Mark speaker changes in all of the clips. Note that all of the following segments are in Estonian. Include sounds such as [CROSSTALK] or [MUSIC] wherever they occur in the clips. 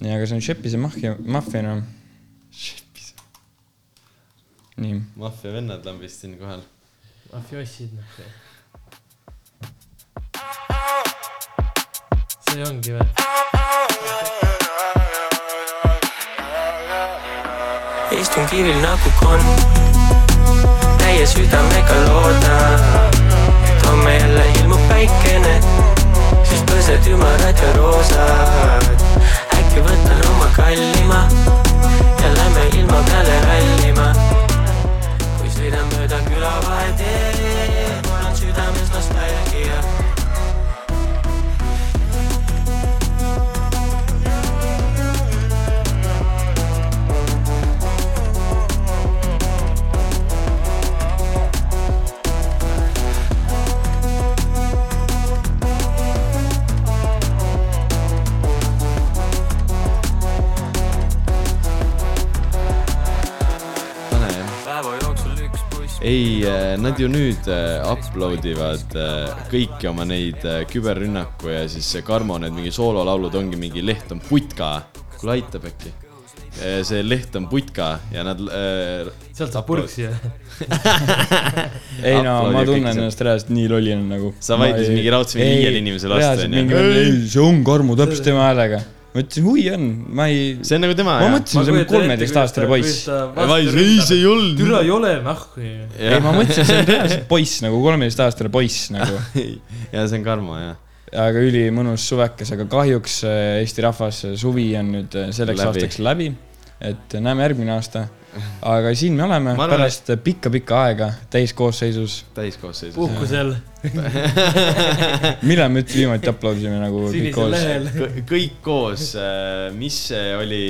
Speaker 1: ja , aga see on Šepise mafia , maffia enam .
Speaker 2: Šepis .
Speaker 1: nii ,
Speaker 2: maffia vennad lambist siinkohal .
Speaker 3: mafiosid noh . see ongi või ?
Speaker 4: istun kiiril nagu konn , täie südamega loodan , et homme jälle ilmub päikene , siis põsed ümarad ja roosad . äkki võtan oma kallima ja lähme ilma peale rallima . kui sõidan mööda külavaheteed , mul on südames nostalgia
Speaker 2: pane jah .
Speaker 4: päeva jooksul üks buss .
Speaker 2: ei , nad ju nüüd äh, upload ivad äh, kõiki oma neid äh, küberrünnaku ja siis see Karmo need mingi soololaulud ongi mingi leht on putka . kuule , aitab äkki . see leht on putka ja nad äh, .
Speaker 3: sealt saab purksi ju .
Speaker 1: ei no ma
Speaker 2: Uploadi ja kõik
Speaker 1: tunnen
Speaker 2: see-
Speaker 1: ennast reaalselt nii lollina nagu .
Speaker 2: Sa vaidlesid mingi raudselt mingi viiele inimesele vastu, onju.
Speaker 1: ei , see on Karmu täpselt tema häälega . ma ütlesin , hui on , ma ei ,
Speaker 2: see on nagu tema
Speaker 1: ma
Speaker 2: jah?
Speaker 1: mõtlesin , see on kolmeteistaastane poiss .
Speaker 2: Vai- ei , see ei olnud .
Speaker 3: türa ei ole nahku ju .
Speaker 1: ei , ma mõtlesin , see on
Speaker 2: [LAUGHS]
Speaker 1: reaalselt poiss nagu kolmeteistaastane poiss nagu ,
Speaker 2: ja see on Karmo jah .
Speaker 1: aga ülimõnus suvekas , aga kahjuks äh, Eesti rahvas , suvi on nüüd äh, selleks
Speaker 2: Läbi.
Speaker 1: läbi. aastaks läbi . et äh, näeme järgmine aasta . aga siin me oleme
Speaker 2: Ma arvan,
Speaker 1: pärast pikka-pikka aega täiskoosseisus .
Speaker 2: täiskoosseisus .
Speaker 3: puhkusel ,
Speaker 1: millal me üldse viimati upload isime nagu kõik
Speaker 3: sinisel
Speaker 1: koos ?
Speaker 3: lehel .
Speaker 2: Kõ- kõik koos , mis see oli ?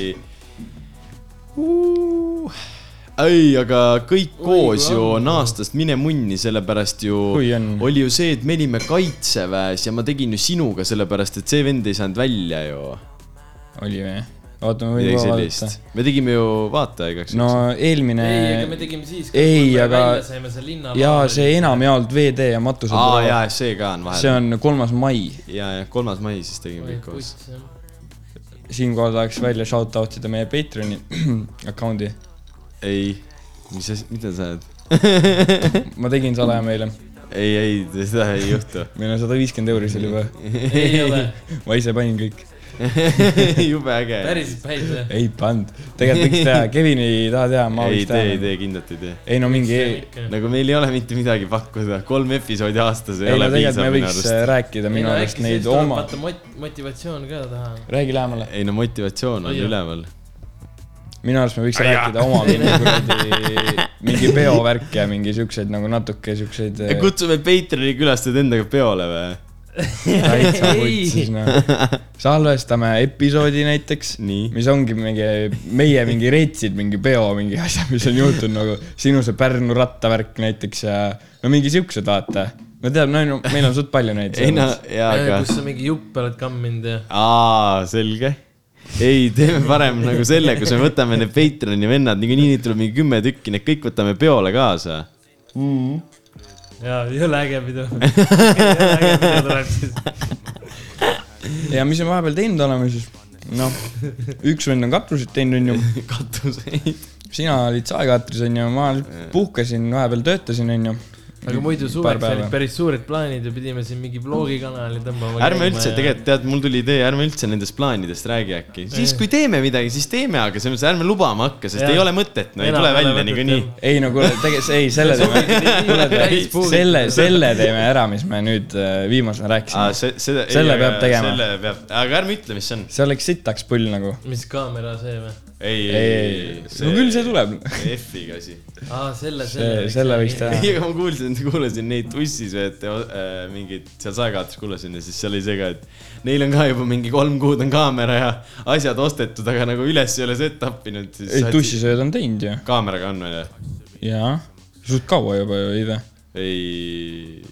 Speaker 2: ei , aga kõik koos ju on aastast mine munni , sellepärast ju
Speaker 1: Kui on.
Speaker 2: oli ju see , et me olime kaitseväes ja ma tegin ju sinuga , sellepärast et see vend ei saanud välja ju .
Speaker 1: oli või ? oota , ma võin
Speaker 2: midagi
Speaker 1: kohe vaadata .
Speaker 2: sellist . me tegime ju vaata igaks
Speaker 1: no
Speaker 2: juhuks.
Speaker 1: eelmine
Speaker 3: ei , aga me tegime siis ,
Speaker 1: Ei,
Speaker 3: me
Speaker 1: aga-
Speaker 3: välja saime seal linna .
Speaker 1: ja see . enamjaolt VD ja matused .
Speaker 2: aa jaa , see ka on
Speaker 1: see
Speaker 2: vahel .
Speaker 1: on kolmas mai ,
Speaker 2: ja , ja kolmas mai siis tegime kõik koos .
Speaker 1: siinkohal tahaks välja shout out ida meie Patreoni [CLEARS THROAT] account'i .
Speaker 2: ei , mis asi , mida sa oled ? [LAUGHS]
Speaker 1: ma tegin salaja meile ,
Speaker 2: ei , ei , seda ei juhtu . [LAUGHS]
Speaker 1: meil on sada viiskümmend euri seal juba ,
Speaker 3: ei ole ,
Speaker 1: ma ise panin kõik .
Speaker 2: jube äge .
Speaker 3: päriselt päid või ?
Speaker 1: ei pannud , tegelikult võiks
Speaker 2: [LAUGHS]
Speaker 1: teha , Kevin ei taha teha , ma
Speaker 2: ei
Speaker 1: võiks
Speaker 2: tee , ei
Speaker 1: teha .
Speaker 2: tee , kindlalt ei tee .
Speaker 1: ei no mingi , e- ei
Speaker 2: nagu meil ei ole mitte midagi pakkuda , kolm episoodi aastas ei, ei
Speaker 1: no
Speaker 2: ole
Speaker 1: tegelikult
Speaker 2: piisav
Speaker 1: me
Speaker 2: minu
Speaker 1: võiks äh,
Speaker 2: arust .
Speaker 1: rääkida minu arust neid oma ,
Speaker 3: vaata mot- , motivatsioon ka taha .
Speaker 1: räägi lähemale ,
Speaker 2: ei no motivatsioon on
Speaker 3: Ai, jah.
Speaker 2: üleval .
Speaker 1: minu arust me võiks rääkida oma mingi kuradi , mingi peovärk ja mingi siukseid nagu natuke siukseid . äh,
Speaker 2: kutsume Patreoni külastajad endaga peole või ?
Speaker 1: täitsa
Speaker 3: Ei.
Speaker 1: vutsis noh . salvestame episoodi näiteks ,
Speaker 2: nii ,
Speaker 1: mis ongi mingi , meie mingi reetsid mingi peo mingi asja , mis on juhtunud nagu sinu see Pärnu rattavärk näiteks ja no mingi siuksed vaata . no tead , no ei, no meil on suht palju neid .
Speaker 2: ei no jaa , aga
Speaker 3: kus , sa mingi juppe oled kamminud ja .
Speaker 2: aa , selge . ei , teeme parem nagu selle , kus me võtame need Patreoni vennad , niikuinii neid tuleb mingi kümme tükki , need kõik võtame peole kaasa . [LAUGHS]
Speaker 3: jaa , jõle äge pidu . jõle äge pidu tuleb siis .
Speaker 1: ja mis me vahepeal teinud oleme siis ? noh , üks vend on katrusid teinud , onju ,
Speaker 2: katuseid .
Speaker 1: sina olid saekatris , onju , ma puhkasin , vahepeal töötasin , onju .
Speaker 3: aga muidu
Speaker 1: Paar
Speaker 3: suveks
Speaker 1: päeva.
Speaker 3: olid päris suured plaanid ja pidime siin mingi blogikanali tõmbama .
Speaker 2: ärme üldse , tegelikult tead , mul tuli idee , ärme üldse nendest plaanidest räägi äkki . siis , kui teeme midagi , siis teeme , aga selles mõttes ärme lubama hakka , sest
Speaker 3: Jah.
Speaker 2: ei ole mõtet , no ei
Speaker 3: Enam
Speaker 2: tule
Speaker 3: ei ole
Speaker 2: välja
Speaker 3: mõtet,
Speaker 2: niikuinii
Speaker 3: jah.
Speaker 1: ei no kuule , tegelikult ,
Speaker 3: [LAUGHS]
Speaker 1: ei selle teeme , selle , selle teeme ära , mis me nüüd äh, viimasena rääkisime
Speaker 2: Aa, . see , seda .
Speaker 1: Selle peab tegema.
Speaker 2: selle peab , aga ärme ütle , mis see on .
Speaker 1: see oleks sitaks pull nagu .
Speaker 3: mis kaamera see või ?
Speaker 2: ei ,
Speaker 1: ei , ei , ei , no küll see . tuleb .
Speaker 2: F-iga asi .
Speaker 3: aa , selle ,
Speaker 1: see , selle võiks .
Speaker 2: ei ,
Speaker 1: teha .
Speaker 2: aga ma kuulsin , kuulasin neid tussis , et äh, mingid seal saekaates kuulasin ja siis seal oli see ka , et neil on ka juba mingi kolm kuud on kaamera ja asjad ostetud , aga nagu üles ei ole see tappinud .
Speaker 1: ei , tussisööd on teinud ju .
Speaker 2: kaameraga on veel jah ?
Speaker 1: jaa . suht kaua juba ju , ei vä ?
Speaker 2: ei ,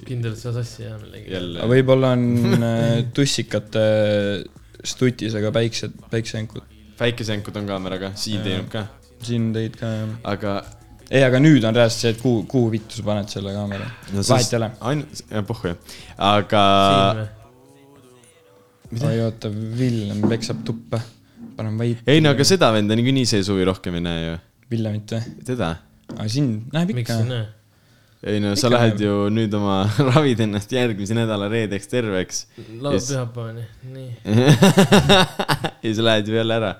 Speaker 3: kindlalt sa sassi ei jää millegi .
Speaker 1: aga
Speaker 2: jälle .
Speaker 1: võib-olla [LAUGHS] on äh, tussikate stutis , aga päiksed , päikseenkud
Speaker 2: päikeseänkud on kaameraga , siin teinud ka ,
Speaker 1: siin tegid ka jah .
Speaker 2: aga .
Speaker 1: ei , aga nüüd on reaalselt see , et kuhu , kuhu vittu sa paned selle kaamera no, . vahet ei ole .
Speaker 2: ainult , puhku jah , aga .
Speaker 3: siin või ?
Speaker 1: oi , oota , Villem peksab tuppa . panen vaipi .
Speaker 2: ei no aga seda venda niikuinii see suvi rohkem ei näe ju .
Speaker 1: Villemit või ?
Speaker 2: teda ?
Speaker 1: aa , sind näeb
Speaker 3: miks
Speaker 1: ikka
Speaker 3: ei . näe ?
Speaker 2: ei no sa
Speaker 1: Ikka
Speaker 2: lähed
Speaker 1: näeb.
Speaker 2: ju nüüd oma , [LAUGHS] ravid ennast järgmise nädala reedeks terveks [LAUGHS]
Speaker 3: laupäev ,
Speaker 2: Yes.
Speaker 3: pühapäevani , nii .
Speaker 2: ja siis lähed ju jälle ära .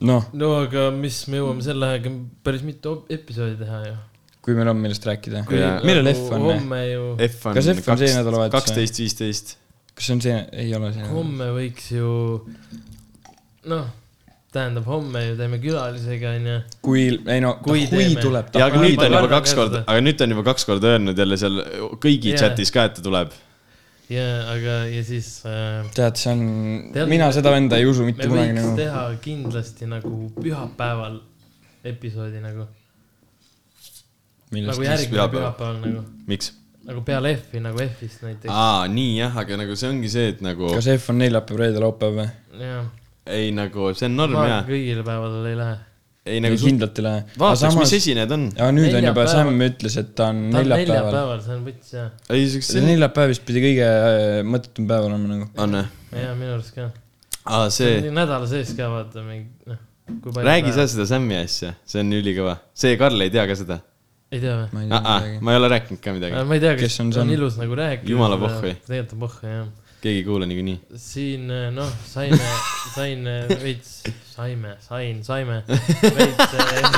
Speaker 1: noh ,
Speaker 3: no aga mis , me jõuame selle ajaga päris mitu op- episoodi teha ju .
Speaker 1: kui meil on , millest rääkida .
Speaker 2: Kui- Jaa.
Speaker 1: millal F on ?
Speaker 3: Nagu homme ju ,
Speaker 2: F on
Speaker 1: Kas F on see nädalavahetus või?
Speaker 2: kaksteist , viisteist .
Speaker 1: kas see on see , ei ole see .
Speaker 3: homme võiks ju , noh , tähendab homme ju teeme külalisega onju .
Speaker 1: kui , ei no ,
Speaker 3: Kui
Speaker 1: kui, kui
Speaker 3: teeme.
Speaker 1: tuleb
Speaker 2: ja
Speaker 1: ta .
Speaker 2: aga
Speaker 3: Ma-
Speaker 2: nüüd
Speaker 3: ma
Speaker 2: on juba
Speaker 3: kardan
Speaker 2: kaks
Speaker 3: ka
Speaker 2: korda
Speaker 3: seda. ,
Speaker 2: aga nüüd ta on juba kaks korda öelnud jälle seal kõigi
Speaker 3: Jaa.
Speaker 2: chatis ka , et ta tuleb .
Speaker 3: ja aga , ja siis äh,
Speaker 1: tead , see on
Speaker 3: Tead- ,
Speaker 1: mina seda venda ei usu
Speaker 3: me
Speaker 1: mitte kunagi
Speaker 3: võiks
Speaker 1: nagu .
Speaker 3: teha kindlasti nagu pühapäeval episoodi nagu , nagu
Speaker 1: millest ?
Speaker 3: järgmine
Speaker 2: pühapäeval?
Speaker 3: pühapäeval nagu ,
Speaker 2: miks ?
Speaker 3: nagu peale F-i nagu F-ist näiteks ,
Speaker 2: aa , nii jah , aga nagu see ongi see , et nagu
Speaker 1: kas F on neljapäev , reede , laupäev või ?
Speaker 3: jah .
Speaker 2: ei nagu see on norm
Speaker 3: ma
Speaker 2: ja
Speaker 3: kõigile päevadele ei lähe .
Speaker 2: ei
Speaker 1: nagu
Speaker 2: nagu suht-
Speaker 1: kindlalt ei lähe .
Speaker 2: vaataks , mis esinejad on .
Speaker 1: aga nüüd on juba ,
Speaker 3: Neljapäeval-
Speaker 1: Sam ütles , et ta on
Speaker 3: ta on
Speaker 1: neljapäeval .
Speaker 3: neljapäeval , see on võts jah ,
Speaker 2: ei , siukse
Speaker 1: see . neljapäev vist pidi kõige äh, mõttetum päev olema nagu .
Speaker 2: on või ?
Speaker 3: ja minu arust ka .
Speaker 2: aa , see ,
Speaker 3: nädala sees ka vaata mingi , noh .
Speaker 2: räägi sa . seda Sammi asja , see on ülikõva . see Karl ei tea ka seda .
Speaker 3: ei tea või ?
Speaker 1: ma ei tea midagi .
Speaker 2: ma ei ole rääkinud ka midagi ,
Speaker 3: ma ei tea ,
Speaker 1: Kes
Speaker 3: kas
Speaker 1: on
Speaker 3: on,
Speaker 1: see
Speaker 3: on
Speaker 1: on?
Speaker 3: ilus nagu rääkida .
Speaker 2: Jumala pohhui.
Speaker 3: tegelikult on pohhu jah .
Speaker 2: keegi ei kuule niikuinii . [LAUGHS]
Speaker 3: siin noh , saime , sain eh, veits , saime , sain , saime veits eh,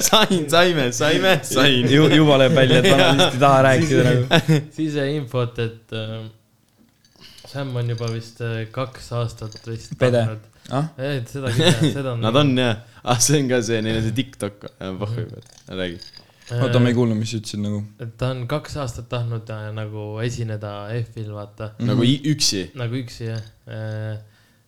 Speaker 2: sain , saime , saime , sain . [LAUGHS]
Speaker 1: Ju- juba lööb välja , et vana vist ei taha rääkida nagu .
Speaker 3: siseinfot , et eh, Sam on juba vist eh, kaks aastat vist .
Speaker 1: Pede. ah ,
Speaker 3: et seda küll , seda
Speaker 2: [LAUGHS]
Speaker 3: on .
Speaker 2: Nad on jah , ah see on ka see , neil on see TikTok , pohhu juba , räägi .
Speaker 1: oota ,
Speaker 3: Äh.
Speaker 1: ma ei kuulnud , mis sa ütlesid nagu .
Speaker 3: Eh, et ta on kaks aastat tahtnud äh, nagu esineda EF-il , vaata ,
Speaker 1: Mm.
Speaker 2: nagu i- üksi ,
Speaker 3: nagu üksi jah .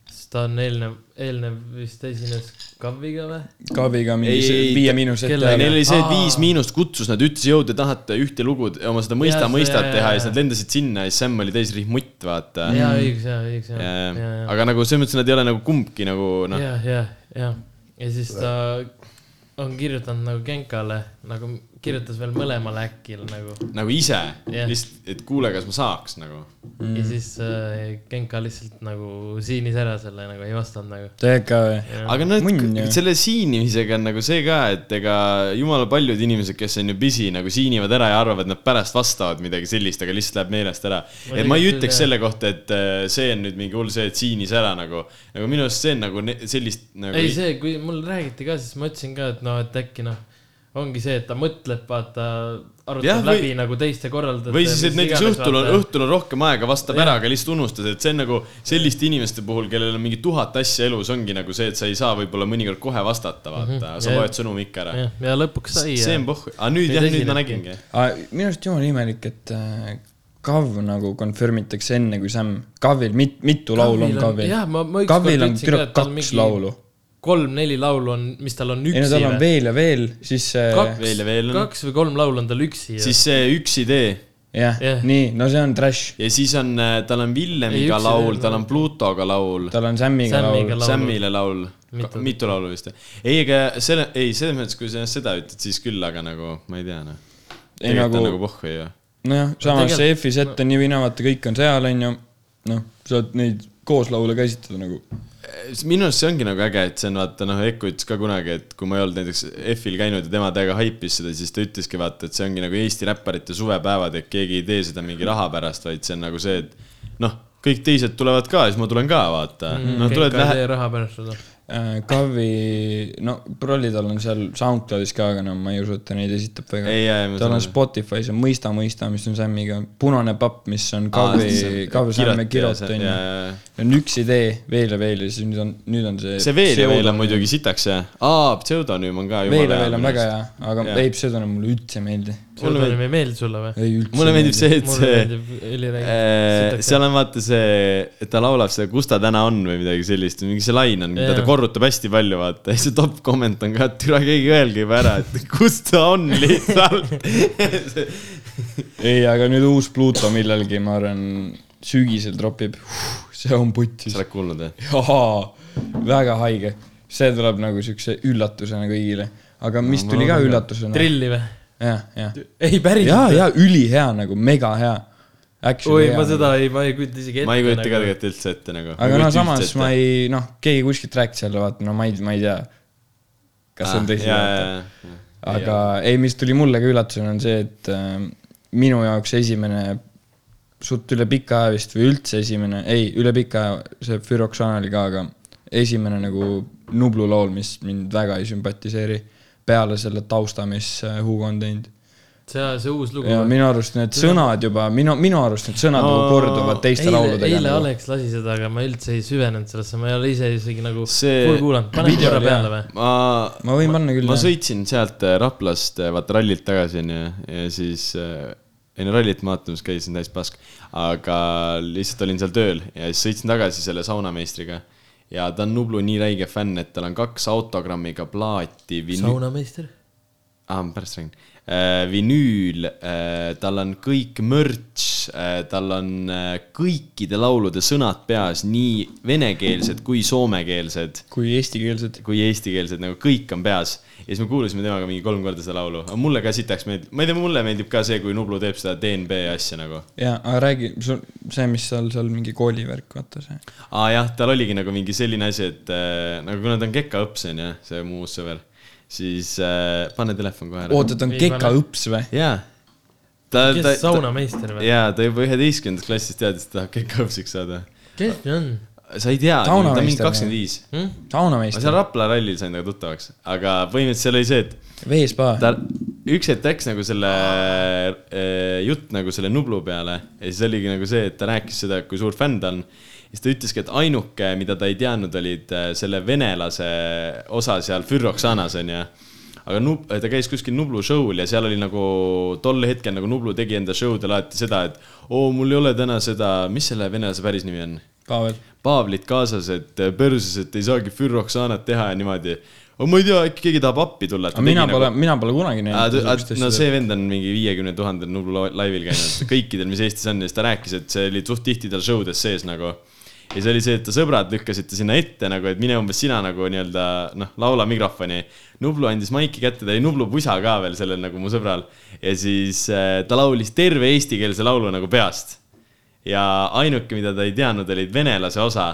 Speaker 3: sest ta on eelnev , eelnev vist esines Kaviga või ?
Speaker 1: Kaaviga mingi
Speaker 2: Ei,
Speaker 1: see
Speaker 2: ei,
Speaker 1: viie miinus ette
Speaker 3: kelle-
Speaker 2: neil
Speaker 1: ajal .
Speaker 2: oli see , et Viis
Speaker 3: Aa.
Speaker 2: Miinust kutsus , nad ütlesid , jõu , te tahate ühte lugu , oma seda
Speaker 3: Jaa,
Speaker 2: mõista
Speaker 3: see- ,
Speaker 2: mõistat teha ja siis nad
Speaker 3: jaa.
Speaker 2: lendasid sinna ja siis Sam oli täis rihmutt , vaata .
Speaker 3: jaa , õigus , jaa , õigus , jaa , jaa , jaa ,
Speaker 2: aga nagu selles mõttes nad ei ole nagu kumbki nagu noh ,
Speaker 3: jaa , jaa , jaa . ja siis ta on kirjutanud nagu Genkale , nagu kirjutas veel mõlemale äkil nagu
Speaker 2: nagu ise ,
Speaker 3: Jah.
Speaker 2: lihtsalt , et kuule , kas ma saaks nagu .
Speaker 1: Mm.
Speaker 3: ja siis äh, Genka lihtsalt nagu siinis ära selle nagu ei vastanud nagu .
Speaker 1: täiega või ?
Speaker 3: Jah.
Speaker 2: aga noh
Speaker 1: Munn ju. ,
Speaker 2: selle siinimisega on nagu see ka , et ega jumala paljud inimesed , kes on ju busy , nagu siinivad ära ja arvavad , nad pärast vastavad midagi sellist , aga lihtsalt läheb meelest ära .
Speaker 3: Ma
Speaker 2: et ma ei
Speaker 3: tegelikult
Speaker 2: ütleks
Speaker 3: küll,
Speaker 2: selle kohta , et äh, see on nüüd mingi hull see , et siinis ära nagu , nagu minu arust see on nagu ne- sellist nagu
Speaker 3: ei , see , kui mul räägiti ka , siis ma ütlesin ka , et noh , et äkki noh , ongi see , et ta mõtleb , vaata , arutab
Speaker 2: Jah,
Speaker 3: ja,
Speaker 2: või-
Speaker 3: läbi nagu teiste korraldajate .
Speaker 2: või siis , et näiteks õhtul on , õhtul on rohkem aega , vastab ära , aga lihtsalt unustas , et see on nagu selliste inimeste puhul , kellel on mingi tuhat asja elus , ongi nagu see , et sa ei saa võib-olla mõnikord kohe vastata , vaata , sa
Speaker 3: Mhm. jah.
Speaker 2: loed sõnumi ikka ära .
Speaker 3: jah , ja lõpuks sai äh,
Speaker 2: see
Speaker 3: ja
Speaker 2: on pohhu , aga nüüd
Speaker 3: Nüüd
Speaker 2: jah , nüüd ma
Speaker 3: esinebki.
Speaker 2: nägingi
Speaker 1: minu arust jumala imelik , et äh, Kav nagu confirm itakse enne kui Sam . Kavil mit- , mitu laulu on
Speaker 3: Kavil on-
Speaker 1: Kavil
Speaker 3: jah, ma- ma ? ükskord
Speaker 1: Kavil on
Speaker 3: tundsin ka,
Speaker 1: tüdruk
Speaker 3: et tal
Speaker 1: kaks
Speaker 3: mingi-
Speaker 1: laulu .
Speaker 3: kolm-neli laulu on , mis tal on
Speaker 1: ei no
Speaker 3: üksi
Speaker 1: tal on
Speaker 3: või ?
Speaker 1: veel ja veel , siis äh, see
Speaker 3: Kaks.
Speaker 2: veel ja veel on .
Speaker 3: kaks või kolm laulu on tal üksi
Speaker 2: siis see üks idee
Speaker 1: jah
Speaker 3: Jah. ,
Speaker 1: nii , no see on trash .
Speaker 2: ja siis on , tal on
Speaker 3: Ei,
Speaker 2: Villemiga
Speaker 3: üks
Speaker 2: laul ,
Speaker 3: idee
Speaker 2: tal
Speaker 3: on-
Speaker 2: on Plutoga laul ,
Speaker 1: tal on Samiga
Speaker 3: Samiga
Speaker 1: laul .
Speaker 3: laul.
Speaker 2: Samile laul ,
Speaker 3: Mitu.
Speaker 2: mitu laulu vist . ei , ega selle , ei selles mõttes , kui sa seda ütled , siis küll , aga nagu ma ei tea noh .
Speaker 1: ei
Speaker 2: tegelikult on
Speaker 1: nagu
Speaker 2: nagu pohhu ju .
Speaker 1: nojah , samas see
Speaker 3: tegelikult-
Speaker 1: F-is ette on nii või naa , vaata kõik on seal , onju . noh , saad neid koos laule ka esitada nagu .
Speaker 2: minu arust see ongi nagu äge , et see on vaata noh , Eku ütles ka kunagi , et kui ma ei olnud näiteks F-il käinud ja tema täiega haipis seda , siis ta ütleski vaata , et see ongi nagu Eesti räpparite suvepäevad , et keegi ei tee seda mingi raha pärast , vaid see on nagu see , et noh , kõik teised tulevad ka , siis ma tulen ka vaata mm, . noh , tuled lähe- ,
Speaker 3: raha pärast seda .
Speaker 1: Äh, Kavi , no Prolli tal on seal SoundCloudis ka , aga no ma ei usu , et ta neid esitab väga
Speaker 2: Ei, jaa, ei, ma
Speaker 1: tal on
Speaker 2: saan aru.
Speaker 1: Spotify's on Mõista , mõista , mis on Samiga , Punane papp , mis on Kavi , Kavi Samme kirot , onju . on üks idee veel ja veel ja siis nüüd on , nüüd on see .
Speaker 2: see veel ja veel on . muidugi sitaks ja , aa , pseudonüüm on ka
Speaker 1: veel ja veel on väga . hea , aga
Speaker 2: Jah.
Speaker 1: ei , pseudonüüm mulle üldse ei meeldi .
Speaker 3: pseudonüüm ei meeldi sulle või ?
Speaker 1: ei üldse .
Speaker 2: mulle meeldib . see , et
Speaker 3: mulle
Speaker 2: see ,
Speaker 3: meeldib üliräigelt .
Speaker 2: Äh, seal on vaata see , et ta laulab seda Kus ta täna on või midagi sellist , mingi see lain on , mida ta
Speaker 3: Jaa.
Speaker 2: korrutab hästi palju , vaata , ja see top comment on ka , et türa keegi öelge juba ära , et kus ta
Speaker 3: [LAUGHS]
Speaker 2: on lihtsalt .
Speaker 1: ei , aga nüüd uus Pluto millalgi , ma arvan , sügisel tropib . see on putis
Speaker 2: sa . oled kuulnud või ?
Speaker 1: jaa , väga haige . see tuleb nagu siukse üllatusena kõigile . aga mis
Speaker 2: ma
Speaker 1: tuli ka
Speaker 2: loodan ka.
Speaker 1: üllatusena ?
Speaker 3: trilli või ?
Speaker 1: jah , jah .
Speaker 3: ei , päriselt
Speaker 1: ja ,. ja ülihea nagu , mega hea . Actually,
Speaker 3: oi , ma seda ei , ma ei kujuta isegi ette .
Speaker 2: ma ei kujuta ka . tegelikult üldse ette nagu .
Speaker 1: aga no samas ma ei , noh , keegi kuskilt rääkis jälle , vaata , no ma ei , ma ei tea , kas
Speaker 3: Ah,
Speaker 1: see on tõsi , vaata . aga ei , mis tuli mulle ka üllatusena , on see , et äh, minu jaoks esimene suht üle pika aja vist või üldse esimene , ei , üle pika aja , see Füroxan oli ka , aga esimene nagu Nublu lool , mis mind väga ei sümpatiseeri , peale selle tausta , mis äh, Hugo on teinud .
Speaker 3: see , see uus lugu .
Speaker 1: ja minu arust need sõnad juba , minu , minu arust need sõnad nagu
Speaker 2: No,
Speaker 1: korduvad teiste
Speaker 3: eile ,
Speaker 1: lauludega . nagu.
Speaker 2: nagu.
Speaker 3: eile Alex lasi seda , aga ma üldse ei süvenenud sellesse , ma ei ole ise isegi nagu
Speaker 2: See-
Speaker 3: full kuulanud , paneme
Speaker 1: video
Speaker 3: korra
Speaker 1: oli hea.
Speaker 3: peale või ?
Speaker 2: ma ,
Speaker 1: Ma võin panna küll,
Speaker 2: ma
Speaker 1: jah.
Speaker 2: sõitsin sealt äh, Raplast , vaata rallilt tagasi onju , ja siis äh, enne rallit maatumas käisin täis pask , aga lihtsalt olin seal tööl ja siis sõitsin tagasi selle saunameistriga ja ta on Nublu nii räige fänn , et tal on kaks autogrammiga plaati , vinüü- ,
Speaker 3: saunameister .
Speaker 2: aa , Ah, ma pärast räägin . vinüül , tal on kõik mürts , tal on äh, kõikide laulude sõnad peas , nii venekeelsed kui soomekeelsed
Speaker 1: kui eestikeelsed .
Speaker 2: kui eestikeelsed , nagu kõik on peas . ja siis me kuulasime temaga mingi kolm korda seda laulu , aga mulle ka sitaks meeldib , ma ei tea , mulle meeldib ka see , kui Nublu teeb seda DNB asja nagu .
Speaker 1: jaa , aga räägi , see , mis seal , seal mingi koolivärk , vaata see .
Speaker 2: aa jah , tal oligi nagu mingi selline asi , et äh, nagu kuna ta on kekaõps onju , see mu uus sõber , siis äh, pane telefon kohe ära .
Speaker 1: oota , ta on
Speaker 3: Ei pane.
Speaker 1: kekaõps või ?
Speaker 2: jaa . ta , Äh, ta ,
Speaker 3: kes
Speaker 2: ta ,
Speaker 3: saunameister või ?
Speaker 2: jaa , ta juba üheteistkümnendas klassis teadis , et ta tahab kekaõpsiks saada .
Speaker 3: kes see on
Speaker 2: sa ei tea , ta on mingi
Speaker 1: Saunameister või?
Speaker 2: kakskümmend viis .
Speaker 3: hm? ?
Speaker 2: ma
Speaker 1: saunameister
Speaker 2: seal , Rapla rallil sain temaga tuttavaks , aga põhimõtteliselt seal oli see , et
Speaker 1: veespa .
Speaker 2: ta üks hetk läks nagu selle äh, jutt nagu selle Nublu peale ja siis oligi nagu see , et ta rääkis seda , kui suur fänn ta on . siis ta ütleski , et ainuke , mida ta ei teadnud , olid äh, selle venelase osa seal Füroxanas onju . aga Nub- , ta käis kuskil Nublu show'l ja seal oli nagu tol hetkel nagu Nublu tegi enda show del alati seda , et oo , mul ei ole täna seda , mis selle venelase päris nimi on
Speaker 1: Pavel .
Speaker 2: Paavlid kaasas , et perses , et ei saagi Füroxanat teha ja niimoodi . aga ma ei tea , äkki keegi tahab appi tulla .
Speaker 1: aga mina pole , mina pole kunagi näinud .
Speaker 2: nagu- Ah, no see vend on mingi viiekümne tuhandel Nublu la- laivil käinud , kõikidel , mis Eestis on ja siis ta rääkis , et see oli suht tihti tal show des sees nagu . ja see oli see , et ta sõbrad lükkasid ta sinna ette nagu , et mine umbes sina nagu nii-öelda noh , laula mikrofoni . Nublu andis maiki kätte , ta oli Nublu pusa ka veel sellel nagu mu sõbral . ja siis äh, ta laulis terve eestikeelse laulu nagu peast ja ainuke , mida ta ei teadnud , olid venelase osa .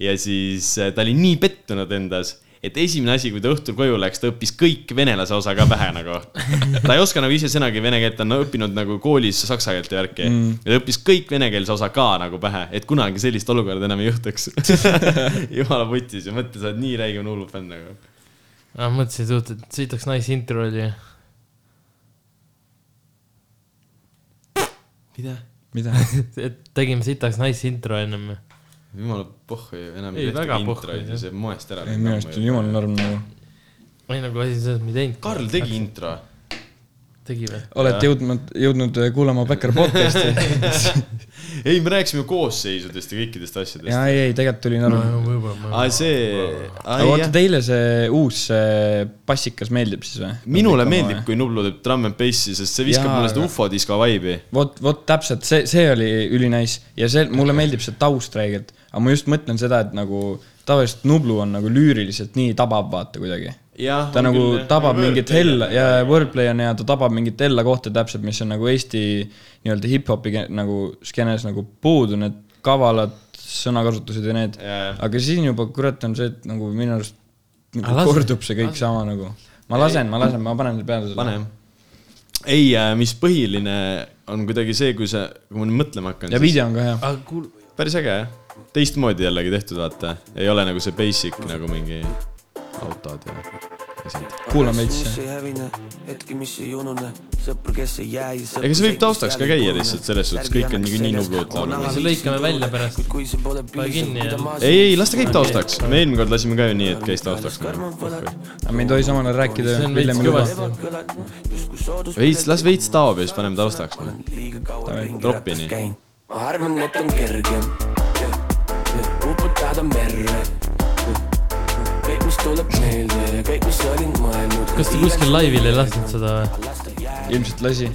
Speaker 2: ja siis äh, ta oli nii pettunud endas , et esimene asi , kui ta õhtul koju läks , ta õppis kõik venelase osa ka pähe nagu . ta ei oska nagu ise sõnagi vene keelt , ta on õppinud nagu koolis saksa keelt ja värki mm. . ja ta õppis kõik venekeelse osa ka nagu pähe , et kunagi sellist olukorda enam ei juhtuks . jumala putis ja mõtle , sa oled nii räige Nublu fänn nagu .
Speaker 3: ma Ah, mõtlesin , et suht- , et sõidaks naisintro oli . [LAUGHS]
Speaker 2: mida ?
Speaker 1: mida ?
Speaker 3: et tegime sitaks naisintro ennem .
Speaker 2: jumala pohhu ju , enam
Speaker 3: Ei,
Speaker 2: ei tehta
Speaker 3: väga pohhu,
Speaker 2: introid ja
Speaker 3: jah.
Speaker 2: see on moest ära
Speaker 1: ei , minu arust on . jumala norm nagu .
Speaker 3: ei nagu asi selles , me ei teinud .
Speaker 2: Karl tegi . intro .
Speaker 3: tegi või ?
Speaker 1: olete jõudnud , jõudnud äh, kuulama Bäcker podcast'i ?
Speaker 2: [LAUGHS] ei , me rääkisime koosseisudest ja kõikidest asjadest .
Speaker 1: jaa , ei , ei , tegelikult tuli norm .
Speaker 3: võib-olla .
Speaker 2: aa , see ,
Speaker 1: aga
Speaker 2: aa
Speaker 1: vaata ,
Speaker 2: jah ,
Speaker 1: teile see uus see passikas meeldib siis või ?
Speaker 2: minule meeldib ,. kui Nublu teeb trumm and bassi , sest see viskab
Speaker 1: Jaa,
Speaker 2: mulle seda
Speaker 1: aga-
Speaker 2: ufo disko vibe'i .
Speaker 1: vot , vot täpselt see , see oli ülinais ja see , mulle meeldib see taust räigelt , aga ma just mõtlen seda , et nagu tavaliselt Nublu on nagu lyüriliselt nii tabab vaata kuidagi .
Speaker 2: jah
Speaker 1: ta nagu tabab mingit hella ja wordplay on ja ta tabab mingit hella kohta täpselt , mis on nagu Eesti nii-öelda hip-hopi ke- nagu skeenes nagu puudu , need kavalad sõnakasutused ja need .
Speaker 2: Jaa.
Speaker 1: aga siin juba kurat on see , et nagu minu arust
Speaker 3: Aga
Speaker 1: nagu
Speaker 3: lase-
Speaker 1: kordub see kõik sama nagu . ma lasen , ma lasen , ma panen selle peale .
Speaker 2: pane . ei , mis põhiline on kuidagi see , kui sa , kui ma nüüd mõtlema hakkan .
Speaker 1: ja video on ka hea .
Speaker 3: aga kuul- ,
Speaker 2: päris äge jah , teistmoodi jällegi tehtud , vaata , ei ole nagu see basic nagu mingi autod ja asjad .
Speaker 1: kuulame veits .
Speaker 4: hetki , mis ei unune , sõpru , kes ei jää .
Speaker 2: Ega see võib taustaks ka käia lihtsalt, selles suhtes kõik on nagu niikuinii Nublu, et laulavad.
Speaker 3: Aga see lõikame välja pärast.
Speaker 4: kui see pole
Speaker 3: Pane kinni ja-
Speaker 2: ei , ei las ta käib taustaks , me eelmine kord lasime ka ju nii , et käis taustaks . nagu.
Speaker 1: aga me ei tohi samal ajal rääkida .
Speaker 3: see on veits . kõvasti .
Speaker 4: noh,
Speaker 2: veits , las veits taob ja siis paneme taustaks . nagu.
Speaker 4: olen liiga kaua
Speaker 1: Davai.
Speaker 4: ringi
Speaker 2: Droppini.
Speaker 4: ratas käinud . ma arvan , et on kergem jah, jah, uputada merre . kõik , mis tuleb meelde ja kõik , mis olin mõelnud .
Speaker 3: kas te kuskil laivil ei lasknud seda või ?
Speaker 1: ilmselt lasi .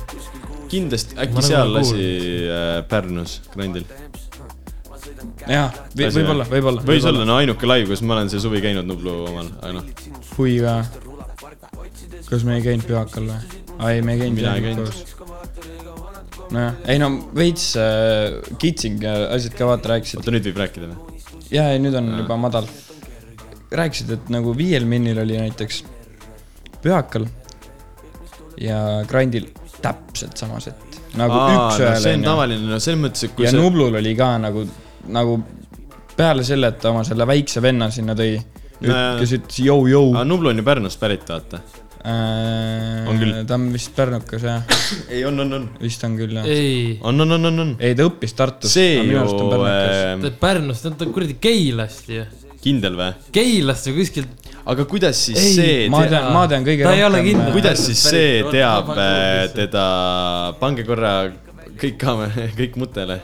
Speaker 2: kindlasti ,
Speaker 3: Ma
Speaker 2: äkki
Speaker 3: nagu
Speaker 2: seal
Speaker 3: kuulnud.
Speaker 2: lasi äh, Pärnus Grandil .
Speaker 1: jah , võib-olla , võib-olla .
Speaker 2: võis olla , no ainuke live , kus ma olen see suvi käinud Nublu omal , aga noh ,
Speaker 1: hui ka . kas me ei käinud Pühakal või ? aa ei , me ei käinud
Speaker 2: Mina ei
Speaker 1: Pühakal
Speaker 2: käinud.
Speaker 1: koos . nojah , ei no veits äh, kitsing ja asjad ka vaata rääkisid ,
Speaker 2: oota , nüüd võib rääkida või ?
Speaker 1: jaa , ei nüüd on
Speaker 2: Jaa.
Speaker 1: juba madal . rääkisid , et nagu viiel minnil oli näiteks pühakal ja Grandil täpselt sama sett , nagu
Speaker 2: see on
Speaker 1: üks-ühele onju .
Speaker 2: tavaline , no selles mõttes , et kui
Speaker 1: ja
Speaker 2: see ,
Speaker 1: Nublul oli ka nagu , nagu peale selle , et ta oma selle väikse venna sinna tõi ,
Speaker 2: Nojah.
Speaker 1: kes ütles jõu-jõu
Speaker 2: aga Nublu on ju Pärnust pärit , vaata . On küll.
Speaker 1: Äh, ta on vist pärnukas jah ,
Speaker 2: ei , on , on , on .
Speaker 1: vist on küll jah .
Speaker 3: ei ,
Speaker 2: on , on , on , on , on .
Speaker 1: ei , ta õppis Tartus .
Speaker 2: see ju , äh,
Speaker 3: ta Pärnust , ta on kuradi Keilast ju .
Speaker 2: kindel või ?
Speaker 3: Keilast või kuskilt ,
Speaker 2: aga kuidas siis
Speaker 3: Ei,
Speaker 2: see
Speaker 1: ma
Speaker 2: tea-
Speaker 1: tean , ma tean kõige
Speaker 3: Ta ei ole kindel.
Speaker 2: kuidas siis see
Speaker 3: Päris-
Speaker 2: teab
Speaker 3: Vabandust,
Speaker 2: äh,
Speaker 3: lihtsalt.
Speaker 2: teda , pange korra kõik kaamera , [LAUGHS] kõik mutele .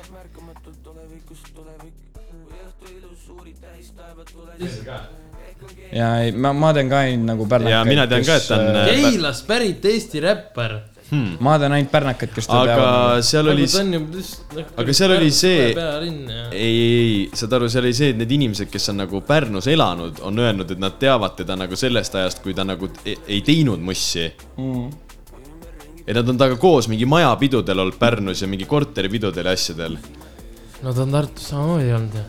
Speaker 1: ja ei , ma , ma tean ka ainult nagu pärnakaid .
Speaker 2: Ja mina tean ka, et ta on, äh,
Speaker 3: Keilast pärit Eesti räppar .
Speaker 1: ma tean ainult pärnakaid , kes teda
Speaker 2: aga
Speaker 1: teavad .
Speaker 2: seal oli , ei ,
Speaker 3: noh,
Speaker 2: Aga seal oli see- ei , saad aru , seal oli see , et need inimesed , kes on nagu Pärnus elanud , on öelnud , et nad teavad teda nagu sellest ajast , kui ta nagu t- ei- ei teinud mossi . ja nad on temaga koos mingi majapidudel olnud Pärnus ja mingi korteripidudel ja asjadel .
Speaker 3: no ta on Tartus samamoodi olnud ju .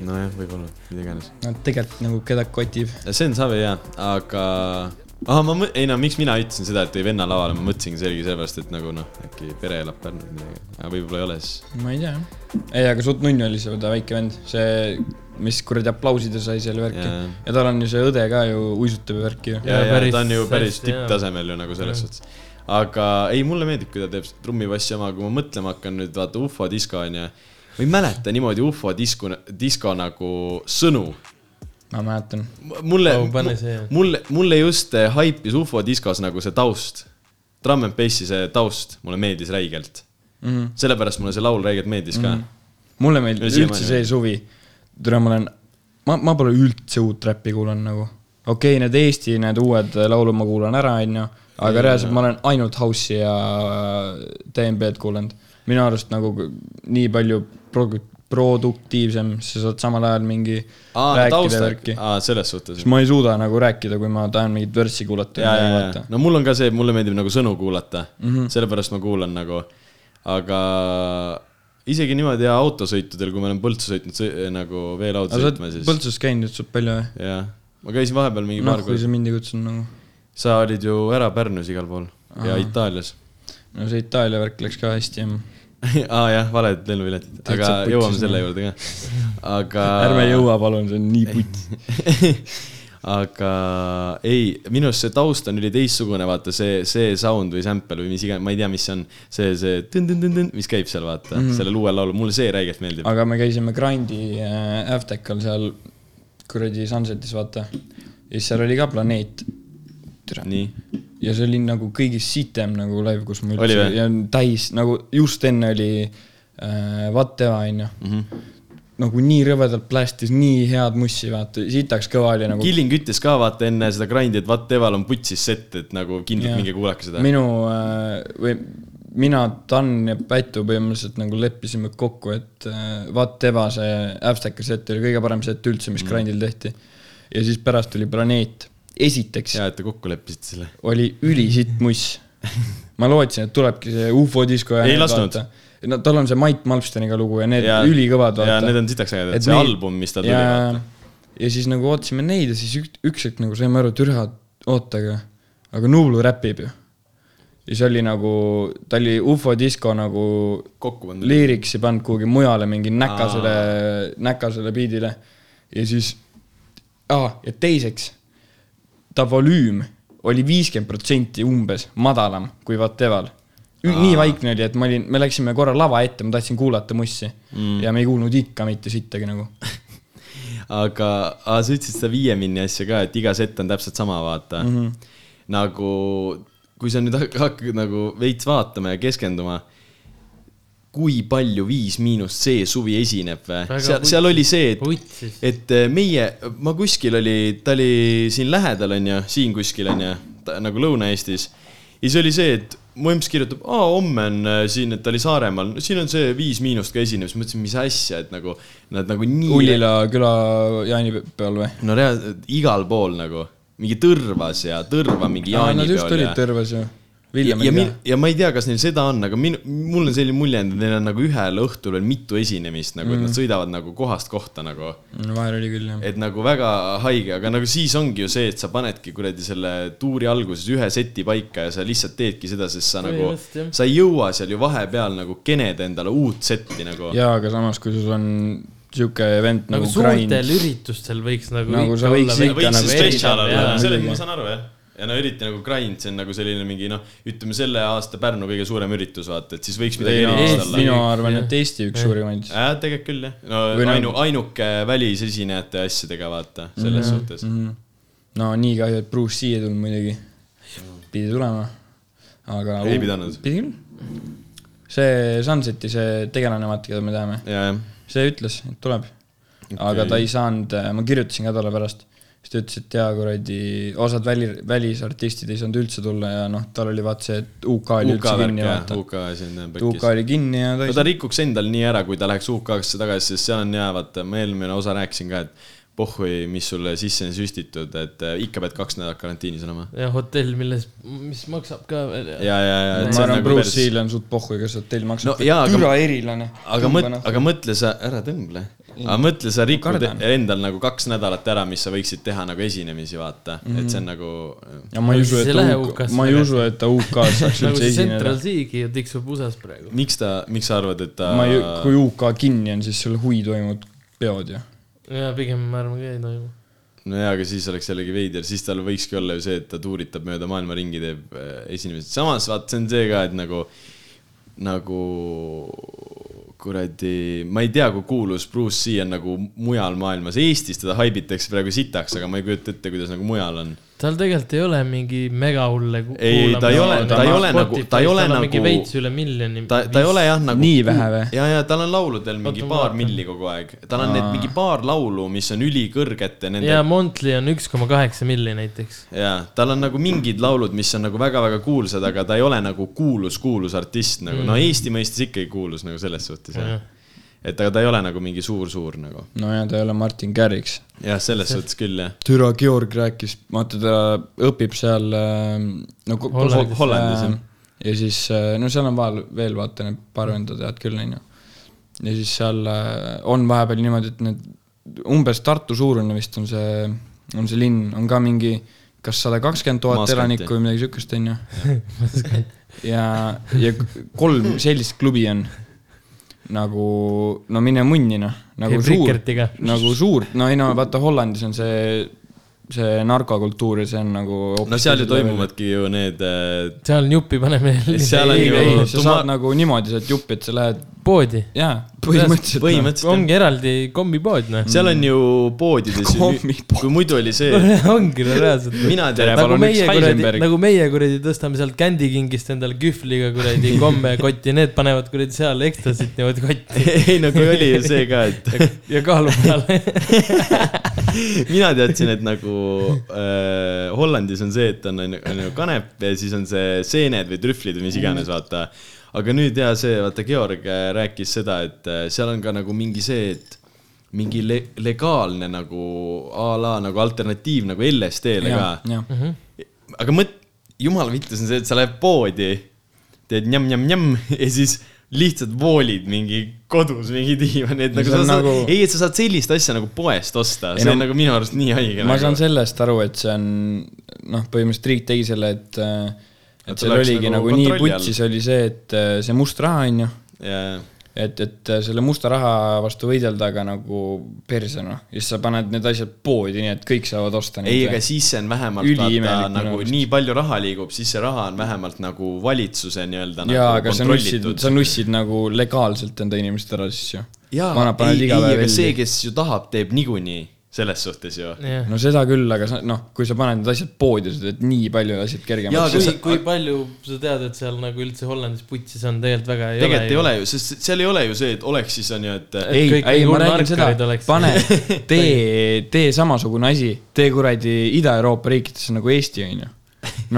Speaker 2: nojah , võib-olla , mida iganes .
Speaker 1: no tegelikult nagu keda kotib .
Speaker 2: see on savi jaa , aga . aa , ma mõ- , ei no miks mina ütlesin seda , et tõi venna lavale , ma mõtlesingi selgi sellepärast , et nagu noh , äkki pere elab Pärnus või midagi , aga võib-olla ei ole siis .
Speaker 1: ma ei tea . ei , aga suht nunnu oli see ta väike vend , see , mis kuradi aplausi ta sai seal värki .
Speaker 2: Jaa.
Speaker 1: ja tal on ju see õde ka ju uisutab ja värki ju .
Speaker 2: ja ,
Speaker 3: Ja
Speaker 2: ja
Speaker 3: päris
Speaker 2: ta on ju päris
Speaker 3: hästi, jaa.
Speaker 2: tipptasemel ju nagu selles
Speaker 3: Jah.
Speaker 2: suhtes . aga ei , mulle meeldib , kui ta teeb seda trummipassi oma , kui ma mõtlema hakkan nüüd vaata ufo disko on ju . ma ei mäleta niimoodi ufo disko , disko nagu sõnu .
Speaker 1: ma mäletan .
Speaker 2: mulle
Speaker 3: Oh, , pane see.
Speaker 2: mulle , mulle just eh, haipis ufo diskos nagu see taust . Drum and bassi see taust mulle meeldis räigelt .
Speaker 3: Mhm.
Speaker 2: sellepärast mulle see laul räigelt meeldis ka .
Speaker 1: mulle meeldib
Speaker 2: Siiamaani
Speaker 1: üldse see suvi . tule , ma olen , ma , ma pole üldse uut räppi kuulanud nagu . okei okay, , need Eesti need uued laulud ma kuulan ära , onju . aga reaalselt ma olen ainult House'i ja äh, DNB-d kuulanud . minu arust nagu k- nii palju pro- , produktiivsem , sa saad samal ajal mingi
Speaker 2: aa ,
Speaker 1: rääkida ja
Speaker 2: taustak
Speaker 1: värki .,
Speaker 2: aa selles suhtes
Speaker 1: sest . ma ei suuda nagu rääkida , kui ma tahan mingit värssi kuulata .
Speaker 2: ja , ja , ja , no mul on ka see , et mulle meeldib nagu sõnu kuulata mm ,
Speaker 1: Mhm.
Speaker 2: -hmm. sellepärast ma kuulan nagu , aga isegi niimoodi ja autosõitudel , kui ma olen Põltsu sõitnud sõ, nagu veelaud
Speaker 1: aga sa
Speaker 2: sõitma ,
Speaker 1: oled
Speaker 2: siis Põlts...
Speaker 1: Põltsas käinud nüüd suht palju või ?
Speaker 2: jah , ma käisin vahepeal mingi
Speaker 1: noh
Speaker 2: paar ,
Speaker 1: kui
Speaker 2: korda ,
Speaker 1: sa mind ei kutsunud nagu .
Speaker 2: sa olid ju ära Pärnus igal pool Aha. ja Itaalias . [LAUGHS]
Speaker 1: no see Itaalia värk läks ka hästi .
Speaker 2: aa jah , valed lennupiletid , aga
Speaker 1: Täitsa putsis,
Speaker 2: jõuame
Speaker 1: noh.
Speaker 2: selle juurde ka ,
Speaker 1: [LAUGHS]
Speaker 2: aga .
Speaker 1: ärme jõua , palun , see on nii putt .
Speaker 2: [LAUGHS] aga ei , minu arust see taust on üli teistsugune , vaata see , see sound või sample või mis iganes , ma ei tea , mis see on . see , see tün-tün-tün-tün , mis käib seal ,
Speaker 1: Mhm.
Speaker 2: vaata mm -hmm. , sellel uuel laulul , mulle see räigelt meeldib .
Speaker 1: aga me käisime Grandi äh, Avtekal seal kuradi Sunsetis , vaata . ja siis seal oli ka planeet .
Speaker 2: nii ,
Speaker 1: ja see oli nagu kõigist sitem nagu live , kus ma
Speaker 2: Oli
Speaker 1: üldse
Speaker 2: või?
Speaker 1: ja täis nagu just enne oli äh, Vatteva onju .
Speaker 2: Mhm.
Speaker 1: nagu nii rõvedalt plästis , nii head mussi , vaata , sitaks kõva oli nagu .
Speaker 2: Killing ütles ka vaata enne seda grind'i , et What Eval on putsis set , et nagu kindlalt
Speaker 1: Jaa.
Speaker 2: minge kuulake seda .
Speaker 1: minu äh, või mina , Tann ja Pätu põhimõtteliselt nagu leppisime kokku , et äh, Vatteva see Abstaka set oli kõige parem set üldse ,
Speaker 2: Mhm.
Speaker 1: mis Grandil tehti . ja siis pärast tuli Planeet . esiteks ja.
Speaker 2: hea , et te kokku leppisite selle .
Speaker 1: oli ülisitt muss . ma lootsin , et tulebki see ufo disko ja
Speaker 2: Ei
Speaker 1: need,
Speaker 2: lasknud.
Speaker 1: vaata. no tal on see Mait Malmsteniga lugu ja need ja,
Speaker 2: Jaa.
Speaker 1: ülikõvad
Speaker 2: Jaa,
Speaker 1: vaata .
Speaker 2: need on sitaks ägedad, see album, mis tal tuli, vaata. .
Speaker 1: ja siis nagu ootasime neid ja siis üks , üks hetk nagu saime aru , et ühe ootage , aga Nublu räpib ju . ja see oli nagu , ta oli ufo disko nagu
Speaker 2: kokku pandud .
Speaker 1: liiriksi pannud kuhugi mujale mingi näkasele , näkasele biidile ja siis , aa , ja teiseks , ta volüüm oli viiskümmend protsenti umbes madalam kui Vateval . nii vaikne oli , et ma olin , me läksime korra lava ette , ma tahtsin kuulata mussi mm. ja me ei kuulnud ikka mitte sittagi nagu .
Speaker 2: aga , aga sa ütlesid seda viie minni asja ka , et iga set on täpselt sama , vaata mm . -hmm. nagu , kui sa nüüd hak- hakkad nagu veits vaatama ja keskenduma , kui palju Viis Miinust see suvi esineb või
Speaker 3: Väga ?
Speaker 2: seal , seal oli see , et
Speaker 3: Putsis. ,
Speaker 2: et eh, meie , ma kuskil oli , ta oli siin lähedal , onju , siin kuskil , onju , nagu Lõuna-Eestis . ja siis oli see , et mu emps kirjutab , aa , homme on äh, siin , et ta oli Saaremaal , siin on see Viis Miinust ka esineb , siis mõtlesin , mis asja , et nagu nad nagu nii
Speaker 1: Ullila küla jaani peal või ?
Speaker 2: no reaalselt igal pool nagu , mingi Tõrvas ja Tõrva mingi
Speaker 1: Nad just
Speaker 2: jaanipeol
Speaker 1: olid
Speaker 2: ja ,
Speaker 1: terves ju . Villem ei
Speaker 2: ja, ja,
Speaker 1: tea.
Speaker 2: ja ma ei tea , kas neil seda on , aga minu , mul on selline mulje , et neil on nagu ühel õhtul veel mitu esinemist nagu ,
Speaker 1: Mm.
Speaker 2: et nad sõidavad nagu kohast kohta nagu .
Speaker 1: no Mm, vahel oli küll jah .
Speaker 2: et nagu väga haige , aga nagu siis ongi ju see , et sa panedki kuradi selle tuuri alguses ühe seti paika ja sa lihtsalt teedki seda , sest sa nagu ,
Speaker 3: Põhimõtteliselt, jah.
Speaker 2: sa ei jõua seal ju vahepeal nagu keneda endale uut setti nagu .
Speaker 1: jaa , aga samas , kui sul on sihuke event
Speaker 3: nagu
Speaker 1: nagu grind ,
Speaker 3: suurtel üritustel võiks nagu .
Speaker 1: Nagu sa võiks ikka
Speaker 2: võiks
Speaker 1: nagu
Speaker 2: nagu stretch ala
Speaker 1: jaa,
Speaker 2: olla , selles
Speaker 1: muidugi.
Speaker 2: ma saan aru jah . ja no eriti nagu grind , see on nagu selline mingi noh , ütleme selle aasta Pärnu kõige suurem üritus vaata , et siis võiks midagi erilist
Speaker 3: Eesti-
Speaker 2: olla .
Speaker 1: mina arvan , et Eesti üks suurimaid .
Speaker 2: jah , tegelikult küll jah , no
Speaker 1: Või nagu- no-
Speaker 2: ainu , ainuke välisesinejate asjadega vaata ,
Speaker 1: Mhm.
Speaker 2: selles suhtes .
Speaker 1: no nii kahju , et Bruce siia ei tulnud muidugi . pidi tulema , aga .
Speaker 2: Ei pidanud.
Speaker 1: pidi küll . see Sunseti , see tegelane , vaata , keda me teame ,
Speaker 2: ja , jah .
Speaker 1: see ütles , et tuleb okay. . aga ta ei saanud , ma kirjutasin ka talle pärast , siis ta ütles , et jaa , kuradi , osad väli , välisartistid ei saanud üldse tulla ja noh , tal oli vaata see , et UK oli
Speaker 2: UK
Speaker 1: üldse
Speaker 2: värk
Speaker 1: kinni ,
Speaker 2: jah ,
Speaker 1: vaata .
Speaker 2: UK asi on jah
Speaker 1: UK
Speaker 2: pekkis .
Speaker 1: oli kinni ja ta
Speaker 2: no
Speaker 1: ei
Speaker 2: ta rikuks endal nii ära , kui ta läheks UK-sse tagasi , sest seal on jaa , vaata , ma eelmine osa rääkisin ka , et pohhui , mis sulle sisse on süstitud , et äh, ikka pead kaks nädalat karantiinis olema .
Speaker 3: ja hotell , milles , mis maksab ka veel .
Speaker 2: ja , ja , ja .
Speaker 1: ma arvan , Bruce Seal on suht pohhu , kes hotell maksab
Speaker 2: nagu No jaa,
Speaker 1: no, .
Speaker 2: aga-
Speaker 1: türa noh. erilane .
Speaker 2: aga mõtle , aga mõtle sa , ära tõmble . aga mõtle , sa rikud
Speaker 1: kardan.
Speaker 2: endal nagu kaks nädalat ära , mis sa võiksid teha nagu esinemisi , vaata mm ,
Speaker 1: Mhm.
Speaker 2: -hmm. et see on nagu .
Speaker 1: ja ma ei usu , et
Speaker 3: Siis ei
Speaker 1: ta
Speaker 3: lähe
Speaker 1: UK ,
Speaker 3: UK-sse
Speaker 1: ma ei usu , et ta [LAUGHS] UK-s saaks
Speaker 3: nagu
Speaker 1: üldse
Speaker 3: see
Speaker 1: esineda
Speaker 3: Central . Seagi tiksub USA-s praegu .
Speaker 2: miks ta , miks sa arvad , et ta
Speaker 1: ma ei , kui UK kinni on , siis seal hui toimuvad peod ja .
Speaker 2: Nagu-
Speaker 3: ja pigem ma arvan ka ei toimu .
Speaker 2: nojaa , aga siis oleks jällegi veider , siis tal võikski olla ju see , et ta tuuritab mööda maailma ringi , teeb äh, esinemised , samas vaat see on see ka , et nagu , nagu kuradi , ma ei tea , kui kuulus Bruce C on nagu mujal maailmas , Eestis teda haibitakse praegu sitaks , aga ma ei kujuta ette , kuidas nagu mujal on .
Speaker 3: tal tegelikult ei ole mingi mega hulle ku-
Speaker 2: Ei,
Speaker 3: kuulamine-
Speaker 2: ta ei ole- ta ei ole nagu- ta ei
Speaker 3: Spotify's,
Speaker 2: ole
Speaker 3: tal on mingi
Speaker 2: nagu-
Speaker 3: veits üle miljoni .
Speaker 2: ta , ta ei ole jah nagu .
Speaker 1: Nii vähe või?
Speaker 2: ja , ja tal on lauludel mingi
Speaker 3: Oota, ma
Speaker 2: paar
Speaker 3: vaatan.
Speaker 2: milli kogu aeg , tal on need mingi paar laulu , mis on ülikõrgete nende
Speaker 3: ja Montli on üks koma kaheksa milli näiteks .
Speaker 2: jaa , tal on nagu mingid laulud , mis on nagu väga-väga kuulsad , aga ta ei ole nagu kuulus , kuulus artist nagu ,
Speaker 3: Mm.
Speaker 2: no Eesti mõistes ikkagi kuulus nagu selles suhtes jah . et aga ta ei ole nagu mingi suur-suur nagu .
Speaker 1: nojah , ta ei ole Martin Garrix .
Speaker 2: jah , selles suhtes küll jah .
Speaker 1: türa Georg rääkis , vaata ta õpib seal äh, no ko-
Speaker 3: Hollandis.
Speaker 1: ko-
Speaker 2: Hollandis, jah.
Speaker 1: äh, ja siis äh, no seal on vahel veel vaata need paar venda tead küll onju . ja siis seal äh, on vahepeal niimoodi , et need umbes Tartu suurune vist on see , on see linn , on ka mingi kas sada kakskümmend tuhat
Speaker 2: Maaskanti.
Speaker 1: elanikku või midagi siukest onju . ja , ja kolm sellist klubi on nagu , no mine munni noh , nagu
Speaker 3: Teeb
Speaker 1: suur
Speaker 3: Rikertiga.
Speaker 1: nagu suurt , no ei no vaata Hollandis on see , see narkokultuur ja see on nagu
Speaker 2: no seal ju . toimuvadki ju need äh,
Speaker 3: seal on jupi paneme
Speaker 2: seal on
Speaker 1: ei ,
Speaker 2: ju
Speaker 1: ei , sa
Speaker 2: tuma-
Speaker 1: saad nagu niimoodi sealt juppi , et sa lähed ,
Speaker 3: poodi .
Speaker 1: jaa , põhimõtteliselt .
Speaker 2: põhimõtteliselt jah.
Speaker 3: ongi eraldi kombipood noh .
Speaker 2: seal on ju poodides ,
Speaker 1: Kommipood.
Speaker 2: kui muidu oli
Speaker 3: [LAUGHS]
Speaker 2: see ,
Speaker 3: ongi no reaalselt .
Speaker 2: mina
Speaker 1: Tere,
Speaker 2: tean ,
Speaker 1: palun,
Speaker 3: nagu meie
Speaker 1: üks
Speaker 3: kuradi ,
Speaker 1: Heisenberg.
Speaker 3: nagu meie kuradi tõstame sealt kändikingist endale kühvliga kuradi kommekotti , need panevad kuradi seal ekstasit niimoodi kotti
Speaker 2: [LAUGHS] [LAUGHS] ei no kui oli ju see ka , et
Speaker 3: ja, ja kaalu peale .
Speaker 2: mina teadsin , et nagu äh, Hollandis on see , et on , on ju kanep ja siis on see seened või trühvlid või mis iganes , vaata . aga nüüd ja see , vaata , Georg äh, rääkis seda , et äh, seal on ka nagu mingi see , et mingi le legaalne nagu a la nagu alternatiiv nagu LSD-le ka .
Speaker 1: ka .
Speaker 2: Hmm? aga mõt- , jumala vittus on see , et sa lähed poodi , teed njam-njam-njam ja siis lihtsalt voolid mingi kodus mingi diivani , et nagu
Speaker 1: See
Speaker 2: sa
Speaker 1: on
Speaker 2: saad nagu...
Speaker 1: nagu- ,
Speaker 2: ei , et sa saad sellist asja nagu poest osta ,
Speaker 1: Ei
Speaker 2: see
Speaker 1: no-
Speaker 2: on nagu minu arust nii haige .
Speaker 1: ma saan sellest aru , et see on noh , põhimõtteliselt riik tegi selle , et äh,
Speaker 2: Et
Speaker 1: et
Speaker 2: see
Speaker 1: seal
Speaker 2: oleks
Speaker 1: oligi
Speaker 2: nagu
Speaker 1: nagu nii
Speaker 2: kontrolli all.
Speaker 1: putsis oli see , et äh, see must raha onju ,
Speaker 2: ja ,
Speaker 1: et , et äh, selle musta raha vastu võidelda , aga nagu perse noh , ja siis sa paned need asjad poodi , nii et kõik saavad osta neid .
Speaker 2: ei , aga siis see on vähemalt
Speaker 1: Üliimelik
Speaker 2: vaata
Speaker 1: minu
Speaker 2: nagu
Speaker 1: arust.
Speaker 2: nii palju raha liigub , siis see raha on vähemalt nagu valitsuse nii-öelda
Speaker 1: jaa , aga
Speaker 2: nagu
Speaker 1: sa nussid ,
Speaker 2: kontrollitud .
Speaker 1: sa nussid nagu legaalselt enda inimestele ära siis ju .
Speaker 2: jaa , ei , ei , aga see , kes ju tahab , teeb niikuinii , selles suhtes ju .
Speaker 1: no seda küll , aga sa noh , kui sa paned need asjad poodi , sa teed nii palju asjad
Speaker 2: Jaa,
Speaker 1: kergemaks .
Speaker 2: aga-
Speaker 3: kui
Speaker 2: sa- ,
Speaker 3: kui palju sa tead , et seal nagu üldse Hollandis putsis on , tegelikult väga ei
Speaker 2: tegelikult ei
Speaker 3: ole .
Speaker 2: ole ju , sest seal ei ole ju see , et oleks siis on ju , et
Speaker 3: et
Speaker 1: ei ,
Speaker 3: kõik
Speaker 1: ei
Speaker 3: nagu
Speaker 1: ma räägin seda
Speaker 3: narkarid , oleks.
Speaker 1: pane , [LAUGHS] tee , tee samasugune asi , tee kuradi Ida-Euroopa riikides nagu Eesti on ju .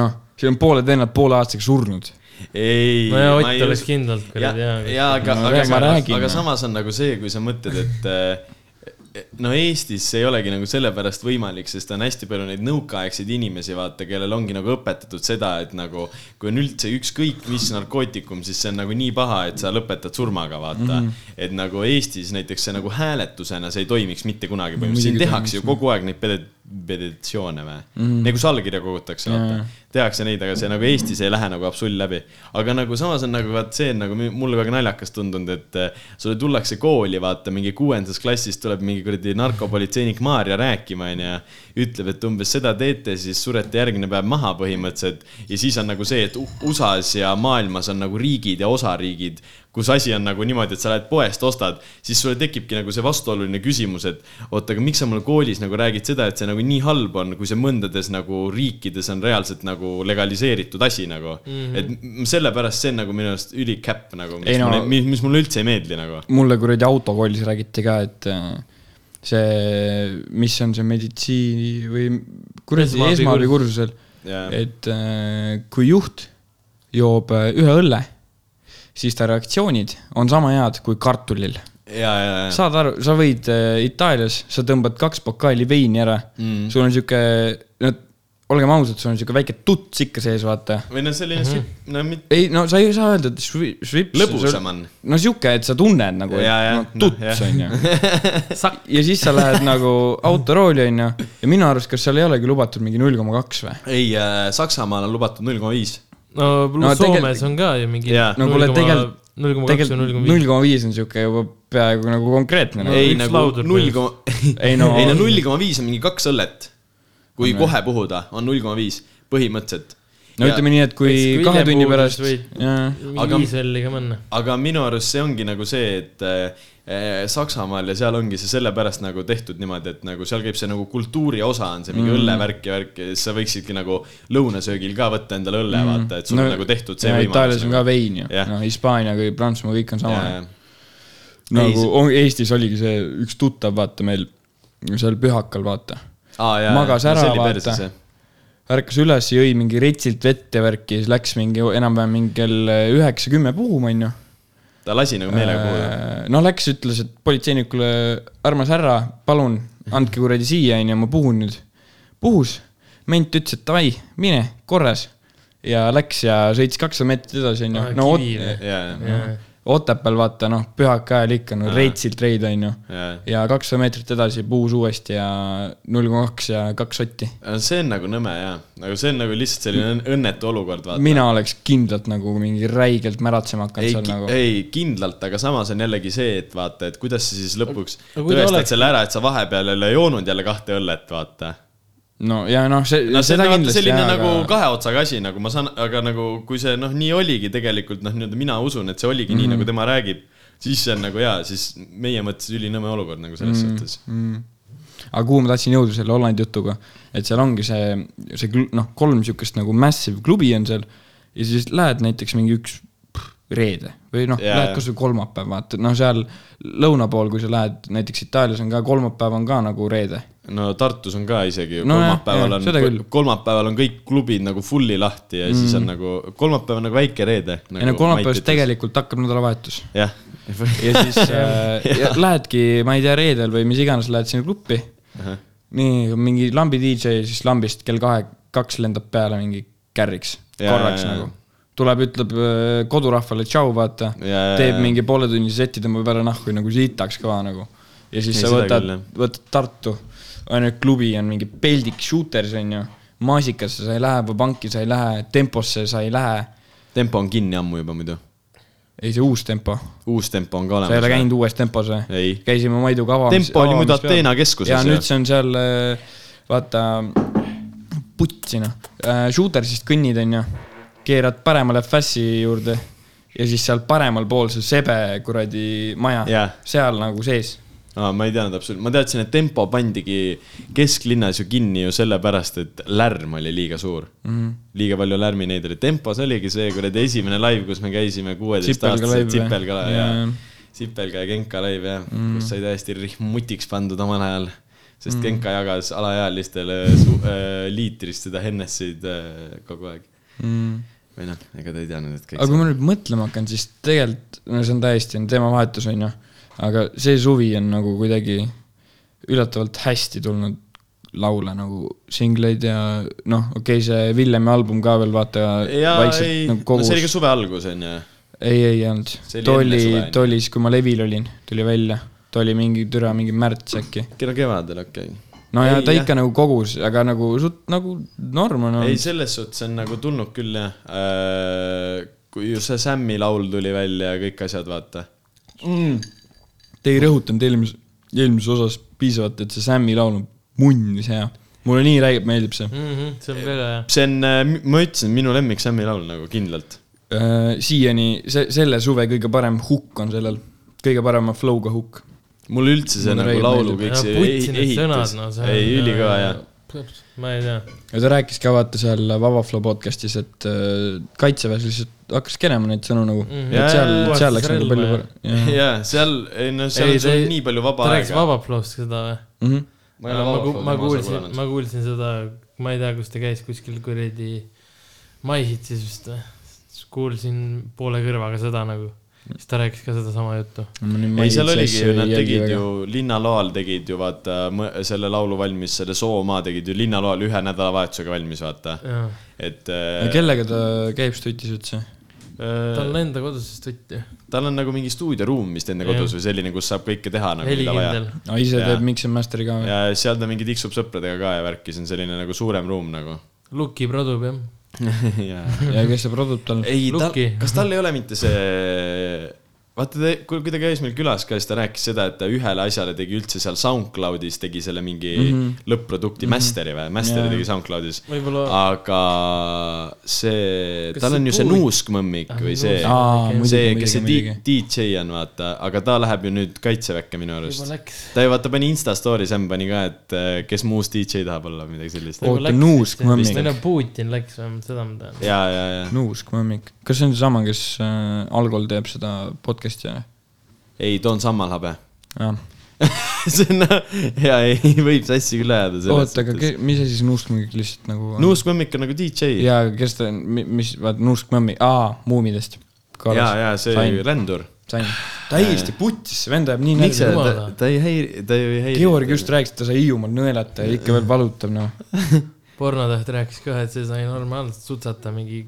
Speaker 1: noh , siin on pooled vennad poole aastaga surnud .
Speaker 2: ei .
Speaker 3: no ja Ott oleks kindlalt
Speaker 2: ja
Speaker 3: kuradi , hea .
Speaker 2: ja aga ,
Speaker 1: No
Speaker 2: aga
Speaker 1: ma räägin,
Speaker 2: samas , aga
Speaker 1: noh.
Speaker 2: samas on nagu see , kui sa mõtled , et äh, no Eestis see ei olegi nagu sellepärast võimalik , sest on hästi palju neid nõukaaegseid inimesi , vaata , kellel ongi nagu õpetatud seda , et nagu kui on üldse ükskõik mis narkootikum , siis see on nagu nii paha , et sa lõpetad surmaga , vaata mm . -hmm. et nagu Eestis näiteks see nagu hääletusena , see ei toimiks mitte kunagi põhimõtteliselt , siin
Speaker 1: muidugi
Speaker 2: tehakse ju kogu aeg neid pede- , peditsioone või mm -hmm. , nagu allkirja kogutakse , vaata
Speaker 1: Jaa.
Speaker 2: tehakse neid , aga see nagu Eestis ei lähe nagu absoluutselt läbi . aga nagu samas on nagu vaat see on nagu mi- mulle väga naljakas tundunud , et eh, sulle tullakse kooli , vaata mingi kuuendas klassis tuleb mingi kuradi narkopolitseinik Maarja rääkima , onju . ütleb , et umbes seda teete , siis surete järgmine päev maha põhimõtteliselt . ja siis on nagu see , et U- USA-s ja maailmas on nagu riigid ja osariigid kus asi on nagu niimoodi , et sa lähed poest , ostad , siis sulle tekibki nagu see vastuoluline küsimus , et oota , aga miks sa mulle koolis nagu räägid seda , et see nagu nii halb on , kui see mõndades nagu riikides on reaalselt nagu legaliseeritud asi nagu mm . -hmm. et sellepärast see on nagu minu arust ülikäpp nagu , mis,
Speaker 1: Ei no-
Speaker 2: no... mis, mis mulle üldse ei meeldi nagu .
Speaker 1: mulle kuradi autokoolis räägiti ka , et äh, see , mis on see meditsiini või kuradi
Speaker 3: Esmaabikursus.
Speaker 1: esmaabikursusel ,
Speaker 2: Jaa.
Speaker 1: et äh, kui juht joob äh, ühe õlle , siis ta reaktsioonid on sama head kui kartulil .
Speaker 2: ja , ja , ja ,
Speaker 1: saad aru , sa võid äh, Itaalias , sa tõmbad kaks pokaali veini ära
Speaker 2: Mm-hmm.
Speaker 1: mm. , sul on sihuke , no olgem ausad , sul on sihuke väike tuts ikka sees , vaata
Speaker 2: või noh , selline mm -hmm. , no mitte ,
Speaker 1: ei no sa ei saa öelda , et švi- švips .
Speaker 2: Lõbusam on. .
Speaker 1: no sihuke , et sa tunned nagu ,
Speaker 2: Jaa, jaa,
Speaker 1: no,
Speaker 2: noh,
Speaker 1: tuts
Speaker 2: jah.
Speaker 1: on ju .
Speaker 2: [LAUGHS]
Speaker 1: ja siis sa lähed nagu autorooli on ju , ja minu arust , kas seal ei olegi lubatud mingi null koma kaks või ?
Speaker 2: ei äh, , Saksamaal on lubatud null koma viis .
Speaker 3: no pluss
Speaker 1: No
Speaker 3: no,
Speaker 1: tegel-
Speaker 3: Soomes on ka ju mingi
Speaker 2: Jaa.
Speaker 1: no kuule , tegelikult ,
Speaker 3: null koma kaks või null
Speaker 1: tegelikult
Speaker 3: koma
Speaker 1: null
Speaker 3: viis .
Speaker 1: koma viis on sihuke juba peaaegu nagu konkreetne no, .
Speaker 2: ei
Speaker 3: üks
Speaker 2: nagu
Speaker 3: laudur
Speaker 2: null
Speaker 3: põhimõtteliselt.
Speaker 2: koma , ei
Speaker 1: Ei,
Speaker 2: no
Speaker 1: no-
Speaker 2: null koma viis on mingi kaks õllet . kui kohe puhuda , on null koma viis , põhimõtteliselt .
Speaker 1: no ütleme nii , et kui
Speaker 3: Eks kui
Speaker 1: kahe
Speaker 3: hiljem
Speaker 1: tunni
Speaker 3: puhud,
Speaker 1: pärast
Speaker 3: siis võid- ,
Speaker 2: Aga-
Speaker 3: mingi viis õlli ka panna .
Speaker 2: aga minu arust see ongi nagu see , et äh, Saksamaal ja seal ongi see sellepärast nagu tehtud niimoodi , et nagu seal käib see nagu kultuuri osa on see mingi mm. õllevärk ja värk ja siis sa võiksidki nagu lõunasöögil ka võtta endale õlle mm. , vaata , et sul no, on nagu tehtud see
Speaker 1: võimalus . Itaalias on ka
Speaker 2: nagu.
Speaker 1: vein ju ,
Speaker 2: Jah.
Speaker 1: noh Hispaania kui Prantsusmaa kõik on sama .
Speaker 2: ka .
Speaker 1: nagu on, Eestis oligi see üks tuttav , vaata meil seal Pühakal , vaata
Speaker 2: Ah, jaa,
Speaker 1: magas
Speaker 2: jaa. No
Speaker 1: ära
Speaker 2: see , oli
Speaker 1: vaata
Speaker 2: perses, jah. .
Speaker 1: ärkas üles , jõi mingi retsilt vett ja värki , siis läks mingi enam-vähem mingi kell üheksa , kümme puhuma , onju .
Speaker 2: ta lasi nagu meelega puhuda .
Speaker 1: no läks , ütles , et politseinikule , armas härra , palun andke kuradi siia , onju , ma puhun nüüd . puhus , ment ütles , et davai , mine , korras . ja läks ja sõitis kakssada meetrit edasi , onju
Speaker 3: Aa, .
Speaker 1: no Oot-
Speaker 3: kiire.
Speaker 2: ja , ja ,
Speaker 3: Jaa.
Speaker 1: Otepääl vaata , noh , pühaka ajal ikka , no retsilt reid , onju .
Speaker 2: ja .
Speaker 1: ja kakssada meetrit edasi puhus uuesti ja null koma kaks ja kaks sotti .
Speaker 2: see on nagu nõme jaa , nagu see on nagu lihtsalt selline õn- õnnetu olukord , vaata .
Speaker 1: mina oleks kindlalt nagu mingi räigelt märatsema hakanud
Speaker 2: ei
Speaker 1: seal , nagu .
Speaker 2: ei kindlalt , aga samas on jällegi see , et vaata , et kuidas sa siis lõpuks
Speaker 3: aga kui ta
Speaker 2: tõestad
Speaker 3: oleks-
Speaker 2: selle ära , et sa vahepeal ei ole joonud jälle kahte õllet , vaata .
Speaker 1: no ja noh , see
Speaker 2: no see on
Speaker 1: seda
Speaker 2: vaata
Speaker 1: kindlasti
Speaker 2: selline
Speaker 1: jah ,
Speaker 2: nagu aga...
Speaker 1: aga
Speaker 2: kahe otsaga asi , nagu ma saan , aga nagu kui see noh , nii oligi tegelikult noh , nii-öelda mina usun , et see oligi
Speaker 1: Mhm.
Speaker 2: mm -hmm. nii , nagu tema räägib , siis see on nagu jaa , siis meie mõttes ülinõme olukord nagu selles
Speaker 1: Mhm.
Speaker 2: mm -hmm. suhtes .
Speaker 1: aga kuhu ma tahtsin jõuda selle Hollandi jutuga , et seal ongi see , see kl- noh , kolm niisugust nagu massive klubi on seal ja siis lähed näiteks mingi üks pff, reede või noh
Speaker 2: Jaa,
Speaker 1: yeah. , lähed
Speaker 2: jah.
Speaker 1: kas või kolmapäev , vaata , noh , seal lõuna pool , kui sa lähed näiteks Itaalias on ka kolmapäev on ka nagu reede .
Speaker 2: no Tartus on ka isegi no,
Speaker 1: No jah,
Speaker 2: kolmapäeval
Speaker 1: jah,
Speaker 2: on
Speaker 1: seda küll. ,
Speaker 2: kolmapäeval on kõik klubid nagu fully lahti ja mm -hmm. siis on nagu , kolmapäev on nagu väike reede nagu
Speaker 1: ei no kolmapäevast
Speaker 2: maitites.
Speaker 1: tegelikult hakkab nädalavahetus
Speaker 2: [LAUGHS] jah [LAUGHS]
Speaker 1: ja siis äh, ja lähedki , ma ei tea , reedel või mis iganes , lähed sinna gruppi uh . -huh. nii , mingi lambi DJ , siis lambist kell kahe , kaks lendab peale mingi kärriks ,
Speaker 2: Jaa,
Speaker 1: korraks
Speaker 2: jaa,
Speaker 1: ja,
Speaker 2: jaa.
Speaker 1: nagu . tuleb , ütleb äh, kodurahvale tšau , vaata
Speaker 2: Jaa, jaa, .
Speaker 1: teeb
Speaker 2: jaa.
Speaker 1: mingi pooletunnise seti , tõmbab ära nahku nagu sitaks kõva nagu . ja siis
Speaker 2: Ei,
Speaker 1: sa
Speaker 2: seda
Speaker 1: võtad
Speaker 2: küll, jah. ,
Speaker 1: võtad Tartu , ainult klubi on mingi peldik shooters on ju . maasikasse sa ei lähe , panki sa ei lähe , temposse sa ei lähe .
Speaker 2: tempo on kinni ammu juba muidu .
Speaker 1: ei , see uus tempo
Speaker 2: uus tempo on ka olemas .
Speaker 1: sa ei ole käinud uues tempos või
Speaker 2: Ei. ?
Speaker 1: käisime Maiduga avamas .
Speaker 2: Tempo oli muidu Ateena keskuses,
Speaker 1: ja
Speaker 2: jah.
Speaker 1: nüüd see on seal , vaata , putsi noh , shootersist kõnnid , onju , keerad paremale fässi juurde ja siis seal paremal pool see sebe kuradi maja
Speaker 2: Jah.
Speaker 1: seal nagu sees .
Speaker 2: aa , ma ei teadnud absoluutselt , ma teadsin , et tempo pandigi kesklinnas ju kinni ju sellepärast , et lärm oli liiga suur mm .
Speaker 1: Mhm.
Speaker 2: -hmm. liiga palju lärmi neid oli , tempos oligi see kuradi esimene laiv , kus me käisime
Speaker 1: Sipelga live,
Speaker 2: kuueteistaastased Sipelga
Speaker 1: jah.
Speaker 2: ja
Speaker 1: Jaa. Mhm.
Speaker 2: Sipelga ja Genka laiv jah mm. , kus sai täiesti rihmutiks pandud omal ajal , sest mm. Genka jagas alaealistele su- äh, liitrist seda Hennesseid äh, kogu aeg mm. . või noh , ega ta ei teadnud , et kõik
Speaker 1: aga kui ma nüüd mõtlema hakkan , siis tegelikult , no see on täiesti on teemavahetus , onju , aga see suvi on nagu kuidagi üllatavalt hästi tulnud laule nagu singleid ja noh , okei okay, , see Villemi album ka veel vaata
Speaker 2: jaa ,
Speaker 1: vaikselt
Speaker 2: ei ,
Speaker 1: nagu
Speaker 2: no
Speaker 1: kogus
Speaker 2: see oli
Speaker 1: no,
Speaker 2: ka . suve algus , onju .
Speaker 1: ei , ei olnud
Speaker 2: See oli .
Speaker 1: too
Speaker 2: enne
Speaker 1: oli
Speaker 2: suve, on ju. ,
Speaker 1: too oli siis , kui ma levil olin , tuli välja . too oli mingi türa , mingi märts äkki .
Speaker 2: no kevadel , okei okay. .
Speaker 1: no ja
Speaker 2: Ei,
Speaker 1: ta
Speaker 2: jah.
Speaker 1: ikka nagu kogus , aga nagu suht nagu norm on
Speaker 2: ei ,
Speaker 1: olnud .
Speaker 2: selles suhtes on nagu tulnud küll jah äh, . kui ju see Sammi laul tuli välja ja kõik asjad , vaata .
Speaker 1: Mm. Te ei rõhutanud eelmises , eelmises osas piisavalt , et see Sam'i laul on munnis hea . mulle nii räägib , meeldib see .
Speaker 3: Mhm, see on väga hea .
Speaker 2: see on , ma ütlesin , minu lemmik Sammi laul nagu kindlalt .
Speaker 1: Äh, siiani , see , selle suve kõige parem hukk on sellel , kõige parema flow'ga hukk .
Speaker 2: mulle üldse see
Speaker 1: Mulle
Speaker 2: nagu
Speaker 1: meeldib,
Speaker 2: laulu
Speaker 1: meeldib.
Speaker 2: kõik see ei- ehitus , ei ülikõva jah .
Speaker 3: ma ei tea ,
Speaker 1: ja ta rääkis ka vaata seal Vaba Flow podcast'is , et äh, kaitseväes lihtsalt hakkas kenema neid sõnu nagu mm , -hmm.
Speaker 2: Jaa,
Speaker 1: et seal
Speaker 2: Mhm. jaa, , jaa.
Speaker 1: seal läks nagu palju
Speaker 3: Relva,
Speaker 1: parem .
Speaker 2: [LAUGHS] jaa , seal , ei no seal
Speaker 3: Ei,
Speaker 2: ei,
Speaker 3: ta
Speaker 2: sul
Speaker 3: ei-
Speaker 2: on nii palju
Speaker 3: ta
Speaker 2: vaba
Speaker 3: rääkis
Speaker 2: aega .
Speaker 3: Vabaploost seda või ?
Speaker 1: Mhm.
Speaker 2: ma
Speaker 3: ma, ma, ku- ma kuulsin , ma kuulsin seda , ma ei tea , kus ta käis kuskil kuradi MyHitsis vist või , kuulsin poole kõrvaga seda nagu , siis ta rääkis ka sedasama juttu .
Speaker 2: ei , seal oligi ju , nad tegid ju , linnaloal tegid ju vaata mõ- selle laulu valmis , selle Soomaa tegid ju linnaloal ühe nädalavahetusega valmis , vaata .
Speaker 3: tal
Speaker 2: et äh,
Speaker 1: kellega ta käib stutis üldse ?
Speaker 2: äh,
Speaker 3: on enda kodus siis tutt ju ,
Speaker 2: tal on nagu mingi stuudioruum vist enda
Speaker 3: Jah.
Speaker 2: kodus või selline , kus saab kõike teha nagu mida vaja .
Speaker 3: helikindel .
Speaker 1: aa , ise
Speaker 2: Jaa.
Speaker 1: teeb Mix and Master'i ka või ?
Speaker 2: ja seal ta mingi tiksub sõpradega ka ja värki , see on selline nagu suurem ruum nagu .
Speaker 3: Luki produb jah ,
Speaker 2: jaa
Speaker 1: ja kes see produb tal ?
Speaker 2: ei , tal
Speaker 3: Lukki. ,
Speaker 2: kas tal ei ole mitte see , vaata ta , kui kui ta käis meil külas ka , siis ta rääkis seda , et ta ühele asjale tegi üldse seal SoundCloudis tegi selle mingi mm -hmm. lõpp-produkti mm -hmm. master'i või , master'i yeah.
Speaker 1: Jaa.
Speaker 2: tegi SoundCloudis .
Speaker 3: võib-olla
Speaker 2: aga see ,
Speaker 3: Kas
Speaker 2: tal
Speaker 3: see
Speaker 2: on ju see
Speaker 3: Puulik-
Speaker 2: nuuskmõmmik
Speaker 3: Ah,
Speaker 2: või see ,
Speaker 1: aa ,
Speaker 2: see ,
Speaker 1: muidugi ,
Speaker 2: kes
Speaker 1: muidugi ,
Speaker 2: see di-
Speaker 1: muidugi .
Speaker 2: DJ on , vaata , aga ta läheb ju nüüd kaitseväkke minu arust
Speaker 3: juba . läks .
Speaker 2: ta ju vaata pani Insta story , Sam pani ka , et eh, kes muus DJ tahab olla või midagi sellist
Speaker 1: Oo.
Speaker 2: oh. .
Speaker 1: Oota, nuusk mõmmik.
Speaker 3: või no Putin läks vähemalt , seda ma tean .
Speaker 2: ja , ja , ja
Speaker 1: Nuusk , mõmmik . kas see on seesama , kes äh, Algol teeb seda podcast'i või ?
Speaker 2: ei , too on Sammalhabe
Speaker 1: jah .
Speaker 2: [LAUGHS] see on , jaa , ei , võib sassi küll ajada
Speaker 1: oota , aga . ke- mis asi see Nuusk , mõmmik lihtsalt nagu on ?
Speaker 2: Nuusk Mõmmik on nagu DJ .
Speaker 1: jaa , aga kes ta , mis , vaat Nuusk , mõmmik , aa , Muumidest .
Speaker 2: jaa , jaa , see
Speaker 1: sain ,
Speaker 2: rändur .
Speaker 1: sain . täiesti putis , see vend ajab nii
Speaker 2: miks see
Speaker 1: nälga .
Speaker 3: jumala. ,
Speaker 2: ta ei häiri , ta ju ei häiri .
Speaker 1: Georg just rääkis , et ta sai Hiiumaal nõelata ja ikka veel valutab , noh .
Speaker 3: pornotäht rääkis ka , et see sai normaalselt sutsata mingi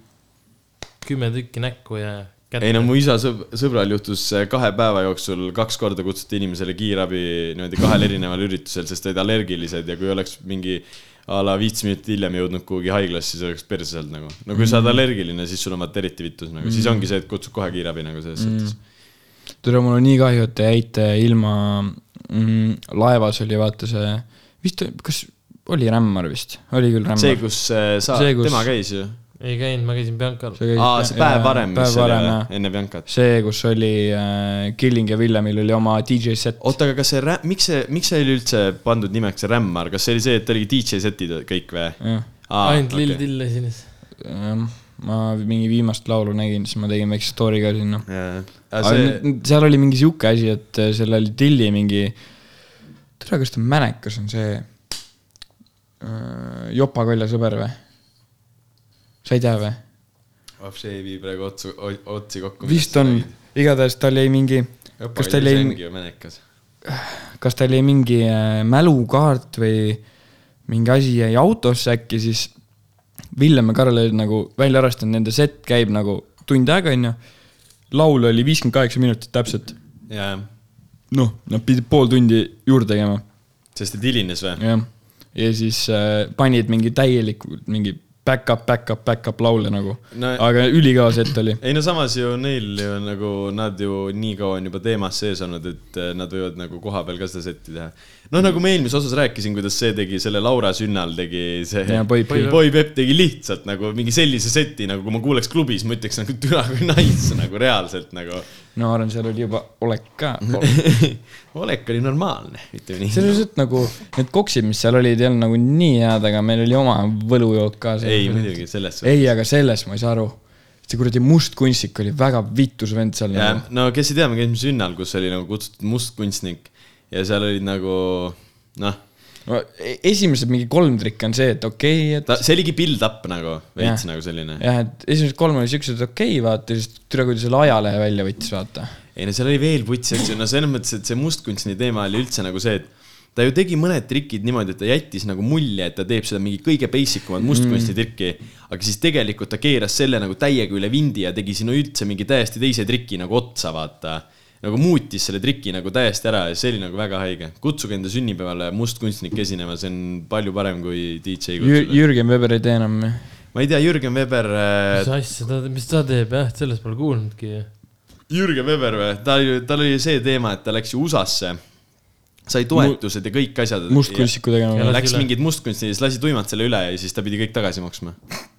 Speaker 3: kümme tükki näkku ja
Speaker 2: ei no mu isa sõb- , sõbral juhtus eh, kahe päeva jooksul kaks korda kutsuti inimesele kiirabi niimoodi kahel erineval üritusel , sest olid allergilised ja kui oleks mingi a la viis minutit hiljem jõudnud kuhugi haiglasse , siis oleks perse sealt nagu . no kui sa oled allergiline , siis sul on vaata eriti vitus nagu , siis ongi see , et kutsud kohe kiirabi nagu selles suhtes .
Speaker 1: tere , mul on nii kahju , et te jäite ilma mm, , laevas oli vaata see , vist , kas oli Rämmar vist , oli küll
Speaker 2: see ,
Speaker 1: Rämmar .
Speaker 2: kus eh, sa
Speaker 1: noh. See, , kus-
Speaker 2: tema käis ju
Speaker 3: ei käinud , ma käisin Biancal .
Speaker 2: aa , see päev varem , mis oli jah , enne Biancat .
Speaker 1: see , kus oli äh, Killing ja Villemil oli oma DJ set .
Speaker 2: oota , aga kas see rä- , miks see , miks see oli üldse pandud nimeks Rämmar , kas see oli see , et oligi DJ setid kõik või ?
Speaker 1: jah ,
Speaker 3: ainult
Speaker 2: Ah,
Speaker 3: Lill . Till esines .
Speaker 1: ma mingi viimast laulu nägin , siis ma tegin väikse story ka sinna .
Speaker 2: aga
Speaker 1: aga
Speaker 2: see ,
Speaker 1: see... seal oli mingi sihuke asi , et äh, seal oli Tilli mingi , tere , kas ta Mänekas on see äh, Jopa Kolja sõber või ? sa ei tea või ?
Speaker 2: oh see ei vii praegu otsu , otsi kokku .
Speaker 1: vist on , igatahes tal jäi mingi , kas tal jäi ,
Speaker 2: ju menekas .
Speaker 1: kas tal jäi mingi äh, mälukaart või mingi asi jäi autosse äkki , siis Villem ja Karl olid nagu välja arvestanud , nende set käib nagu tund aega , onju . laul oli viiskümmend kaheksa minutit täpselt .
Speaker 2: jaa , jah .
Speaker 1: noh , nad pidid pool tundi juurde tegema
Speaker 2: sest et hilines või ?
Speaker 1: jah , ja siis äh, panid mingi täielikult mingi back-up , back-up , back-up laule nagu
Speaker 2: No-
Speaker 1: no, , aga ülikõva set oli .
Speaker 2: ei no samas ju neil ju nagu nad ju nii kaua on juba teemas sees olnud , et eh, nad võivad nagu kohapeal ka seda setti teha . no nagu ma eelmises osas rääkisin , kuidas see tegi selle Laura Sünnal tegi see .
Speaker 1: Ja Boy Peep.
Speaker 2: Boy Peep tegi lihtsalt nagu mingi sellise seti nagu , kui ma kuuleks klubis , ma ütleks nagu türa kui nice nagu reaalselt
Speaker 1: [LAUGHS]
Speaker 2: nagu .
Speaker 1: no ma arvan , seal oli juba olek ka .
Speaker 2: olek oli normaalne , ütleme nii .
Speaker 1: selles suhtes nagu need koksid , mis seal olid , ei olnud nagu nii head , aga meil oli oma võlujook ka .
Speaker 2: ei , muidugi selles suhtes .
Speaker 1: ei , aga sellest ma ei saa aru . see kuradi must kunstnik oli väga vitus vend seal
Speaker 2: ja
Speaker 1: nagu .
Speaker 2: no kes ei tea , me käisime sünnal , kus oli nagu kutsutud mustkunstnik ja seal olid nagu noh ,
Speaker 1: No e- esimesed mingi kolm trikki on see , et okei okay, , et
Speaker 2: ta , see oligi build-up nagu , veits
Speaker 1: Jah.
Speaker 2: nagu selline .
Speaker 1: jah , et esimesed kolm oli siuksed , et okei okay, , vaata , siis tüdruk tuli selle ajalehe välja võttis , vaata
Speaker 2: ei no seal oli veel putsi asju , no selles mõttes , et see mustkunstni teema oli üldse nagu see , et ta ju tegi mõned trikid niimoodi , et ta jättis nagu mulje , et ta teeb seda mingi kõige basic umat mustkunstitrikki mm. . aga siis tegelikult ta keeras selle nagu täiega üle vindi ja tegi sinna üldse mingi täiesti teise triki nagu otsa , vaata . nagu muutis selle triki nagu täiesti ära ja see oli nagu väga haige . kutsuge enda sünnipäevale mustkunstnik esinema , see on palju parem kui DJ
Speaker 1: Jür- ,
Speaker 2: kutsuda .
Speaker 1: Jürgen Weber ei tee enam .
Speaker 2: ma ei tea , Jürgen Weber äh,
Speaker 3: mis asja ta , mis ta teeb , jah , sellest pole kuulnudki .
Speaker 2: Jürgen Weber või ? ta , tal oli see teema , et ta läks ju USA-sse , sai toetused ja kõik asjad .
Speaker 1: mustkunstiku tegema
Speaker 3: Ja
Speaker 1: või ?
Speaker 3: lasi
Speaker 2: Läks
Speaker 3: üle.
Speaker 2: mingid mustkunstid ja siis lasi tuimad selle üle ja siis ta pidi kõik tagasi maksma .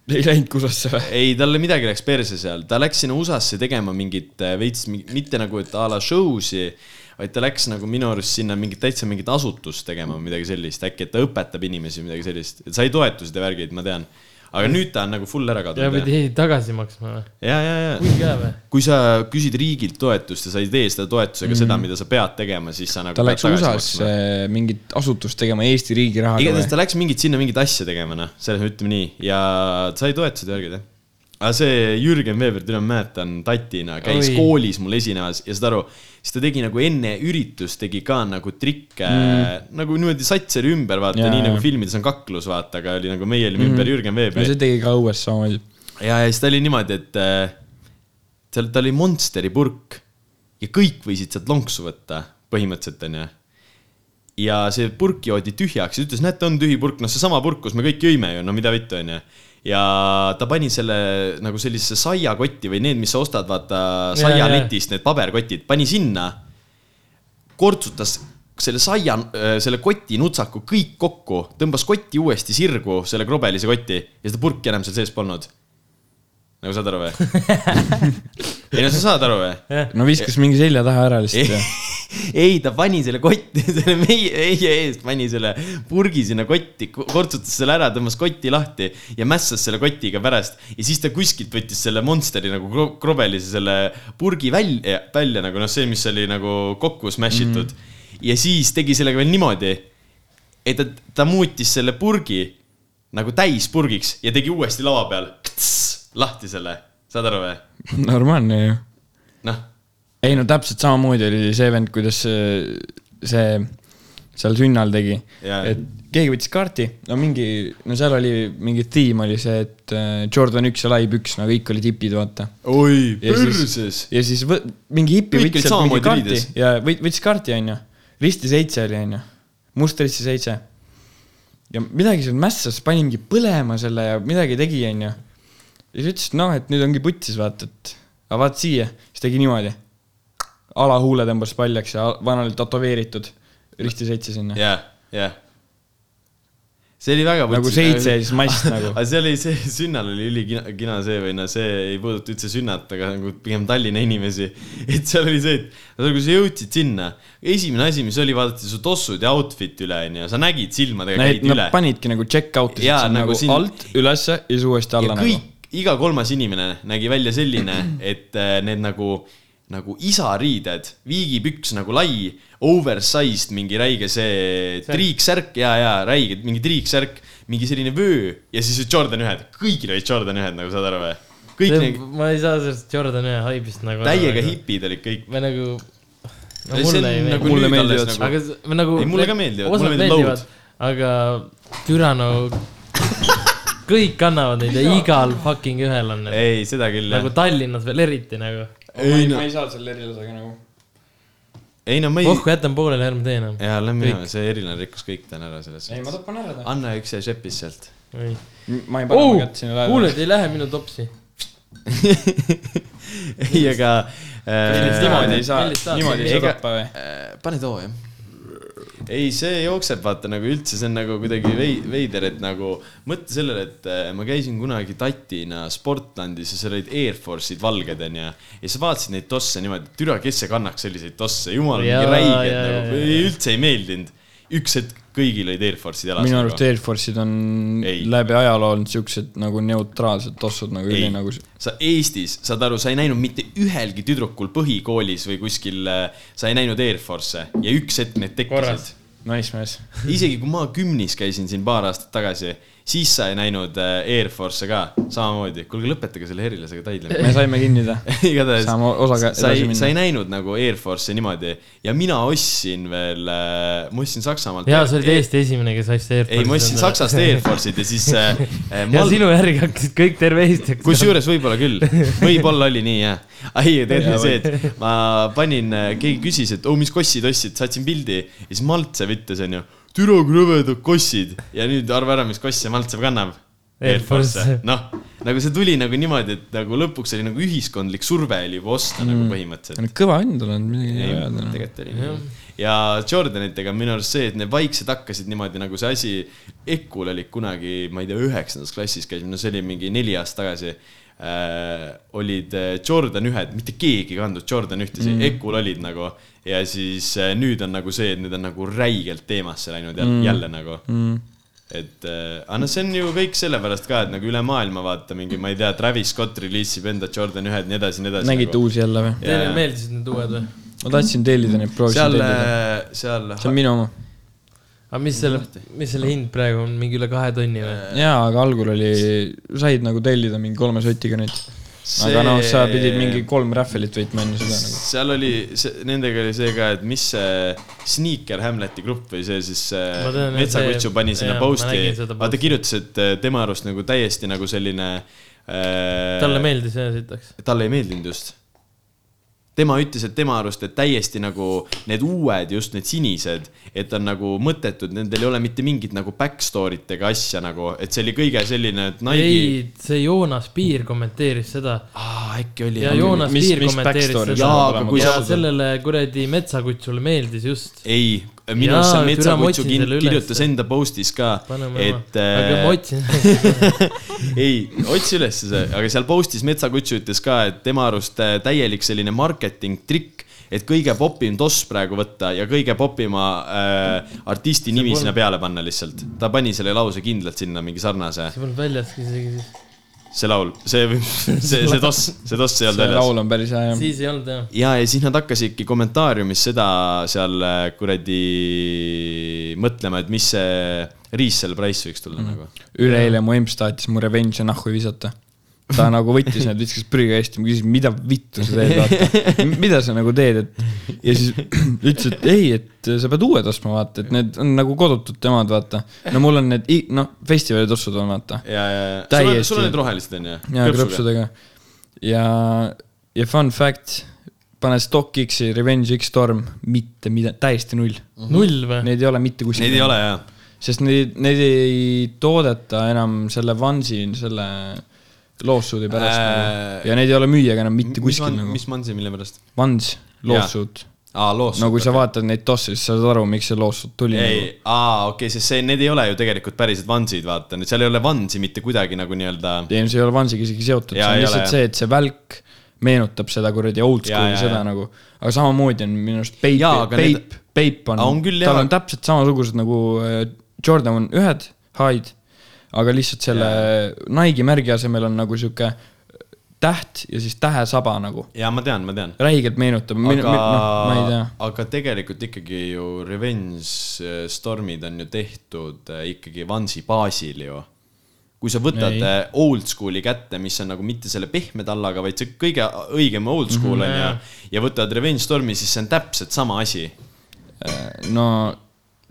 Speaker 1: ei läinud kusasse või ?
Speaker 2: ei , talle midagi läks perse seal , ta läks sinna USA-sse tegema mingit äh, veits , mitte nagu , et a la show'si , vaid ta läks nagu minu arust sinna mingit täitsa mingit asutust tegema või midagi sellist , äkki , et ta õpetab inimesi või midagi sellist , et sai toetused ja värgid , ma tean . aga nüüd ta on nagu full ära
Speaker 3: ja
Speaker 2: kadunud .
Speaker 3: pidi ei, tagasi maksma või ?
Speaker 2: ja , ja , ja
Speaker 3: kui käe või ?
Speaker 2: kui sa küsid riigilt toetust ja sa ei tee seda toetusega mm. seda , mida sa pead tegema , siis sa nagu .
Speaker 1: Mhm. ta läks USA-sse mingit asutust tegema Eesti riigi rahaga
Speaker 2: igatahes
Speaker 1: või ?
Speaker 2: ta läks mingit sinna mingit asja tegema , noh , selles mõttes ütleme nii ja sai toetused ja värgid jah . aga see Jürgen Veber , teda ma mäletan tatina , käis
Speaker 3: Oi.
Speaker 2: Oi. koolis mul esinemas ja saad aru , siis ta tegi nagu enne üritust tegi ka nagu trikke mm. nagu niimoodi sats oli ümber , vaata ,
Speaker 1: Mhm. Jaa,
Speaker 2: nii
Speaker 1: jaa. Mhm.
Speaker 2: nagu filmides on kaklus , vaata , aga oli nagu meie olime mm. ümber Jürgen
Speaker 1: no
Speaker 2: Veberi
Speaker 1: see tegi ka õues samamoodi .
Speaker 2: ja , ja siis ta oli niimoodi , et äh, seal tal oli Monsteri purk ja kõik võisid sealt lonksu võtta , põhimõtteliselt onju . ja see purk joodi tühjaks ja ütles , näete , on tühi purk , noh , seesama purk , kus me kõik jõime ju , no mida vittu onju . ja ta pani selle nagu sellisesse saiakotti või need , mis sa ostad , vaata
Speaker 3: Ja, ja.
Speaker 2: saialetist , need paberkotid , pani sinna kortsutas selle saia , selle koti nutsaku kõik kokku , tõmbas kotti uuesti sirgu , selle krobelise kotti ja seda purki enam seal sees polnud . nagu saad aru või ? ei no sa saad aru või ?
Speaker 1: no viskas mingi selja taha ära lihtsalt ja
Speaker 2: ei , ta pani selle kotti , selle meie , meie eest pani selle purgi sinna kotti , kortsutas selle ära , tõmbas kotti lahti ja mässas selle kotiga pärast . ja siis ta kuskilt võttis selle Monsteri nagu kro- krobelise selle purgi välja , välja nagu noh , see , mis oli nagu kokku smash itud mm. . ja siis tegi sellega veel niimoodi , et ta , ta muutis selle purgi nagu täispurgiks ja tegi uuesti laua peal kts, lahti selle , saad aru või ?
Speaker 1: [LAUGHS] normaalne ju .
Speaker 2: noh
Speaker 1: ei no täpselt samamoodi oli see vend , kuidas see, see seal sünnal tegi
Speaker 2: Jaa. .
Speaker 1: et keegi võttis kaarti , no mingi , no seal oli mingi tiim oli see , et äh, Jordan üks ja lai püks , no kõik olid hipid , vaata .
Speaker 2: oi ,
Speaker 1: ja siis , ja siis võ, mingi hipi
Speaker 2: Kõik
Speaker 1: võttis
Speaker 2: olid
Speaker 1: sealt mingi
Speaker 2: samamoodi
Speaker 1: kaarti
Speaker 2: riides.
Speaker 1: ja võt- võttis kaarti , onju . risti seitse oli , onju . must risti seitse . ja midagi seal mässas , pani mingi põlema selle ja midagi tegi , onju . ja siis ütles , et noh , et nüüd ongi putsis , vaata , et aga vaata siia , siis tegi niimoodi . alahuule tõmbas paljaks ja al- vanal tätoveeritud risti seitse sinna .
Speaker 2: jah , jah . see oli väga
Speaker 1: nagu seitse ja siis mass nagu .
Speaker 2: [LAUGHS] aga see oli see , sünnal oli ülikina , kina see või no see ei puuduta üldse sünnat , aga nagu pigem Tallinna inimesi . [LAUGHS] et seal oli see , et no kui sa jõudsid sinna , esimene asi , mis oli , vaadati su tossud ja outfit üle onju , sa nägid silmadega ,
Speaker 1: Need ,
Speaker 2: käid
Speaker 1: nad
Speaker 2: üle .
Speaker 1: panidki nagu check out isid
Speaker 2: Jaa,
Speaker 1: siin
Speaker 2: nagu
Speaker 1: nagu
Speaker 2: siin-
Speaker 1: alt ülesse ja siis uuesti alla
Speaker 2: ja
Speaker 1: nagu .
Speaker 2: kõik , iga kolmas inimene nägi välja selline , [CLEARS THROAT] et äh, need nagu , nagu isariided , viigipüks nagu lai , oversized mingi räige see triiksärk ja , ja räige mingi triiksärk , mingi selline vöö ja siis Jordan ühed , kõigil olid Jordan ühed , nagu saad aru või ? kõik need
Speaker 3: ma ei saa sellest Jordan ühe haibist nagu .
Speaker 2: täiega . hipid olid kõik .
Speaker 3: või nagu .
Speaker 2: See on
Speaker 3: no mulle ei
Speaker 2: nagu
Speaker 3: meeldi .
Speaker 2: Mulle
Speaker 1: nüüd meeldivad
Speaker 2: alles nagu-
Speaker 3: aga s- või nagu .
Speaker 2: Ei, mulle ka meeldivad, mulle
Speaker 3: osad
Speaker 2: meeldivad
Speaker 3: meeldivad , aga türa no . [LAUGHS] kõik kannavad neid ja igal fucking ühel on need .
Speaker 2: ei , seda küll jah
Speaker 3: nagu . Tallinnas veel eriti nagu .
Speaker 2: ei no ,
Speaker 1: ei saa selle erilasega nagu
Speaker 2: ei no ma
Speaker 1: Oh.
Speaker 2: ei ,
Speaker 3: pohku jätan pooleli , ärme tee enam .
Speaker 2: jaa , lähme minema , see eriline rikkus kõik täna ära selles
Speaker 1: ei , ma
Speaker 2: suhtes .
Speaker 1: tapan ära ta .
Speaker 2: anna üks see šepis sealt . [LAUGHS]
Speaker 1: ma ei pane
Speaker 3: oh
Speaker 1: oma kätt , sinna lähedale .
Speaker 3: kuuled , ei lähe minu topsi .
Speaker 2: ei , aga äh, .
Speaker 1: niimoodi ei saa
Speaker 3: millist , tahad?
Speaker 1: niimoodi ei saa
Speaker 2: Ega-
Speaker 1: tappa või ?
Speaker 2: Äh, pane too jah . ei , see jookseb , vaata nagu üldse , see on nagu kuidagi vei- veider , et nagu mõtle sellele , et äh, ma käisin kunagi tatina Sportlandis ja seal olid Air Force'id valged onju . ja sa vaatasid neid tosse niimoodi , et türa , kes see kannaks selliseid tosse , jumal ,
Speaker 3: Jaa,
Speaker 2: mingi räiged
Speaker 3: jaa,
Speaker 2: nagu
Speaker 3: jaa, , jaa.
Speaker 2: üldse ei meeldinud . üks hetk kõigil olid Air Force'id jalas .
Speaker 1: minu arust Air Force'id on
Speaker 2: Ei.
Speaker 1: läbi ajaloo olnud siuksed nagu neutraalsed tossud nagu
Speaker 2: ei
Speaker 1: üli , nagu s-
Speaker 2: sa Eestis , saad aru , sa ei näinud mitte ühelgi äh, tüdrukul põhikoolis või kuskil , sa ei näinud Air Force'e ja üks hetk need tekkisid
Speaker 3: Korras. .
Speaker 1: naismees .
Speaker 2: [LAUGHS] isegi kui ma kümnis käisin siin paar aastat tagasi , siis sa ei näinud äh, Air Force'e ka samamoodi . kuulge , lõpetage selle herilasega taidlemine .
Speaker 3: [LAUGHS]
Speaker 1: me saime kinni [LAUGHS] ta .
Speaker 2: igatahes
Speaker 1: Saame osaga
Speaker 2: sa
Speaker 1: edasi
Speaker 2: ei ,
Speaker 1: minna.
Speaker 2: sa ei näinud nagu Air Force'i niimoodi ja mina ostsin veel , ma ostsin Saksamaalt .
Speaker 3: jaa , sa olid Eesti esimene , kes asja Air
Speaker 2: ei , ma ostsin Saksast Air Force'id ja siis äh, äh,
Speaker 3: [LAUGHS] ja
Speaker 2: Mald-
Speaker 3: sinu järgi hakkasid kõik terve Eesti .
Speaker 2: kusjuures võib-olla [LAUGHS] küll , võib-olla oli nii jah . ei , tegelikult oli see , et ma panin , keegi küsis , et oh , mis kossid ostsid , saatsin pildi ja siis Maltsev ütles , onju . türa kui rõvedad kossid ja nüüd arva ära , mis kosse Maltsev kannab .
Speaker 3: Air Force. .
Speaker 2: noh , nagu see tuli nagu niimoodi , et nagu lõpuks oli nagu ühiskondlik surve oli juba osta mm. nagu põhimõtteliselt .
Speaker 1: kõva vend olen , midagi ei
Speaker 2: ei
Speaker 1: ole , öelda .
Speaker 2: tegelikult oli nii . ja Jordanitega minu arust see , et need vaikselt hakkasid niimoodi nagu see asi , Ekul olid kunagi , ma ei tea , üheksandas klassis käisime , no see oli mingi neli aastat tagasi äh, . olid äh, Jordan ühed , mitte keegi ei kandnud Jordan ühtesid mm. , Ekul olid nagu ja siis äh, nüüd on nagu see , et nüüd on nagu räigelt teemasse läinud jälle, mm. jälle nagu mm et äh, aga noh , see on ju kõik sellepärast ka , et nagu üle maailma vaata mingi , ma ei tea , Travis Scott reliisib enda Jordan ühed , nii edasi , nii edasi .
Speaker 1: nägite
Speaker 2: nagu.
Speaker 1: uusi jälle või ?
Speaker 3: Teile meeldisid need uued või ?
Speaker 1: ma tahtsin tellida neid , proovisin
Speaker 2: seal äh,
Speaker 1: tellida .,
Speaker 2: seal .
Speaker 1: see on minu oma .
Speaker 3: aga mis selle , mis selle hind praegu on , mingi üle kahe tonni või ?
Speaker 1: jaa , aga algul oli , said nagu tellida mingi kolme sotiga neid . aga noh , sa pidid mingi kolm rähvelit võitma enne seda nagu .
Speaker 2: seal oli , nendega oli see ka , et mis see Sneaker Hamleti grupp või see siis äh,
Speaker 3: Ma tean, jah,
Speaker 2: Metsakutsu
Speaker 3: see-
Speaker 2: pani sinna
Speaker 3: jah, ma
Speaker 2: post'i
Speaker 3: nägin seda ,
Speaker 2: vaata
Speaker 3: posti.
Speaker 2: kirjutas , et äh, tema arust nagu täiesti nagu selline äh,
Speaker 3: talle meeldis jah , sitaks .
Speaker 2: talle ei meeldinud just . tema ütles , et tema arust , et täiesti nagu need uued , just need sinised , et on nagu mõttetud , nendel ei ole mitte mingit nagu back story't ega asja nagu , et see oli kõige selline , et
Speaker 3: ei
Speaker 2: Nike ,,
Speaker 3: see Joonas Piir kommenteeris seda
Speaker 2: aa äkki oli
Speaker 3: ja . Joonas
Speaker 1: mis-
Speaker 3: Piir
Speaker 1: mis
Speaker 3: kommenteeris
Speaker 1: backstory
Speaker 3: seda
Speaker 2: jaa , aga kui
Speaker 3: ja
Speaker 2: sa
Speaker 3: sellele kuradi metsakutsule meeldis just .
Speaker 2: ei , minu
Speaker 3: Jaa,
Speaker 2: arust see
Speaker 3: türa, ma
Speaker 2: Metsakutsu
Speaker 3: otsin
Speaker 2: kin-
Speaker 3: selle üles.
Speaker 2: kirjutas enda postis ka ,
Speaker 3: paneme oma ,
Speaker 2: et äh,
Speaker 3: aga
Speaker 1: äh,
Speaker 3: ma otsin . [LAUGHS]
Speaker 2: ei , otsi üles see , aga seal postis Metsakutsu ütles ka , et tema arust äh, täielik selline marketing trikk , et kõige popim toss praegu võtta ja kõige popima äh, artisti nimi sinna peale panna lihtsalt . ta pani selle lause kindlalt sinna mingi sarnase ,
Speaker 3: see polnud väljas isegi siis ,
Speaker 2: see laul , see , [LAUGHS] see , see toss , see toss ei olnud
Speaker 1: see
Speaker 2: väljas .
Speaker 1: laul on päris hea jah .
Speaker 3: siis ei olnud jah .
Speaker 2: ja , ja siis nad hakkasidki kommentaariumis seda seal äh, kuradi mõtlema , et mis see resell price võiks tulla mm. nagu .
Speaker 1: üleeile mu emps tahtis mu revenge'i nahku visata . ta
Speaker 2: [LAUGHS]
Speaker 1: nagu võttis need , viskas prügiga hästi , ma küsisin , mida vittu sa teed , vaata . mida sa nagu teed , et ja siis [CLEARS THROAT] ütles , et ei , et sa pead uued ostma , vaata , et need on nagu kodutud temad , vaata . no mul on need , noh , festivali tossud on , vaata .
Speaker 2: ja , ja , sul on ,
Speaker 1: Täiesti.
Speaker 2: sul on need rohelised on ju ?
Speaker 1: ja . krõpsudega . ja , ja fun fact , pane Stock X-i Revenge X Storm , mitte mida , täiesti null .
Speaker 3: null või ?
Speaker 1: Neid ei ole mitte kuskil .
Speaker 2: Mm. Neid ei ole jah .
Speaker 1: sest neid , neid ei toodeta enam selle Vansi , selle lawsuit'i pärast
Speaker 2: Äh,
Speaker 1: äh, . ja neid ei ole müüaga enam mitte kuskil nagu .
Speaker 2: mis mansi , mille pärast ?
Speaker 1: Vans , lawsuit .
Speaker 2: aa , loos .
Speaker 1: no kui sa vaatad neid tosse , siis sa saad aru , miks see lawsuit tuli . nagu.
Speaker 2: ei , aa , okei okay, , sest see , need ei ole ju tegelikult päriselt vansid , vaata , seal ei ole vansi mitte kuidagi nagu nii-öelda .
Speaker 1: ei no see ei ole Vansiga isegi seotud , see
Speaker 2: Jaa,
Speaker 1: on
Speaker 2: ei
Speaker 1: lihtsalt
Speaker 2: ole,
Speaker 1: see , et see välk meenutab seda kuradi old
Speaker 2: Jaa,
Speaker 1: school'i
Speaker 2: jaa,
Speaker 1: seda
Speaker 2: jaa.
Speaker 1: nagu . aga samamoodi on minu arust Peip ,
Speaker 2: Jaa, aga need-
Speaker 1: Peip , Peip on,
Speaker 2: Aa, on küll,
Speaker 1: tal
Speaker 2: jaa.
Speaker 1: on täpselt samasugused nagu äh, Jordan on ühed , high'd , aga lihtsalt selle Nike'i märgi asemel on nagu sihuke täht ja siis tähesaba nagu .
Speaker 2: jaa , ma tean , ma tean .
Speaker 1: räigelt meenutab ,
Speaker 2: aga
Speaker 1: noh , ma ei tea .,
Speaker 2: aga tegelikult ikkagi ju Revenge eh, Stormid on ju tehtud eh, ikkagi Vansi baasil ju . kui sa võtad
Speaker 1: Ei.
Speaker 2: ei. old school'i kätte , mis on nagu mitte selle pehme tallaga , vaid see kõige õigem old school
Speaker 1: Mhm.
Speaker 2: on ju , ja võtad Revenge Stormi , siis see on täpselt sama asi .
Speaker 1: Äh, no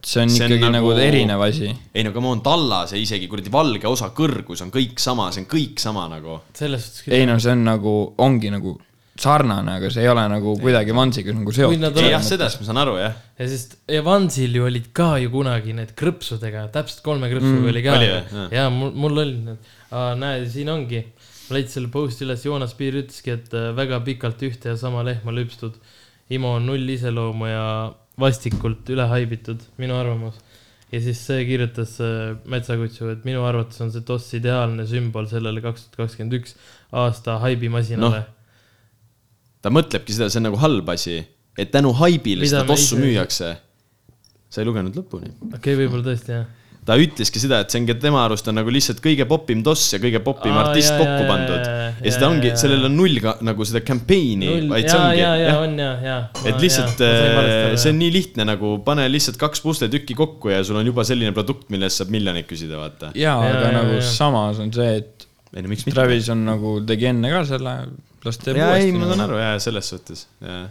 Speaker 1: see on
Speaker 2: See on
Speaker 1: ikkagi nagu...
Speaker 2: nagu-
Speaker 1: nagu erinev asi .
Speaker 2: ei no come on , talla see isegi kuradi valge osa kõrgus on kõik sama , see on kõik sama nagu .
Speaker 3: selles suhtes küll .
Speaker 1: ei no see on nagu , ongi nagu sarnane , aga see ei ole nagu kuidagi Vansiga nagu
Speaker 3: kui
Speaker 1: seotud .
Speaker 3: nad
Speaker 2: jah ,
Speaker 3: oleks ,
Speaker 2: sellest ma saan aru jah .
Speaker 3: ja sest Evansil ju olid ka ju kunagi need krõpsudega , täpselt kolme krõpsuga mm, oli ka
Speaker 2: oli või? .
Speaker 3: ja mul , mul olid need , näed , siin ongi , ma leidsin selle posti üles , Joonas Piir ütleski , et äh, väga pikalt ühte ja sama lehma lüpstud . Imo on null iseloomu ja vastikult üle haibitud , minu arvamus . ja siis see kirjutas äh, Metsakutsu , et minu arvates on see DOS ideaalne sümbol sellele kaks tuhat kakskümmend üks aasta haibimasinale
Speaker 2: Noh, ta mõtlebki seda , see on nagu halb asi , et tänu haibile
Speaker 3: Mida
Speaker 2: seda
Speaker 3: me
Speaker 2: tossu
Speaker 3: ise-
Speaker 2: müüakse . sa ei lugenud lõpuni
Speaker 3: no. . okei okay, , võib-olla tõesti jah .
Speaker 2: ta ütleski seda , et see ongi tema arust on nagu lihtsalt kõige popim toss ja kõige popim
Speaker 3: Aa,
Speaker 2: artist
Speaker 3: jaa,
Speaker 2: kokku
Speaker 3: jaa,
Speaker 2: pandud .
Speaker 3: jaa, jaa,
Speaker 2: ja seda
Speaker 3: jaa,
Speaker 2: ongi
Speaker 3: jaa. ,
Speaker 2: sellel on null ka, nagu seda campaign'i ,
Speaker 3: null ,
Speaker 2: vaid see
Speaker 3: ja ,
Speaker 2: ongi
Speaker 3: ja , ja
Speaker 2: jah.
Speaker 3: on ja , ja .
Speaker 2: et lihtsalt äh, see on nii lihtne nagu , pane lihtsalt kaks pusletükki kokku ja sul on juba selline produkt , mille eest saab miljoneid küsida , vaata .
Speaker 1: jaa ,
Speaker 3: Jaa,
Speaker 1: aga
Speaker 3: jaa,
Speaker 1: nagu
Speaker 3: jaa.
Speaker 1: samas on see , et
Speaker 2: ei no miks mitte .
Speaker 1: Travis on nagu , tegi enne ka selle , las teeb
Speaker 2: jaa , ei ,
Speaker 1: uuesti . nagu.
Speaker 2: ma saan aru , jaa , selles suhtes , jaa .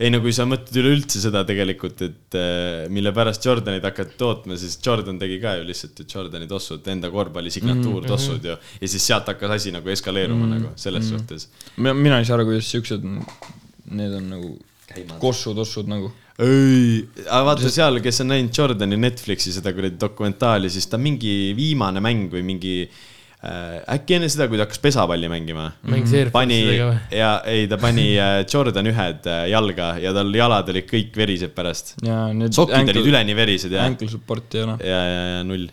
Speaker 2: ei no kui sa mõtled üleüldse seda tegelikult , et äh, mille pärast Jordanit hakati tootma , siis Jordan tegi ka ju lihtsalt ju Jordani tossud , enda korvpalli signatuur tossud ju . ja siis sealt hakkas asi nagu eskaleeruma nagu selles suhtes .
Speaker 1: mina ei saa aru , kuidas siuksed , need on nagu kossutossud nagu .
Speaker 2: ei , aga vaata seal , kes on näinud Jordani Netflixi seda kuradi dokumentaali , siis ta mingi viimane mäng või mingi äh, äkki enne seda , kui ta hakkas pesapalli mängima .
Speaker 3: Mängis Air
Speaker 2: pani
Speaker 3: Force'idega või?
Speaker 2: ja ei , ta pani äh, Jordan ühed äh, jalga ja tal jalad olid kõik verised pärast .
Speaker 1: ja need
Speaker 2: sokid olid üleni verised ja ,
Speaker 1: ankle support'i ei ole .
Speaker 2: ja , ja , ja [LAUGHS] null .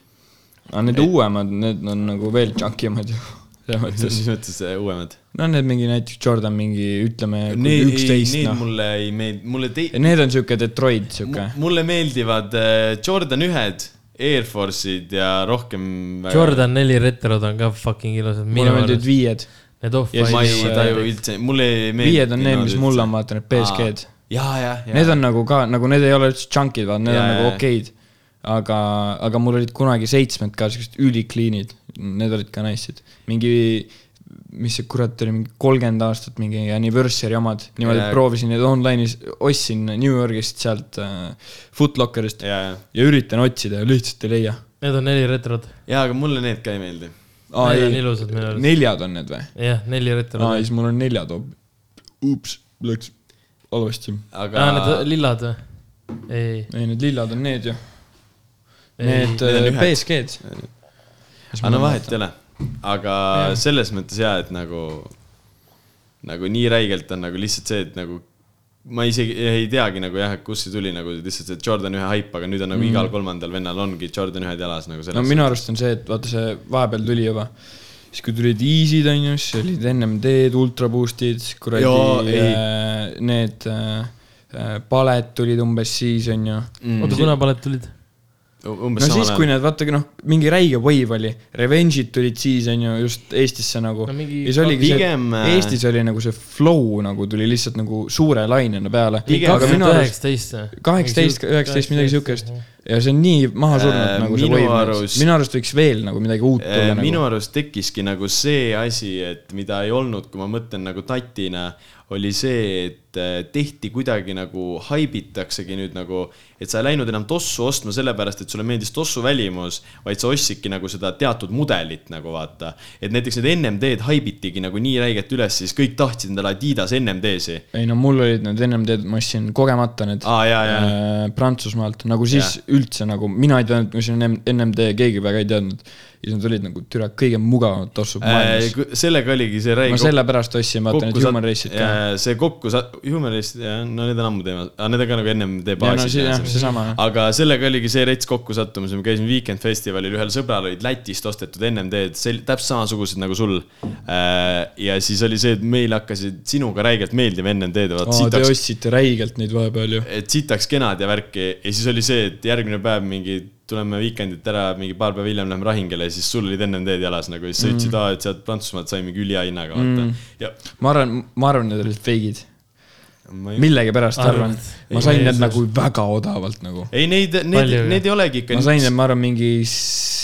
Speaker 1: aga need uuemad , need on nagu veel junkimad ju . selles mõttes ,
Speaker 2: selles mõttes äh, uuemad .
Speaker 1: no need mingi näiteks Jordan mingi ütleme
Speaker 2: Need , ei ,
Speaker 1: üksteist
Speaker 2: need
Speaker 1: noh .
Speaker 2: mulle ei meeldi , mulle tei- ,
Speaker 1: Need on siuke Detroit siuke
Speaker 2: mu- . mulle meeldivad äh, Jordan ühed , Air Force'id ja rohkem . äh,
Speaker 3: Jordan neli retrod on ka fucking ilusad , minu
Speaker 1: mulle meeldivad
Speaker 3: arust .
Speaker 1: viied .
Speaker 3: Need
Speaker 2: ma ei
Speaker 1: siis,
Speaker 3: off-white'id .
Speaker 2: taju üldse , mulle ei meeldi .
Speaker 1: äh, viied on need , mis mul on , vaata need BSG-d .
Speaker 2: ja , ja , ja .
Speaker 1: Need on nagu ka , nagu need ei ole üldse junkid , vaata need
Speaker 2: Jaa,
Speaker 1: on nagu
Speaker 2: jaa.
Speaker 1: okeid . aga , aga mul olid kunagi seitsmed ka siuksed ülikliinid , need olid ka nice'id . mingi , mis see kurat oli , mingi kolmkümmend aastat mingi anniversary omad . niimoodi
Speaker 2: Jaa.
Speaker 1: et proovisin neid online'is , ostsin New Yorgist sealt äh, Footlockerist
Speaker 2: ja , ja ,
Speaker 1: ja üritan otsida ja lihtsalt ei leia .
Speaker 3: Need on neli retrod .
Speaker 2: ja , aga mulle need ka ei meeldi .
Speaker 1: Aa,
Speaker 3: Need
Speaker 1: ei.
Speaker 3: on ilusad minu arust .
Speaker 1: neljad on need või ?
Speaker 3: jah , neli
Speaker 1: aa ,
Speaker 3: retrod .
Speaker 1: siis mul on neljad hoopis . ups , läks halvasti
Speaker 2: aga
Speaker 3: aa , need lillad või ? ei ,
Speaker 1: ei , need lillad on need ju .
Speaker 3: Ei,
Speaker 1: Need
Speaker 2: need on
Speaker 1: äh,
Speaker 2: ühed.
Speaker 1: BSG-d .
Speaker 2: aga no vahet ei ole . aga selles mõttes jaa , et nagu , nagu nii räigelt on nagu lihtsalt see , et nagu ma isegi ei teagi nagu jah , et kust see tuli nagu lihtsalt see Jordan ühe haip , aga nüüd on nagu igal kolmandal vennal ongi Jordan ühed jalas nagu
Speaker 1: Mm. no
Speaker 2: selles .
Speaker 1: minu arust on see , et vaata see vahepeal tuli juba , siis kui tulid Easy'd onju , siis olid NMD-d , Ultra Boostid , siis
Speaker 2: Jaa,
Speaker 1: kuradi
Speaker 2: ei.
Speaker 1: äh, need äh, äh, paled tulid umbes siis onju .
Speaker 3: oota , kuna paled tulid ?
Speaker 1: no
Speaker 2: Mm, umbes
Speaker 1: siis , kui . need vaatagi noh , mingi räige wave oli , Revenge'id tulid siis onju , just Eestisse nagu
Speaker 3: No
Speaker 1: no, .
Speaker 3: mingi-
Speaker 1: ja siis oligi
Speaker 2: pigem,
Speaker 1: see
Speaker 2: äh, ,
Speaker 1: Eestis oli nagu see flow nagu tuli lihtsalt nagu suure lainena peale .
Speaker 2: Pigem-
Speaker 1: aga minu arust
Speaker 3: üheksateist või ?
Speaker 1: kaheksateist , üheksateist , midagi siukest . ja see on nii maha surnud
Speaker 2: Äh,
Speaker 1: äh, nagu see
Speaker 2: minu
Speaker 1: wave
Speaker 2: arust-
Speaker 1: arust... , minu arust võiks veel nagu midagi uut tulla
Speaker 2: Äh, minu
Speaker 1: nagu .
Speaker 2: arust tekkiski nagu see asi , et mida ei olnud , kui ma mõtlen nagu tatina , oli see , et äh, tehti kuidagi nagu , haibitaksegi nüüd nagu , et sa ei läinud enam tossu ostma sellepärast , et sulle meeldis tossu välimus , vaid sa ostsidki nagu seda teatud mudelit nagu vaata . et näiteks need NMD-d haibitigi nagu nii räigelt üles , siis kõik tahtsid endale Adidas NMD-si .
Speaker 1: ei no mul olid need ennem tead , ma ostsin kogemata need
Speaker 2: Aa, jaa, jaa.
Speaker 1: äh, Prantsusmaalt , nagu siis ja. üldse nagu mina ei teadnud , mis on NM- NMD , keegi väga ei teadnud . ja siis nad olid nagu türa kõige mugavamad tossud maailmas .
Speaker 2: Äh, sellega oligi see
Speaker 1: ma
Speaker 2: räige
Speaker 1: sellepärast ostsin , vaata need
Speaker 2: sa-
Speaker 1: human race'id ka .
Speaker 2: jaa, see kokku sa- , human race'id , no need on ammu teemad , aga need on ka nagu NMD
Speaker 1: ja no
Speaker 2: baasis .
Speaker 1: see jah , seesama .
Speaker 2: aga sellega oligi see rets kokkusattumus , me käisime Weekend festivalil , ühel sõbral olid Lätist ostetud NMD-d , sel- , täpselt samasugused nagu sul . ja siis oli see , et meile hakkasid sinuga räigelt meeldima NMD-d , vaat
Speaker 1: aa , te
Speaker 2: sitaks ,
Speaker 1: ostsite räigelt neid vahepeal ju .
Speaker 2: et sitaks kenad ja värki ja siis oli see , et järgmine päev mingi tuleme Weekendit ära , mingi paar päeva hiljem läheme Rahingele ja siis sul olid NMD-d jalas nagu ja siis sa ütlesid mm. , et sealt Prantsusmaalt sai mingi ülihinnaga , vaata mm. . ja
Speaker 1: ma arvan , ma arvan , need olid feigid .
Speaker 2: ma ei ,
Speaker 1: millegipärast arvan
Speaker 3: Arvad? ,
Speaker 1: ma sain need nagu väga odavalt nagu .
Speaker 2: ei neid , neid
Speaker 3: Palju, ,
Speaker 2: neid ei olegi ikka
Speaker 1: ma . sain need , ma arvan , mingi s-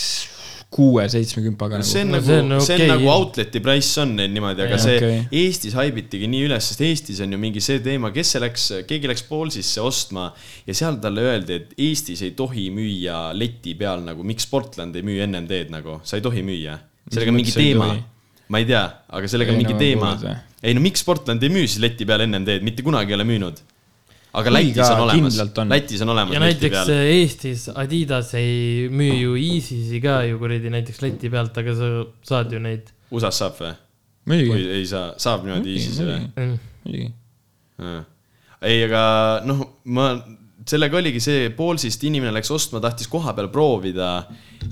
Speaker 1: kuue-seitsme kümpaga
Speaker 2: see
Speaker 1: nagu .
Speaker 2: on
Speaker 3: No
Speaker 2: nagu , see
Speaker 3: see
Speaker 2: on nagu, okay,
Speaker 3: on okei.
Speaker 2: nagu outlet'i price on neil niimoodi , aga
Speaker 1: Jaa,
Speaker 2: see okay.
Speaker 1: okei.
Speaker 2: Eestis haibitigi nii üles , sest Eestis on ju mingi see teema , kes see läks , keegi läks Poolsisse ostma ja seal talle öeldi , et Eestis ei tohi müüa leti peal nagu , miks Portland ei müü NMD-d nagu , sa ei tohi müüa . sellega on mingi
Speaker 1: mõttes ei
Speaker 2: teema
Speaker 1: tohi? ,
Speaker 2: ma ei tea , aga
Speaker 1: Ei,
Speaker 2: sellega on
Speaker 1: no
Speaker 2: mingi
Speaker 1: ma
Speaker 2: teema
Speaker 1: kuulnud, jah. .
Speaker 2: ei no miks Portland ei müü siis leti peal NMD-d , mitte kunagi ei ole müünud . aga
Speaker 1: Kuigi
Speaker 2: Lätis
Speaker 1: ka
Speaker 2: on olemas
Speaker 1: kindlalt , on.
Speaker 2: Lätis on olemas
Speaker 3: ja
Speaker 2: leti
Speaker 3: näiteks äh,
Speaker 2: peal .
Speaker 3: Eestis Adidas ei müü ju Yeezys'i ka ju kuradi näiteks leti pealt , aga sa saad ju neid .
Speaker 2: USA-s saab või ? või
Speaker 1: muidugi ,
Speaker 2: ei saa , saab niimoodi ISISe või ?
Speaker 1: muidugi .
Speaker 2: Jaa. ei , aga noh , ma , sellega oligi see , Poolsist inimene läks ostma , tahtis kohapeal proovida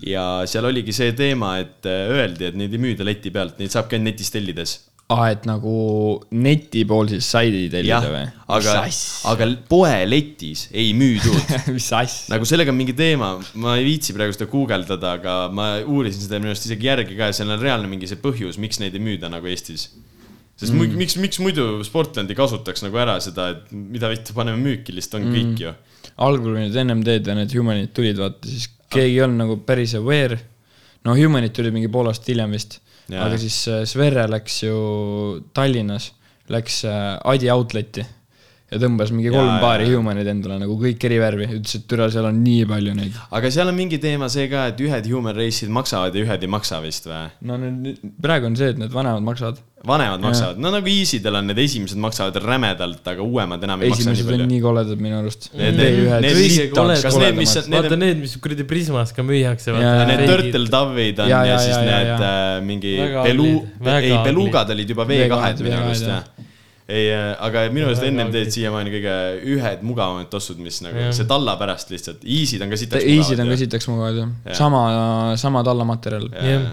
Speaker 2: ja seal oligi see teema , et äh, öeldi , et neid ei müüda leti pealt , neid saabki ainult netist tellides .
Speaker 1: aa , et nagu neti pool siis saidi
Speaker 2: jah
Speaker 1: tellida või ?,
Speaker 2: aga , aga poeletis ei müüdud .
Speaker 1: [LAUGHS] mis asja ?
Speaker 2: nagu sellega on mingi teema , ma ei viitsi praegu seda guugeldada , aga ma uurisin seda minu arust isegi järgi ka ja seal on reaalne mingi see põhjus , miks neid ei müüda nagu Eestis . sest mm. miks , miks muidu Sportlandi kasutaks nagu ära seda , et mida vittu , paneme müüki , lihtsalt on mm. kõik ju .
Speaker 1: algul , kui need NMD-d ja need Humanid tulid , vaata siis keegi ei olnud nagu päris aware . no Humanid tulid mingi pool aastat hiljem vist ,
Speaker 2: Jaa.
Speaker 1: aga siis äh, Sverre läks ju Tallinnas , läks äh, Adi Outleti ja tõmbas mingi
Speaker 2: Jaa,
Speaker 1: kolm
Speaker 2: jaa,
Speaker 1: paari
Speaker 2: jaa.
Speaker 1: Humanid endale nagu kõik eri värvi , ütles , et türa , seal on nii palju neid .
Speaker 2: aga seal on mingi teema see ka , et ühed human race'id maksavad ja ühed ei maksa vist või ?
Speaker 1: no nüüd praegu on see , et need vanemad maksavad .
Speaker 2: vanemad maksavad , no nagu Easidel on need esimesed maksavad rämedalt , aga uuemad enam ei maksa nii
Speaker 1: esimesed on
Speaker 2: palju .
Speaker 1: nii koledad minu arust .
Speaker 2: Need- need- need isegi koledad- kas need, mis- need
Speaker 3: vaata
Speaker 2: on-
Speaker 3: need , mis kuradi Prismas ka müüakse .
Speaker 1: Jaa, jaa,
Speaker 2: Need Turtle Dove'id on ja,
Speaker 1: Jaa,
Speaker 2: ja, ja
Speaker 1: jaa,
Speaker 2: siis
Speaker 1: jaa, jaa,
Speaker 2: ja, need ja,
Speaker 1: jaa.
Speaker 2: ja. mingi
Speaker 3: Väga
Speaker 2: belu
Speaker 3: aglid, , väga
Speaker 2: ei
Speaker 3: aglid.
Speaker 2: belugad olid juba V2-d
Speaker 1: V2-d,
Speaker 2: minu arust
Speaker 1: jah.
Speaker 2: jah . ei , aga minu arust
Speaker 3: Väga
Speaker 2: ennem teed
Speaker 3: aglid.
Speaker 2: siiamaani kõige ühed mugavamad tossud , mis nagu
Speaker 3: Jah.
Speaker 2: see talla pärast lihtsalt , Easy'd on ka sitaks
Speaker 1: Easy'd on ka . sitaks mugavad jah
Speaker 2: Jaa. ,
Speaker 1: sama , sama tallamaterjal .
Speaker 3: Jah.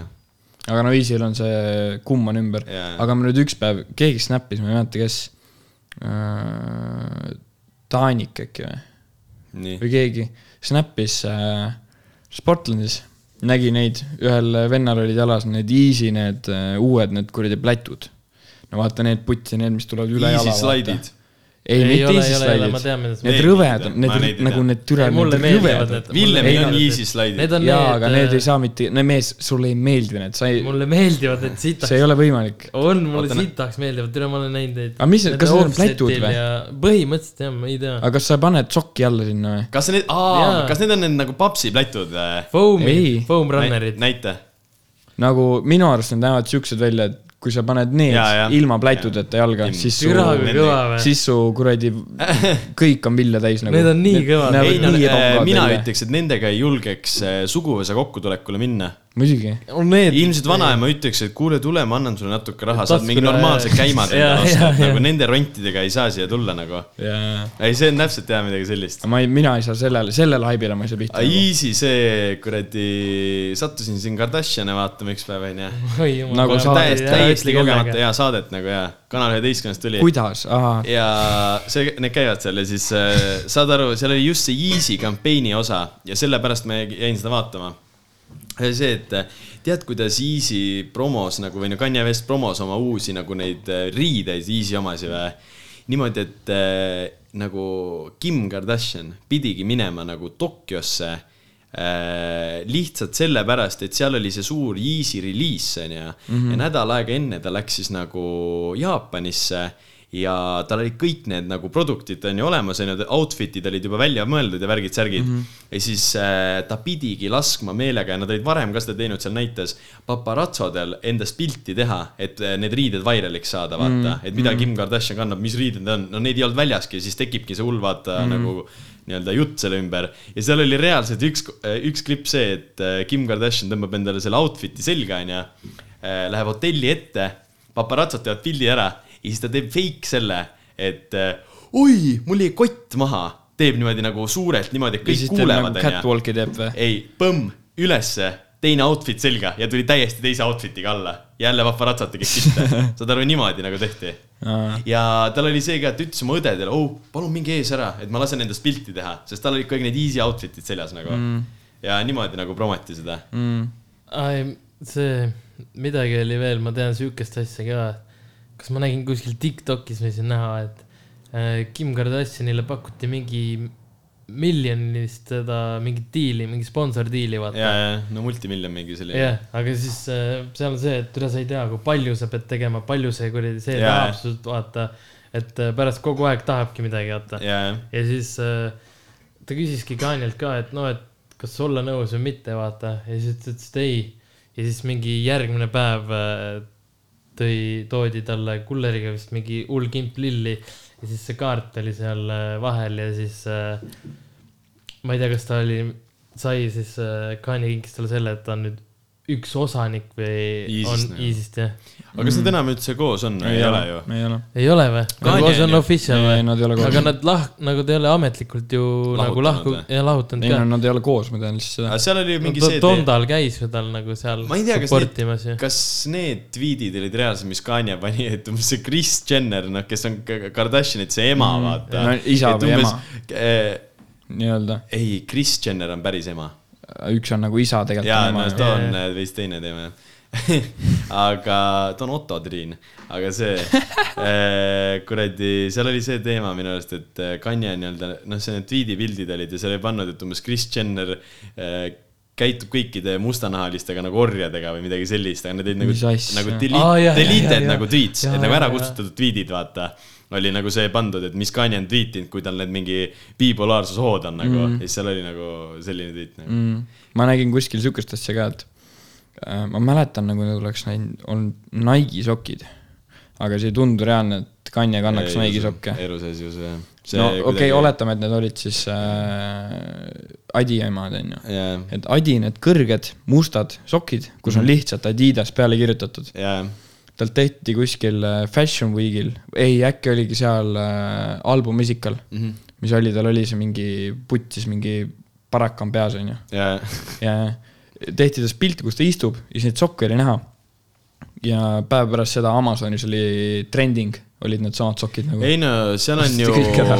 Speaker 1: aga no Easy'l on see kumm on ümber
Speaker 2: Jaa.
Speaker 1: aga ma nüüd üks päev , keegi snappis , ma ei mäleta , kes . Taanik äkki või ,
Speaker 2: nii ,
Speaker 1: või keegi snappis äh, Sportlandis , nägi neid , ühel vennal olid jalas need Easy , need äh, uued , need kuradi plätud . no vaata need putsi , need , mis tulevad üle
Speaker 2: Easy
Speaker 1: jala .
Speaker 2: slaidid ..
Speaker 1: ei ,
Speaker 3: Ei
Speaker 1: mitte
Speaker 3: ole,
Speaker 1: Easy
Speaker 3: ei ole, ei ole, ma tean,
Speaker 1: slaidid
Speaker 3: millest .
Speaker 1: Need
Speaker 2: Need
Speaker 1: rõvedad
Speaker 2: ei , tea. Ma neid
Speaker 1: need
Speaker 2: ei
Speaker 1: nagu
Speaker 2: tea.
Speaker 1: need türa .
Speaker 3: mulle meeldivad need .
Speaker 2: Villemil on
Speaker 1: meeldivad
Speaker 2: Easy slaidid .
Speaker 3: Need on
Speaker 1: jaa , aga need ei
Speaker 3: need ,
Speaker 1: saa mitte , no mees , sulle ei meeldi need , sa ei ,
Speaker 3: mulle meeldivad need sitaks
Speaker 1: see . ei ole võimalik .
Speaker 3: on , mulle
Speaker 2: Vaata, ne-
Speaker 3: sitaks meeldivad , tere , ma olen näinud neid .
Speaker 1: Aga mis need- kas need on plätud või? ?
Speaker 3: põhimõtteliselt jah , ma ei tea .
Speaker 1: aga kas sa paned sokki alla sinna või ?
Speaker 2: kas need , aa
Speaker 3: Jaa. ,
Speaker 2: kas need on need nagu papsiplätud või ?
Speaker 3: Foam'i
Speaker 1: Ei. ,
Speaker 3: foam runner'id .
Speaker 2: näita .
Speaker 1: nagu minu arust need näevad siuksed välja , et kui sa paned need ja,
Speaker 2: Jaa,
Speaker 1: ja.
Speaker 2: jaa.
Speaker 1: ilma plätudeta jalga , siis su ,
Speaker 3: türa kui
Speaker 2: need-
Speaker 3: kõva või ?
Speaker 1: siis su
Speaker 3: [LAUGHS]
Speaker 1: kuradi kõik on vilja täis nagu .
Speaker 3: Need on nii kõvad.
Speaker 1: näevad
Speaker 2: ei äh,
Speaker 3: Ei, no, äh,
Speaker 1: nii ebapagad
Speaker 2: mina
Speaker 1: välja.
Speaker 2: ütleks , et nendega ei julgeks eh, suguvõsa kokkutulekule minna
Speaker 1: muidugi ,
Speaker 3: on need .
Speaker 2: ilmselt vanaema ütleks , et kuule , tule , ma annan sulle natuke raha , saad mingi
Speaker 3: Taskule-
Speaker 2: normaalse käimad
Speaker 3: Jaa,
Speaker 2: endale osta ,
Speaker 3: jaa,
Speaker 2: et
Speaker 3: jaa.
Speaker 2: nagu nende rontidega ei saa siia tulla nagu .
Speaker 1: jaa .
Speaker 2: ei , see on täpselt jah midagi sellist .
Speaker 1: ma ei , mina ei saa sellele , sellele haibile ma ei saa pihta .
Speaker 2: Easy see kuradi , sattusin siin Kardashiane vaatama üks päev onju .
Speaker 1: Nagu
Speaker 3: nagu
Speaker 1: saad-
Speaker 2: täiesti , täiesti kogemata . hea saadet nagu ja , Kanal üheteistkümnest tuli .
Speaker 1: kuidas , ahah ,
Speaker 2: ja see , need käivad seal ja siis äh, saad aru , seal oli just see Easy kampaani osa ja sellepärast ma jäin seda vaatama . see , et äh, tead , kuidas Easy promos nagu või no Kanye West promos oma uusi nagu neid äh, riideid , Easy omasi või ? niimoodi , et äh, nagu Kim Kardashian pidigi minema nagu Tokyosse äh, lihtsalt sellepärast , et seal oli see suur Yeezy reliis , onju . ja nädal aega enne ta läks siis nagu Jaapanisse ja tal olid kõik need nagu produktid on ju olemas , onju , outfit'id olid juba välja mõeldud ja värgid-särgid mm . -hmm. ja siis äh, ta pidigi laskma meelega ja nad olid varem ka seda teinud , seal näitas paparatsodel endast pilti teha , et äh, need riided vairaliks saada , vaata mm . -hmm. et mida Kim Kardashian kannab , mis riided need on , no neid ei olnud väljaski , siis tekibki see hull , vaata mm -hmm. nagu nii-öelda jutt selle ümber ja seal oli reaalselt üks , üks klipp see , et äh, Kim Kardashian tõmbab endale selle outfit'i selga , onju . Läheb hotelli ette , paparatsod teevad pildi ära ja siis ta teeb fake selle , et äh, oi , mul jäi kott maha . teeb niimoodi nagu suurelt niimoodi , et
Speaker 1: ja
Speaker 2: kõik
Speaker 1: siis teeb nagu
Speaker 2: kuulevad , onju .
Speaker 1: catwalk'i teeb või ?
Speaker 2: ei , põmm , ülesse , teine outfit selga ja tuli täiesti teise outfit'iga alla . jälle paparatsod tegid pilte ,
Speaker 1: [LAUGHS]
Speaker 2: saad aru , niimoodi nagu tehti ja tal oli see ka , et ütles oma õdedele , oh , palun minge ees ära , et ma lasen endast pilti teha , sest tal olid kõik need easy outfit'id seljas nagu mm. . ja niimoodi nagu promoti seda .
Speaker 1: Mm.
Speaker 3: see , midagi oli veel , ma tean siukest asja ka . kas ma nägin kuskil Tiktokis , võisin näha , et äh, Kim Kardashianile pakuti mingi miljonist seda mingit diili , mingi sponsordiili , vaata .
Speaker 2: ja , ja , no multimiljon mingi selline
Speaker 3: jah , aga siis äh, seal on see , et üle sa ei tea , kui palju sa pead tegema , palju see kuradi see
Speaker 2: Jaa.
Speaker 3: tahab sult vaata , et äh, pärast kogu aeg tahabki midagi vaata .
Speaker 2: ja , ja ,
Speaker 3: ja siis äh, ta küsiski Kanjalt ka , et noh , et kas olla nõus või mitte , vaata . ja siis ta ütles , et ei . ja siis mingi järgmine päev äh, tõi , toodi talle kulleriga vist mingi hull kimp lilli ja siis see kaart oli seal äh, vahel ja siis äh, ma ei tea , kas ta oli , sai siis äh, Kanye kinkis talle selle , et ta on nüüd üks osanik või
Speaker 2: ISIS-t
Speaker 3: on
Speaker 2: nagu.
Speaker 3: ISIS-t jah ?
Speaker 2: aga kas
Speaker 1: Mm.
Speaker 2: nad enam üldse koos on või ei ole ju ?
Speaker 1: ei ole .
Speaker 3: ei ole või ? nagu see on official
Speaker 1: ei ,
Speaker 3: või ?
Speaker 1: nad ei ole koos
Speaker 3: aga . nad lah- , nagu ta ei ole ametlikult ju nagu
Speaker 2: Lahutanud
Speaker 3: lahku
Speaker 2: või?
Speaker 3: ja lahutanud
Speaker 1: ei no
Speaker 3: ka .
Speaker 1: nad ei ole koos , ma tean lihtsalt
Speaker 2: aga
Speaker 1: seda .
Speaker 2: seal oli ju mingi see tee-
Speaker 3: Tondal käis ju tal nagu seal
Speaker 2: ma ei tea , kas
Speaker 3: support imas ja
Speaker 2: need , kas need tweet'id olid reaalsed , mis Kanye pani , et umbes see Kris Jenner , noh , kes on K- Kardashinite see ema , vaata
Speaker 1: Mm. No isa
Speaker 2: Et
Speaker 1: või
Speaker 2: umbes-
Speaker 1: ema.
Speaker 2: eh,
Speaker 1: nii-öelda .
Speaker 2: ei , Kris Jenner on päris ema .
Speaker 1: üks on nagu isa
Speaker 2: jaa , no
Speaker 1: tegelikult .
Speaker 2: ta on
Speaker 3: Jaa,
Speaker 2: eh, veits teine teema , jah . [LAUGHS] aga ta on Otto Triin , aga
Speaker 3: [LAUGHS]
Speaker 2: see eh, kuradi , seal oli see teema minu arust , et eh, Kanye nii-öelda , noh , see need tweet'i pildid olid ja seal ei pannud , et umbes Kris Jenner eh, käitub kõikide mustanahalistega nagu orjadega või midagi sellist , aga need olid nagu
Speaker 1: Mis , asja?
Speaker 2: nagu
Speaker 3: Aa, jah, jah,
Speaker 2: delete ,
Speaker 3: jah,
Speaker 2: deleted
Speaker 3: jah.
Speaker 2: nagu tweets ,
Speaker 3: Jaa,
Speaker 2: et nagu
Speaker 3: jaa,
Speaker 2: ära
Speaker 3: jaa.
Speaker 2: kustutatud tweet'id , vaata oli nagu see pandud , et mis Kanye on tweetinud , kui tal need mingi bipolaarsushood on nagu
Speaker 3: Mhm.
Speaker 2: mm. ja siis seal oli nagu selline tweet nagu. .
Speaker 1: mm. . ma nägin kuskil sihukest asja ka , et äh, ma mäletan , nagu need oleks näinud , on Nike'i sokid . aga see ei tundu reaalne , et Kanye kannaks
Speaker 2: Ei
Speaker 1: Nike'i
Speaker 2: usu.
Speaker 1: sokke .
Speaker 2: ei usu , ei usu jah .
Speaker 1: no okei okay, , oletame , et need olid siis äh, Adi emad , onju .
Speaker 2: jaa ,
Speaker 1: et Adi need kõrged mustad sokid , kus
Speaker 2: Mhm.
Speaker 1: on lihtsalt Adidas peale kirjutatud .
Speaker 2: jaa ,
Speaker 1: talt tehti kuskil äh, Fashion Weekil , ei äkki oligi seal äh, albumisikal mm , -hmm. mis oli , tal oli see mingi putsis mingi parak on peas , onju .
Speaker 2: jaa .
Speaker 1: ja tehti tast pilti , kus ta istub ja siis neid sokke oli näha . ja päev pärast seda Amazonis oli trending , olid needsamad sokid nagu .
Speaker 2: ei no seal on
Speaker 1: Ostsid
Speaker 2: ju
Speaker 1: kõik ära.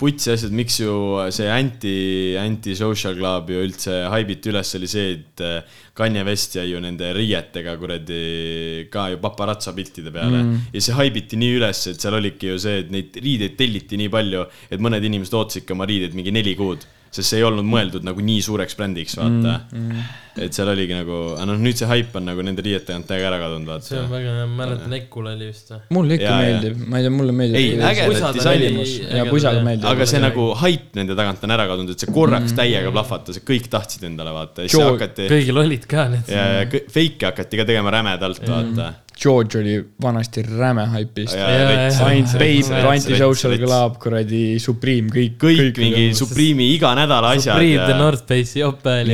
Speaker 2: putsi asjad , miks ju see anti , anti-social club ju üldse haibiti üles , oli see , et eh, Kanye West jäi ju nende riietega kuradi ka ju paparatsa piltide peale mm. . ja see haibiti nii üles , et seal oligi ju see , et neid riideid telliti nii palju , et mõned inimesed ootasidki oma riideid mingi neli kuud sest see ei olnud mõeldud nagu nii suureks brändiks , vaata mm, . Mm. et seal oligi nagu , aga noh , nüüd see haip on nagu nende riiete tagant täiega ära kadunud , vaata .
Speaker 3: see on väga hea , ma mäletan , Ekul oli vist või ?
Speaker 1: mulle ikka
Speaker 2: Jaa,
Speaker 1: ja,
Speaker 2: jaa.
Speaker 1: meeldib , ma ei tea , mulle meeldib .
Speaker 2: Ei, äge- Pusad on
Speaker 1: disainimus ja pusad meeldib .
Speaker 2: aga see nagu haip nende tagant on ära kadunud , et see korraks täiega plahvatas ja kõik tahtsid endale vaata , siis
Speaker 1: Mm. Joo-
Speaker 2: hakati
Speaker 3: kõigil olid ka need .
Speaker 2: ja , ja kõ- fake'e hakati ka tegema rämedalt ,
Speaker 1: Mm.
Speaker 2: vaata .
Speaker 1: George oli vanasti räme haipist .
Speaker 2: Ja, ja,
Speaker 3: ja, ja.
Speaker 1: ainult Babe ,
Speaker 2: rets,
Speaker 3: Rets,
Speaker 1: Antisocial
Speaker 2: rets.
Speaker 1: Club , kuradi Supreme , kõik , nagu
Speaker 2: kõik mingi . Supreme'i iga nädala asjad
Speaker 3: Priit ja
Speaker 2: ja
Speaker 3: North Face'i jope oli .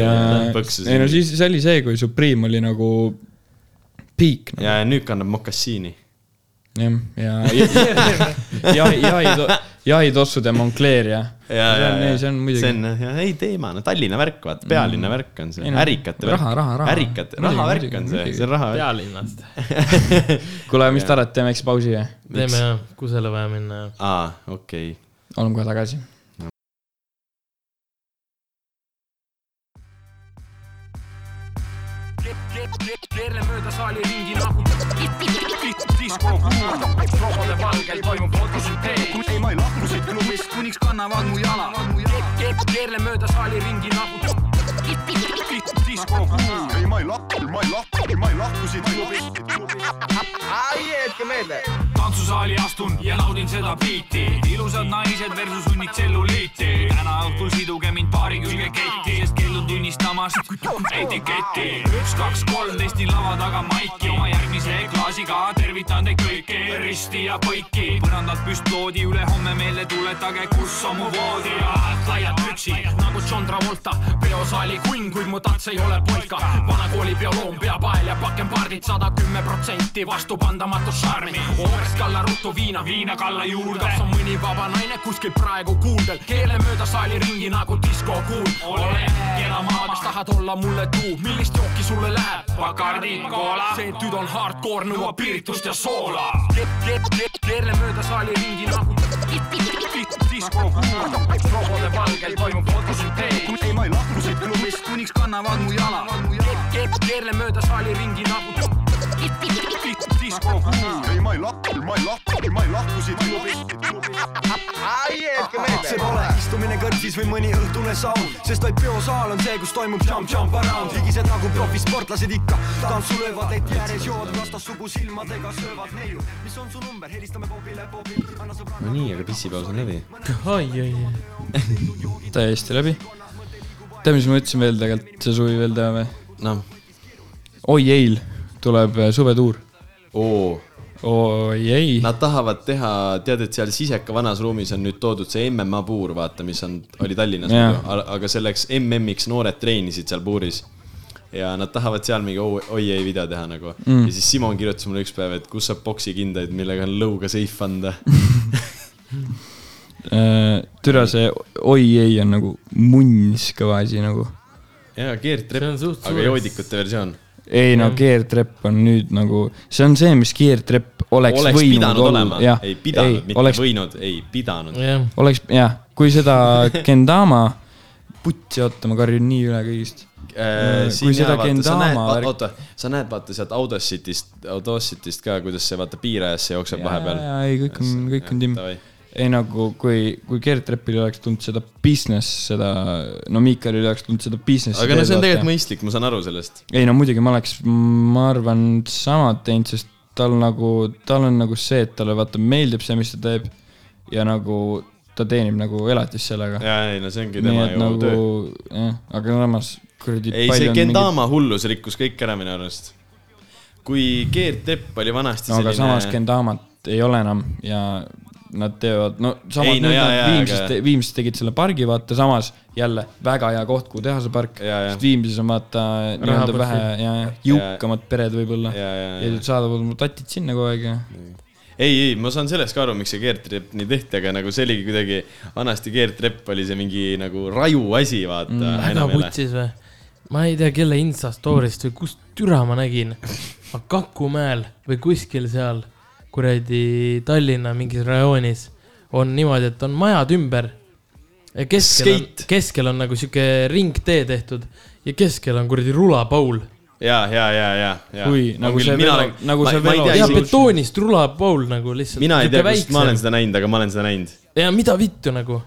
Speaker 2: põksus.
Speaker 1: ei no siis , see oli see , kui Supreme oli nagu peak nagu. .
Speaker 2: ja nüüd kannab mokassiini .
Speaker 1: jah , ja ,
Speaker 2: [LAUGHS]
Speaker 1: ja , ja , ja , jahitossude Moncler ja .
Speaker 2: ja , ja , ja
Speaker 1: see on
Speaker 2: see
Speaker 1: muidugi ,
Speaker 2: on jah , ei teema , no Tallinna värk , vaata , pealinna värk on see
Speaker 1: Ei , no,
Speaker 2: ärikate
Speaker 1: raha, raha, raha.
Speaker 2: ärikate ,
Speaker 1: Muidugi,
Speaker 2: rahavärk
Speaker 1: muidugi,
Speaker 2: on see ,
Speaker 1: muidugi.
Speaker 2: see on rahavärk .
Speaker 3: pealinnast .
Speaker 1: kuule , mis te arvate , teeme väikse pausi ja
Speaker 3: teeme jah , kusele vaja minna jah .
Speaker 2: aa , okei ,
Speaker 1: oleme kohe tagasi .
Speaker 5: keerle mööda saali ringi nagu disko kuul , rohule valgel toimub fotosüntees . ei , ma ei lahku siit klubist , kuniks kannavad mu jala . keerle mööda saali ringi nagu disko kuul .
Speaker 6: ei , ma ei lahku , ma ei lahku , ma ei lahku siit klubist .
Speaker 5: tantsusaali astun ja naudin seda biiti . ilusad naised versus hunnik tselluliiti . täna õhtul siduge mind paari külge ketti , sest keeldun tunnistamast etiketti . üks , kaks , kolm testin lava taga maiki , oma järgmise klaasiga tervitan teid kõiki , risti ja põiki . põrandalt püst loodi , ülehomme meelde tuletage , kus on mu voodi ja laiad püksid nagu John Travolta , peosaali kunn , kuid mu tats ei ole polka . vanakooli bioloom , peapael ja pakempardid sada kümme protsenti vastupandamatu šarmi . Overst kalla ruttu viina , viina kalla juurde . kas on mõni vaba naine kuskil praegu kuuldel , keele mööda saali ringi nagu diskokuul . ole kena maa , kas tahad olla mulle tuu , millist jooki sulle läheb ? Bacardi , koola . see tüd on hardcore , nõuab piiritust ja soola . keerle mööda saali ringi nagu diskokuul , rohule valgel toimub fotosüntees .
Speaker 6: ei , ma ei lahku siit klubist , kuniks kannavad mu jala .
Speaker 5: keerle mööda saali ringi nagu diskokuul .
Speaker 6: ei , ma ei lahku , ma ei lahku , ma ei lahku siit klubist .
Speaker 7: see pole istumine kõrtsis või mõni õhtune saun , sest vaid peosaal on see , kus toimub jump-jump around , higised nagu profisportlased ikka , tantsu löövad neid järjes , joovad vastassugu silmadega , söövad neiu , mis on su number , helistame Bobile , Bobil , anna sõbrale .
Speaker 2: no nii , aga pissipaus on läbi .
Speaker 3: oi , oi , oi .
Speaker 1: täiesti läbi . tead , mis ma ütlesin veel tegelikult , see suvi veel teha või ?
Speaker 2: noh ,
Speaker 1: oi eil tuleb äh, suvetuur .
Speaker 2: oo
Speaker 1: oi ei ,
Speaker 2: Nad tahavad teha , tead , et seal Siseka vanas ruumis on nüüd toodud see MMA puur , vaata , mis on , oli Tallinnas
Speaker 1: Jaa.
Speaker 2: muidu , aga selleks MM-iks noored treenisid seal puuris . ja nad tahavad seal mingi oi- oi ei video teha nagu mm. . ja siis Simon kirjutas mulle üks päev , et kus saab poksikindaid , millega on lõuga seif
Speaker 1: [LAUGHS]
Speaker 2: anda .
Speaker 1: Äh, türa see oi ei on nagu munns kõva asi nagu .
Speaker 2: jaa ,
Speaker 3: see
Speaker 2: keerdtrepp ,
Speaker 3: on suht
Speaker 2: aga
Speaker 3: suur .
Speaker 2: joodikute versioon .
Speaker 1: ei no keertrepp on nüüd nagu , see on see , mis keertrepp oleks,
Speaker 2: oleks
Speaker 1: võinud
Speaker 2: pidanud olema
Speaker 1: olla ,, jah .
Speaker 2: ei pidanud , mitte
Speaker 1: oleks , Mm.
Speaker 2: võinud , ei pidanud .
Speaker 3: jah ,
Speaker 1: oleks jah , kui seda Kendama , putsi oota , ma karjun nii üle kõigist .
Speaker 2: Äh, siin
Speaker 1: seda
Speaker 2: jaa , vaata , sa
Speaker 1: Kendama
Speaker 2: näed ,
Speaker 1: värk-
Speaker 2: oota , sa näed , vaata sealt Audacitist , Audacitist ka , kuidas see vaata piirajasse jookseb vahepeal .
Speaker 1: jaa , ei kõik on , kõik on timm . ei nagu , kui , kui Keertrepil oleks tulnud seda business , seda , no Miikalil oleks tulnud seda business'i .
Speaker 2: aga no see on tegelikult . mõistlik , ma saan aru sellest .
Speaker 1: ei no muidugi ma oleks , ma arvan , samad teinud , sest tal nagu , tal on nagu see , et talle vaata meeldib see , mis ta teeb ja nagu ta teenib nagu elatist sellega .
Speaker 2: jaa , ei no see ongi
Speaker 1: nii
Speaker 2: tema
Speaker 1: et
Speaker 2: ju
Speaker 1: nagu
Speaker 2: töö .,
Speaker 1: jah , aga samas kuradi .
Speaker 2: ei , see Kendama mingit... hullus rikkus kõik ära minu arust . kui Keertrepp oli vanasti
Speaker 1: no aga
Speaker 2: selline
Speaker 1: samas Gendamat ei ole enam ja nad teevad , no samas
Speaker 2: Ei, no
Speaker 1: nüüd
Speaker 2: jaa,
Speaker 1: nad
Speaker 2: jaa,
Speaker 1: Viimsis
Speaker 2: aga-
Speaker 1: aga... , Viimsis tegid selle pargi , vaata samas jälle väga hea koht , kuhu teha see park .
Speaker 2: Jaa, jaa.
Speaker 1: sest Viimsis on vaata nii-öelda vähe ja ja jõukamad pered võib-olla
Speaker 2: Jaa, jaa,
Speaker 1: ja
Speaker 2: jaa.
Speaker 1: nüüd saadavad oma tatid sinna kogu aeg ja .
Speaker 2: ei , ei , ma saan sellest ka aru , miks see keertrepp nii tehti , aga nagu see oligi kuidagi , vanasti keertrepp oli see mingi nagu raju asi , vaata mm, .
Speaker 3: väga putsis või ? ma ei tea , kelle Insta story'st või kust türa ma nägin , aga Kakumäel või kuskil seal kuradi Tallinna mingis rajoonis on niimoodi , et on majad ümber . keskel on ,
Speaker 2: Skate.
Speaker 3: keskel on nagu sihuke ringtee tehtud ja keskel on kuradi rulapaul
Speaker 2: ja , ja , ja , ja , ja .
Speaker 1: Kui, nagu see velo- nagu see velo-
Speaker 3: ja
Speaker 1: Ei, see-
Speaker 3: betoonist rulapaul nagu lihtsalt .
Speaker 2: mina ei tea , kust ma olen seda näinud , aga ma olen seda näinud .
Speaker 3: ja mida vittu nagu .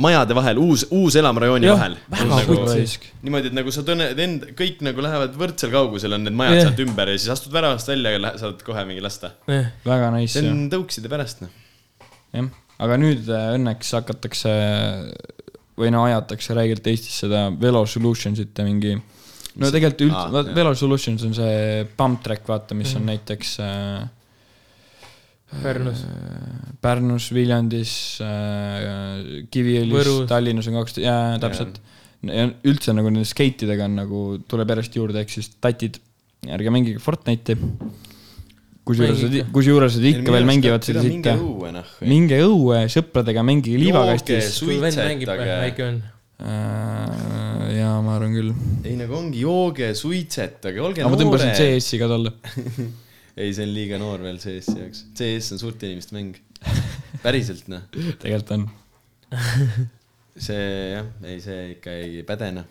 Speaker 2: majade vahel , uus , uus elamrajooni
Speaker 3: Jah,
Speaker 2: vahel . nagu
Speaker 3: väga putsi.
Speaker 2: niimoodi , et nagu sa tunned , et end , kõik nagu lähevad võrdsel kaugusel on need majad
Speaker 3: Jah.
Speaker 2: yeah. sealt ümber ja siis astud väravast välja ja lä- saad kohe mingi lasta .
Speaker 1: väga nice
Speaker 2: see
Speaker 1: ja.
Speaker 2: on tõukside pärast , noh .
Speaker 1: jah , aga nüüd äh, õnneks hakatakse või no ajatakse räigelt Eestis seda Velo Solutions'it ja mingi no tegelikult üld-
Speaker 2: Aa,
Speaker 1: ah, , Velo Solutions on see pump track , vaata , mis on näiteks äh,
Speaker 3: Pärnus .
Speaker 1: Pärnus , Viljandis äh, , Kiviõlis
Speaker 3: Võrus. ,
Speaker 1: Tallinnas on kaks , jaa , täpselt . ja üldse nagu nende skeitidega on nagu , tuleb järjest juurde , ehk siis tatid , ärge mängige Fortnite'i . kusjuures
Speaker 3: Mängige. ,
Speaker 1: kusjuures nad ikka veel mängivad seda sitta . minge õue sõpradega , mängige liivakastis .
Speaker 3: kui vend mängib , väike on .
Speaker 1: Äh, jaa , ma arvan küll .
Speaker 2: ei nagu ongi , jooge , suitsetage , olge
Speaker 1: aga ma tõmbasin
Speaker 2: noored .
Speaker 1: CS-i ka talle .
Speaker 2: ei , see on liiga noor veel CS-i jaoks . CS on suurte inimeste mäng .
Speaker 1: [LAUGHS]
Speaker 2: päriselt noh ,
Speaker 1: tegelikult on .
Speaker 2: see jah , ei see ikka ei päde noh .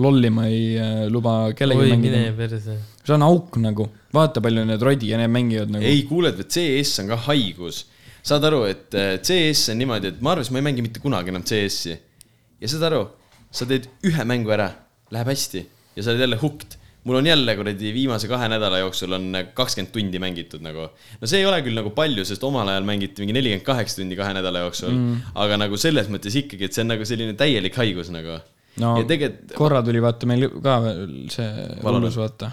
Speaker 1: lolli ma ei äh, luba kellelgi
Speaker 3: oi , mine
Speaker 1: mängida .
Speaker 3: perse .
Speaker 1: see on auk nagu , vaata palju need rodi ja need mängivad nagu .
Speaker 2: ei , kuuled , et CS on ka haigus . saad aru , et äh, CS on niimoodi , et ma arvasin , ma ei mängi mitte kunagi enam CS-i . ja saad aru , sa teed ühe mängu ära , läheb hästi ja sa oled jälle hooked mul on jälle kuradi viimase kahe nädala jooksul on äh, kakskümmend tundi mängitud nagu . no see ei ole küll nagu palju , sest omal ajal mängiti mingi nelikümmend kaheksa tundi kahe nädala jooksul mm. . aga nagu selles mõttes ikkagi , et see on nagu selline täielik haigus nagu
Speaker 1: no
Speaker 2: ja tegelikult
Speaker 1: korra tuli vaata meil ka veel see hullus , vaata .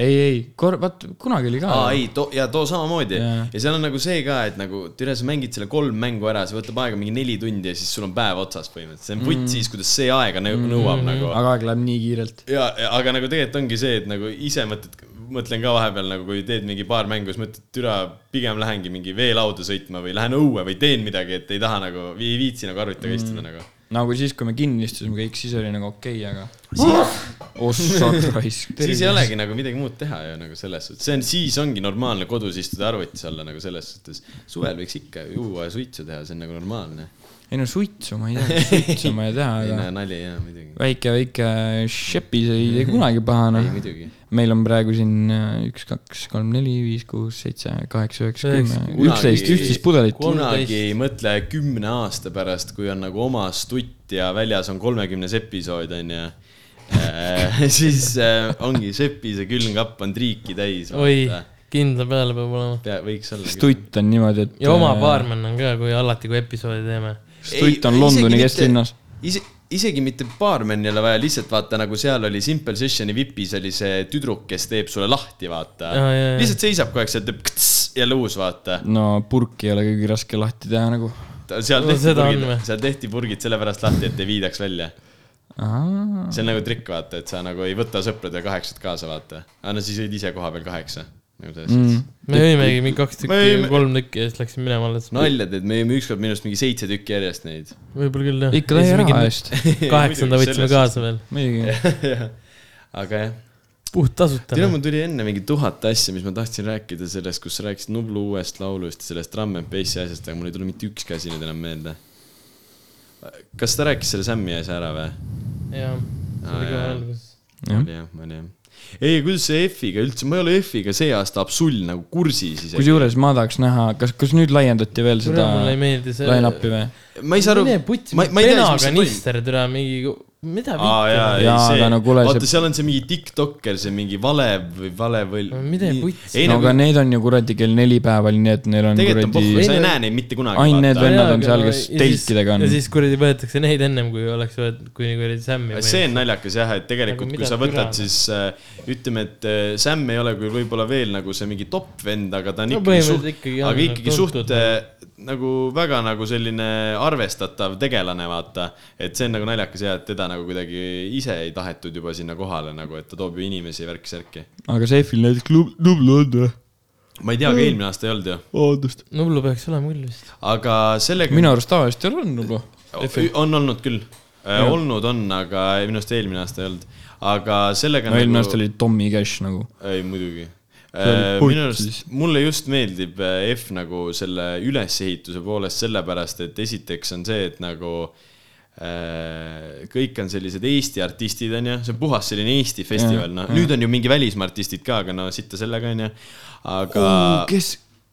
Speaker 1: ei , ei , kor- , vaata kunagi oli ka .
Speaker 2: aa ei , too ja too samamoodi
Speaker 1: Jaa.
Speaker 2: yeah. ja seal on nagu see ka , et nagu tere , sa mängid selle kolm mängu ära , see võtab aega mingi neli tundi ja siis sul on päev otsas põhimõtteliselt , see on vutt siis , kuidas see aega nõu- nõuab mm -hmm. nagu .
Speaker 1: aga aeg läheb nii kiirelt .
Speaker 2: ja , aga nagu tegelikult ongi see , et nagu ise mõtled , mõtlen ka vahepeal nagu , kui teed mingi paar mängu , siis mõtled , türa , pigem lähengi mingi veelauda sõitma või lähen õue või teen midagi , et ei taha nagu , ei viitsi nagu arvutiga mm. istuda nagu .
Speaker 1: nagu siis , kui me kinni istusime kõik , siis oli nagu okei okay, , aga . ossa
Speaker 2: [LAUGHS]
Speaker 1: raisk .
Speaker 2: siis ei olegi nagu midagi muud teha ju nagu selles suhtes , see on , siis ongi normaalne kodus istuda arvutis olla nagu selles suhtes . suvel võiks ikka juua ja suitsu teha , see on nagu normaalne
Speaker 1: ei no suitsu ma ei tea , suitsu ma ei tea ,
Speaker 2: ei
Speaker 1: aga
Speaker 2: no nali jaa , muidugi .
Speaker 1: väike , väike šepis ei tee kunagi paha ,
Speaker 2: ei
Speaker 1: noh .
Speaker 2: muidugi .
Speaker 1: meil on praegu siin äh, üks , kaks , kolm , neli , viis , kuus , seitse , kaheksa , üheksa , kümme ,
Speaker 3: Üheksa.
Speaker 1: üksteist , üksteist pudelit .
Speaker 2: kunagi ei mõtle kümne aasta pärast , kui on nagu oma stutt ja väljas on kolmekümnes episood , onju . siis äh, [LAUGHS] ongi sepi see külmkapp on triiki täis .
Speaker 3: oi , kindla peale peab olema .
Speaker 2: võiks olla .
Speaker 1: stutt on niimoodi , et .
Speaker 3: ja oma . baarmen on ka , kui alati , kui episoodi teeme .
Speaker 1: stutt on Londoni kesklinnas ..
Speaker 2: ise , isegi mitte baarmen ei ole vaja , lihtsalt vaata nagu seal oli Simple Sessioni vipis oli see tüdruk , kes teeb sulle lahti , vaata
Speaker 3: Jaa, jaa, jaa. .
Speaker 2: lihtsalt seisab kogu aeg seal , teeb kts jälle uus , vaata .
Speaker 1: no purki ei ole kõige raske lahti teha nagu .
Speaker 2: seal
Speaker 3: No
Speaker 2: tehti
Speaker 3: seda on
Speaker 2: purgid
Speaker 3: või? ,
Speaker 2: seal tehti purgid sellepärast lahti , et ei viidaks välja . see on nagu trikk , vaata , et sa nagu ei võta sõpradele kaheksat kaasa , vaata . aga no siis jõid ise koha peal kaheksa . nagu selles mm.
Speaker 1: Mm.
Speaker 2: suhtes .
Speaker 3: me jõimegi mingi kaks tükki
Speaker 2: Me jõime- ,
Speaker 3: kolm tükki ja siis läksime minema alles .
Speaker 2: nalja teed , me jõime ükskord minu arust mingi seitse tükki järjest neid . [LAUGHS]
Speaker 3: võib-olla küll jah .
Speaker 1: ikka täie raha . eest .
Speaker 3: kaheksanda
Speaker 2: Muidugi,
Speaker 3: võtsime
Speaker 2: sellest-
Speaker 3: kaasa veel ,
Speaker 1: muidugi .
Speaker 3: [LAUGHS]
Speaker 2: aga jah ,
Speaker 3: puht tasuta .
Speaker 2: tead , mul tuli enne mingi tuhat asja , mis ma tahtsin rääkida sellest , kus sa rääkisid Nublu uuest laulust ja sellest Drum and Bassi asjast , aga mul ei tule mitte ükski asi nüüd enam meelde . kas ta rääkis selle Sammi asja ära või ?
Speaker 3: jah , see
Speaker 2: Aa,
Speaker 3: oli kohe
Speaker 2: jaa.
Speaker 3: alguses .
Speaker 1: Jah.
Speaker 2: oli jah , oli jah . ei , kuidas see F-iga üldse , ma ei ole F-iga see aasta absol nagu kursis isegi .
Speaker 1: kusjuures ma tahaks näha , kas , kas nüüd laiendati veel seda
Speaker 3: türa , mulle ei meeldi see .
Speaker 1: line-up'i või ?
Speaker 2: ma ei saa aru .
Speaker 3: mine putsi , penakanister türa mingi , mida
Speaker 2: aa nagu- jaa ,
Speaker 3: vittu .
Speaker 2: ei
Speaker 1: Jaa,
Speaker 2: see
Speaker 1: aga , no kuule,
Speaker 2: vaata
Speaker 1: see-
Speaker 2: seal on see mingi tiktokker , see mingi valev või valevõl- .
Speaker 3: No mida putsi?
Speaker 2: ei
Speaker 1: no
Speaker 2: no
Speaker 1: aga
Speaker 2: aga
Speaker 1: need on ju kuradi kell neli päeval , nii et neil on
Speaker 2: tegelikult on pohhu ,
Speaker 1: kuradi
Speaker 2: sa
Speaker 3: Ei,
Speaker 2: ei
Speaker 3: no-
Speaker 2: näe neid mitte kunagi .
Speaker 1: Ainult need vennad on
Speaker 3: aga
Speaker 1: seal, kes
Speaker 3: ja siis-
Speaker 1: telkidega on.
Speaker 3: ja siis kuradi võetakse neid ennem , kui oleks võetud , kui kuradi sämmi .
Speaker 2: see on naljakas jah , et tegelikult
Speaker 3: Nagu
Speaker 2: kui
Speaker 3: mida
Speaker 2: sa võtad ,
Speaker 3: türa-
Speaker 2: siis äh, ütleme , et äh, Sam ei ole küll võib-olla veel nagu see mingi top vend , aga ta on
Speaker 3: No
Speaker 2: ikkagi
Speaker 3: põhimõtteliselt
Speaker 2: suht
Speaker 3: ikkagi , on
Speaker 2: aga ikkagi
Speaker 3: tuntud
Speaker 2: suht äh, nagu väga nagu selline arvestatav tegelane , vaata . et see on nagu naljakas ja et teda nagu kuidagi ise ei tahetud juba sinna kohale nagu , et ta toob ju inimesi värki-särki .
Speaker 1: aga Seifil näiteks klub , klubl on või ?
Speaker 2: ma ei tea ,
Speaker 1: Mm.
Speaker 2: aga eelmine aasta ei olnud ju ,
Speaker 1: vabandust .
Speaker 3: Nublu peaks olema küll vist .
Speaker 2: aga sellega
Speaker 1: minu arust tavaliselt ei ole olnud nagu. juba .
Speaker 2: Ü- on olnud küll , olnud on , aga minu arust eelmine aasta ei olnud , aga sellega nagu
Speaker 1: no eelmine aasta oli Tommy Cash nagu .
Speaker 2: ei muidugi .
Speaker 1: oli putt
Speaker 2: minu
Speaker 1: siis.
Speaker 2: arust , mulle just meeldib äh, F nagu selle ülesehituse poolest sellepärast , et esiteks on see , et nagu äh, kõik on sellised Eesti artistid , onju , see on puhas selline Eesti festival , noh , nüüd on ju mingi välismaa artistid ka , aga no sitta sellega , onju . aga
Speaker 1: kes ,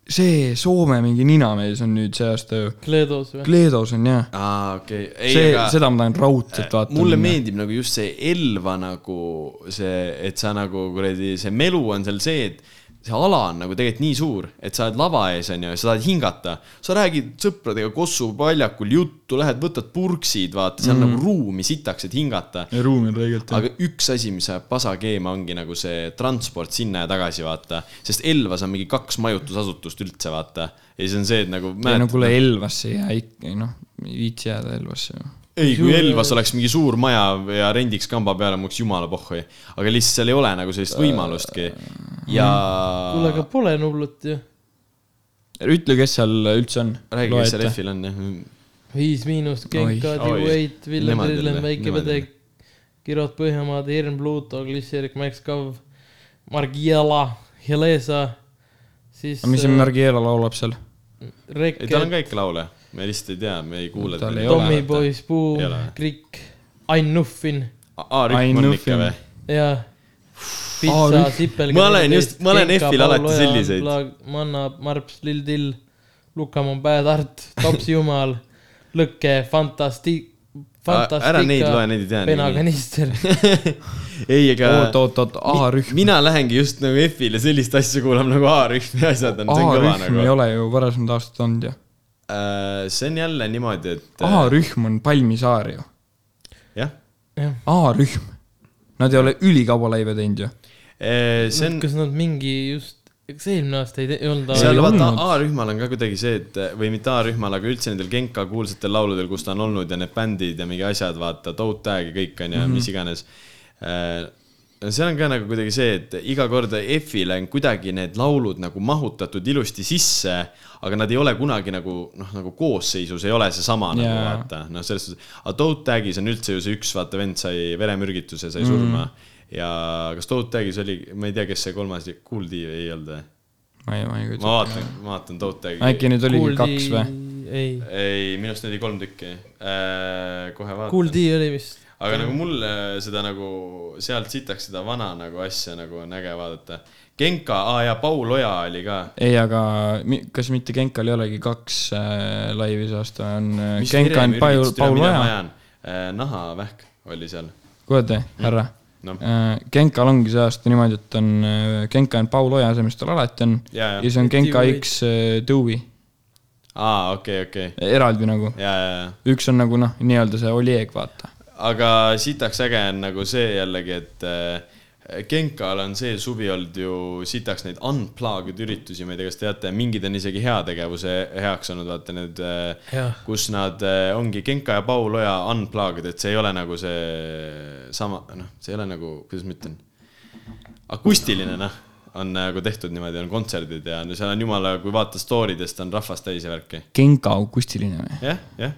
Speaker 1: see Soome mingi ninamees on nüüd see aasta ju .
Speaker 3: Kleedos või ?
Speaker 1: Kleedos on jah .
Speaker 2: aa , okei .
Speaker 1: see , seda ma tahan raudselt vaata .
Speaker 2: mulle . meeldib nagu just see Elva nagu see , et sa nagu kuradi , see melu on seal see , et see ala on nagu tegelikult nii suur , et sa oled lava ees , onju , sa tahad hingata . sa räägid sõpradega Kossu väljakul juttu , lähed võtad purksid , vaata , seal on mm. nagu ruumi sitaks , et hingata .
Speaker 1: ruum on reegelt jah .
Speaker 2: aga üks asi , mis ajab pasa keema , ongi nagu see transport sinna ja tagasi , vaata . sest Elvas on mingi kaks majutusasutust üldse , vaata . ja siis on see , et nagu
Speaker 1: ei no
Speaker 2: mäletad ,
Speaker 1: kuule , Elvasse ei jää ikka , noh , ei viitsi jääda Elvasse noh. ju .
Speaker 2: ei , kui Elvas oleks mingi suur maja ja rendiks kamba peale , ma oleks jumala pohhu . aga lihtsalt seal ei ole nagu sellist võimalustki . ja
Speaker 3: kuule , aga pole Nublut ju .
Speaker 1: ütle , kes seal üldse on .
Speaker 2: räägi , kes seal F-il on , jah .
Speaker 3: Viis Miinus ,
Speaker 1: Oi.
Speaker 3: Genk ,
Speaker 2: Oi.
Speaker 3: Kadi , Wait , Villem
Speaker 2: Nemad
Speaker 3: Rillen
Speaker 2: jälle, ,
Speaker 3: Väike
Speaker 2: nemad
Speaker 3: Pede , Kirot Põhjamaad , Irm Pluto , Glissierik , Max Kav , Margiela , Helesa , siis äh,
Speaker 1: aga mis see Margiela laulab seal ?
Speaker 2: ei , tal
Speaker 3: Reke
Speaker 2: on , ka ikka laule . me lihtsalt ei tea , me ei kuule
Speaker 1: Tal ei
Speaker 3: Tommy . Boys , Boom
Speaker 2: Ei ole või? ,
Speaker 3: Krikk , Ain Nuffin
Speaker 2: aa , rühm on ikka või ?
Speaker 3: ja Pitsa
Speaker 1: rühm. ,
Speaker 3: Sipel .
Speaker 2: Ma olen just- ma olen F-il alati selliseid.
Speaker 3: Manna , Marps , Lill Till , Lukamaa , Päätart , Topsi Jumal , Lõkke , Fantastik- , Fantastika .
Speaker 2: ära neid loe , neid ei tea .
Speaker 3: penaganister .
Speaker 2: ei , ega .
Speaker 1: oot , oot , oot , A-rühm .
Speaker 2: mina lähengi just nagu F-ile sellist asja kuulama nagu A-rühm ja asjad on , see on kõva
Speaker 1: A-rühm ei
Speaker 2: nagu .
Speaker 1: ole ju varasemad aastad olnud ju .
Speaker 2: see on jälle niimoodi , et .
Speaker 1: A-rühm on Palmisaar ju .
Speaker 2: jah ,
Speaker 3: jah ,
Speaker 1: A-rühm . Nad ei ole ülikaua laive teinud ju .
Speaker 2: [LAUGHS] Äh, see on .
Speaker 3: kas nad mingi just , kas eelmine aasta ei, te- ei olnud
Speaker 2: seal
Speaker 1: ei
Speaker 2: vaata
Speaker 1: olnud.
Speaker 2: A-rühmal on ka kuidagi see , et või mitte A-rühmal , aga üldse nendel Genka kuulsatel lauludel , kus ta on olnud ja need bändid ja mingi asjad , vaata , Toad Tag ja kõik on ju ,
Speaker 1: Mhm.
Speaker 2: mis iganes . seal on ka nagu kuidagi see , et iga kord F-ile on kuidagi need laulud nagu mahutatud ilusti sisse , aga nad ei ole kunagi nagu noh , nagu koosseisus ei ole seesama yeah. nagu
Speaker 1: Jaa.
Speaker 2: vaata , noh , selles suhtes . aga Toad Tagis on üldse ju see üks , vaata , vend sai veremürgituse , sai
Speaker 1: Mhm.
Speaker 2: surma ja kas Toad Tagis oli , ma ei tea , kes see kolmas , Kuuldi ei olnud või ?
Speaker 1: ma ei , ma ei
Speaker 2: ma
Speaker 1: kujuta
Speaker 2: vaatan , ma vaatan Tootegi .
Speaker 1: äkki nüüd oligi kaks või ??
Speaker 3: ei ,
Speaker 2: ei , minu arust neid oli kolm tükki äh, . kohe vaatan
Speaker 3: Kuuldi oli vist .
Speaker 2: aga nagu mulle seda nagu sealt sitaks seda vana nagu asja nagu on äge vaadata . Genka , aa ja Paul Oja oli ka .
Speaker 1: ei , aga mi- kas mitte Genkal ei olegi kaks äh, laivi see aasta , on äh,
Speaker 2: Mis
Speaker 1: Genka on
Speaker 2: veremürgitust
Speaker 1: Paul , Paul
Speaker 2: üle mina
Speaker 1: Oja .
Speaker 2: vajan? Äh, nahavähk oli seal .
Speaker 1: kuulete , härra ? Äh,
Speaker 2: noh ,
Speaker 1: Genkal ongi see aasta niimoodi , et on äh, Genka on Paul Oja , see , mis tal alati on .
Speaker 2: ja ,
Speaker 1: ja
Speaker 2: ja ,
Speaker 1: siis on Genka
Speaker 3: Dewey.
Speaker 1: X äh, Dewey ,
Speaker 2: aa okei , okei ,
Speaker 1: eraldi nagu .
Speaker 2: ja , ja , ja
Speaker 1: üks on nagu noh , nii-öelda see Oleg , vaata .
Speaker 2: aga sitaks äge on nagu see jällegi , et äh, Genkal on see suvi olnud ju sitaks neid unplugged üritusi , ma ei tea , kas teate , mingid on isegi heategevuse heaks olnud , vaata need ,
Speaker 3: Jah.
Speaker 2: kus nad äh, ongi Genka ja Paul Oja unplugged , et see ei ole nagu see sama , noh , see ei ole nagu , kuidas ma ütlen , akustiline , noh , on nagu tehtud niimoodi , on kontserdid ja no seal on jumala , kui vaata story dest on rahvast täis ja värki .
Speaker 1: Genka akustiline või ?
Speaker 2: jah , jah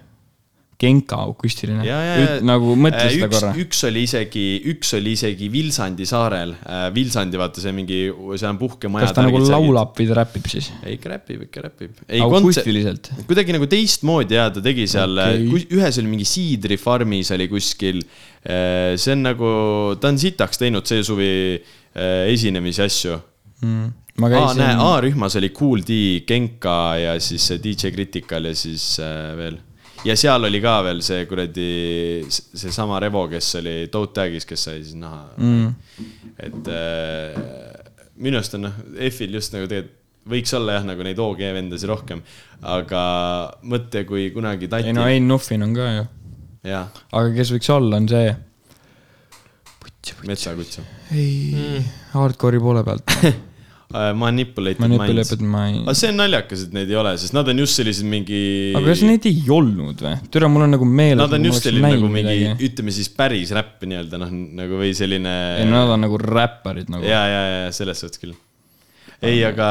Speaker 1: Genka akustiline
Speaker 2: ja , ja , ja .
Speaker 1: nagu mõtle seda korra .
Speaker 2: Äh, üks oli isegi , üks oli isegi Vilsandi saarel . Vilsandi , vaata see mingi , seal on puhkemaja .
Speaker 1: kas ta nagu laulab või ta räpib siis ?
Speaker 2: ei , ikka räpib , ikka räpib .
Speaker 1: akustiliselt ?
Speaker 2: kuidagi nagu teistmoodi ja ta tegi seal okay. , ühes oli mingi siidrifarmis oli kuskil . see on nagu , ta on sitaks teinud see suvi eh, esinemisi asju .
Speaker 1: ma
Speaker 2: aa ,
Speaker 1: käisin
Speaker 2: näe , A-rühmas oli Kool D , Genka ja siis see DJ Critical ja siis äh, veel . ja seal oli ka veel see kuradi , seesama Revo , kes oli Toad Tag'is , kes sai siis naha mm. . et äh, minu arust on noh , EF-il just nagu tegelikult võiks olla jah , nagu neid OG vendasid rohkem , aga mõtle , kui kunagi tati
Speaker 1: ei , no Ain Nuffin on ka ju .
Speaker 2: jah ,
Speaker 1: aga kes võiks olla , on see .
Speaker 2: metsakutsu . Mm.
Speaker 1: ei , hardcore'i poole
Speaker 2: [LAUGHS]
Speaker 1: pealt .
Speaker 2: Äh, Manipulated
Speaker 1: ma nüüd küll
Speaker 2: Minds .
Speaker 1: lõpetan , ma ei .
Speaker 2: aga see on naljakas , et neid ei ole , sest nad on just sellised mingi .
Speaker 1: aga kas neid ei olnud või ? türa , mul on nagu meeles .
Speaker 2: Nad on just selline nagu mingi ,. ütleme siis päris räpp nii-öelda noh , nagu või selline .
Speaker 1: ei ,
Speaker 2: ja ,
Speaker 1: nad on nagu räpparid nagu .
Speaker 2: ja , ja selles suhtes küll .
Speaker 1: Äh,
Speaker 2: ei , aga .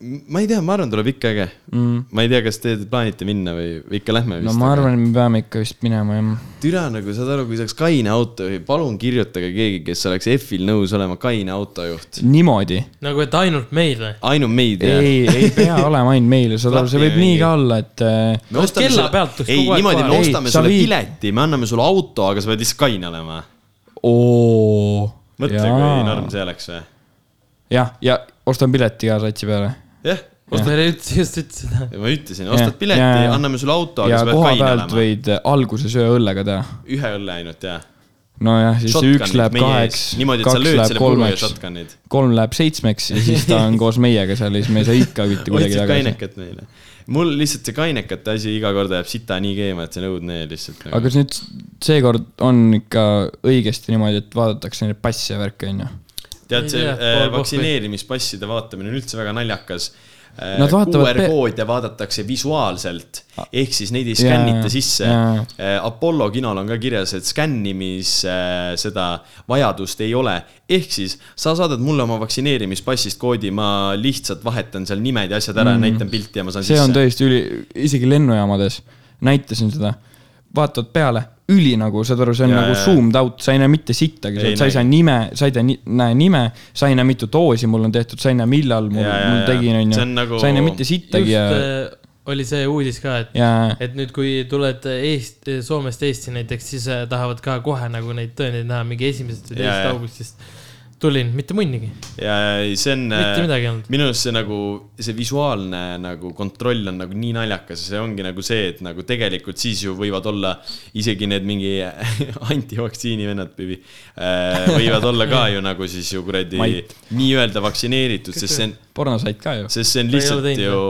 Speaker 2: ma ei tea , ma arvan , tuleb ikka äge mm. . ma ei tea , kas te plaanite minna või või ikka lähme vist
Speaker 1: no . ma arvan , et me peame ikka vist minema jah .
Speaker 2: türa nagu saad aru , kui see oleks kaine autojuht , palun kirjutage keegi , kes oleks F-il nõus olema kaine autojuht .
Speaker 1: niimoodi .
Speaker 3: nagu , et ainult meil või ?
Speaker 2: ainult meid jah
Speaker 1: ei , ei
Speaker 2: [LAUGHS]
Speaker 1: pea olema ainult meil , saad aru , see võib
Speaker 2: Klapime
Speaker 1: nii
Speaker 2: mingi.
Speaker 1: ka olla , et äh,
Speaker 2: me ostame
Speaker 3: kella
Speaker 2: sulle
Speaker 3: pealt , tuleks
Speaker 2: ei
Speaker 3: kogu aeg
Speaker 2: niimoodi , me
Speaker 3: kohe-
Speaker 1: Ei,
Speaker 2: ostame
Speaker 1: sa
Speaker 2: sulle
Speaker 1: viid-
Speaker 2: pileti , me anname sulle auto , aga sa pead lihtsalt kaine olema .
Speaker 1: oo .
Speaker 2: mõtle , kui norm see oleks või ?
Speaker 1: jah , ja ostan pileti ka satsi peale .
Speaker 2: jah ,
Speaker 3: oota , just , just ütles seda .
Speaker 2: Ja ma ütlesin , ostad
Speaker 1: Jah,
Speaker 2: pileti
Speaker 1: jah, , jah.
Speaker 2: anname sulle auto , aga
Speaker 1: ja
Speaker 2: sa pead
Speaker 1: koha
Speaker 2: kaine
Speaker 1: pealt
Speaker 2: olema .
Speaker 1: võid alguses ühe õllega teha .
Speaker 2: ühe õlle ainult , jah .
Speaker 1: nojah , siis see üks läheb kaheks ,
Speaker 2: niimoodi , et sa
Speaker 1: kaks
Speaker 2: lööd
Speaker 1: läheb
Speaker 2: selle puru ja
Speaker 1: kolmeks ,
Speaker 2: shotgun'id .
Speaker 1: kolm läheb seitsmeks ja siis
Speaker 2: [LAUGHS]
Speaker 1: ta on koos meiega seal ja siis me ei saa ikka mitte kuidagi
Speaker 2: hoidsid
Speaker 1: tagasi .
Speaker 2: kainekat meile . mul lihtsalt see kainekate asi iga kord ajab sita nii keema , et see on õudne lihtsalt
Speaker 1: aga
Speaker 2: nagu. .
Speaker 1: kas nüüd seekord on ikka õigesti niimoodi , et vaadatakse neid passe ja värke , onju ?
Speaker 2: tead , see
Speaker 3: Ei tea,
Speaker 2: äh,
Speaker 3: pool
Speaker 2: vaktsineerimispasside vaatamine on üldse väga naljakas .
Speaker 1: Nad vaatavad pe-
Speaker 2: QR-koode vaadatakse visuaalselt , ehk siis neid ei
Speaker 1: Jaa,
Speaker 2: skännita
Speaker 1: jaa,
Speaker 2: sisse
Speaker 1: jaa. .
Speaker 2: Äh, Apollo kinol on ka kirjas , et skännimis äh, seda vajadust ei ole . ehk siis sa saadad mulle oma vaktsineerimispassist koodi , ma lihtsalt vahetan seal nimed ja asjad ära mm. , näitan pilti ja ma saan
Speaker 1: see on
Speaker 2: sisse .
Speaker 1: tõesti üli , isegi lennujaamades näitasin seda , vaatavad peale , üli nagu , saad aru , see on
Speaker 2: Jaa,
Speaker 1: ja, nagu
Speaker 2: jaa.
Speaker 1: zoomed out , sa ei näe mitte sittagi
Speaker 2: Ei ,
Speaker 1: sa ei
Speaker 2: näe.
Speaker 1: saa nime , sa ei tea ni- näe nime , sa ei näe mitu doosi mul on tehtud , sa ei näe , millal mul,
Speaker 2: Jaa, jaa,
Speaker 1: mul
Speaker 2: jaa.
Speaker 1: tegin ,
Speaker 2: See
Speaker 1: onju
Speaker 2: on . nagu- äh,
Speaker 1: sa ei näe mitte sittagi
Speaker 3: just
Speaker 1: ja ,
Speaker 3: äh, oli see uudis ka , et ,
Speaker 1: ja ,
Speaker 3: et nüüd , kui tuled Eest- , Soomest Eesti näiteks , siis äh, tahavad ka kohe nagu neid tõendeid näha , mingi esimesest või
Speaker 2: Jaa,
Speaker 3: teisest
Speaker 2: jaa.
Speaker 3: augustist . tulin , mitte mõnigi ,
Speaker 2: ja ei, see on .
Speaker 3: mitte midagi ei olnud .
Speaker 2: minu arust see nagu , see visuaalne nagu kontroll on nagu nii naljakas ja see ongi nagu see , et nagu tegelikult siis ju võivad olla isegi need mingi [LAUGHS] antivaktsiini vennad , Pivi . võivad olla ka ju nagu siis ju kuradi
Speaker 1: Mait.
Speaker 2: nii-öelda vaktsineeritud , sest see on ,
Speaker 1: pornosaid ka ju .
Speaker 2: sest see on
Speaker 3: Ta ei ole
Speaker 2: lihtsalt
Speaker 3: teinud,
Speaker 2: ju ,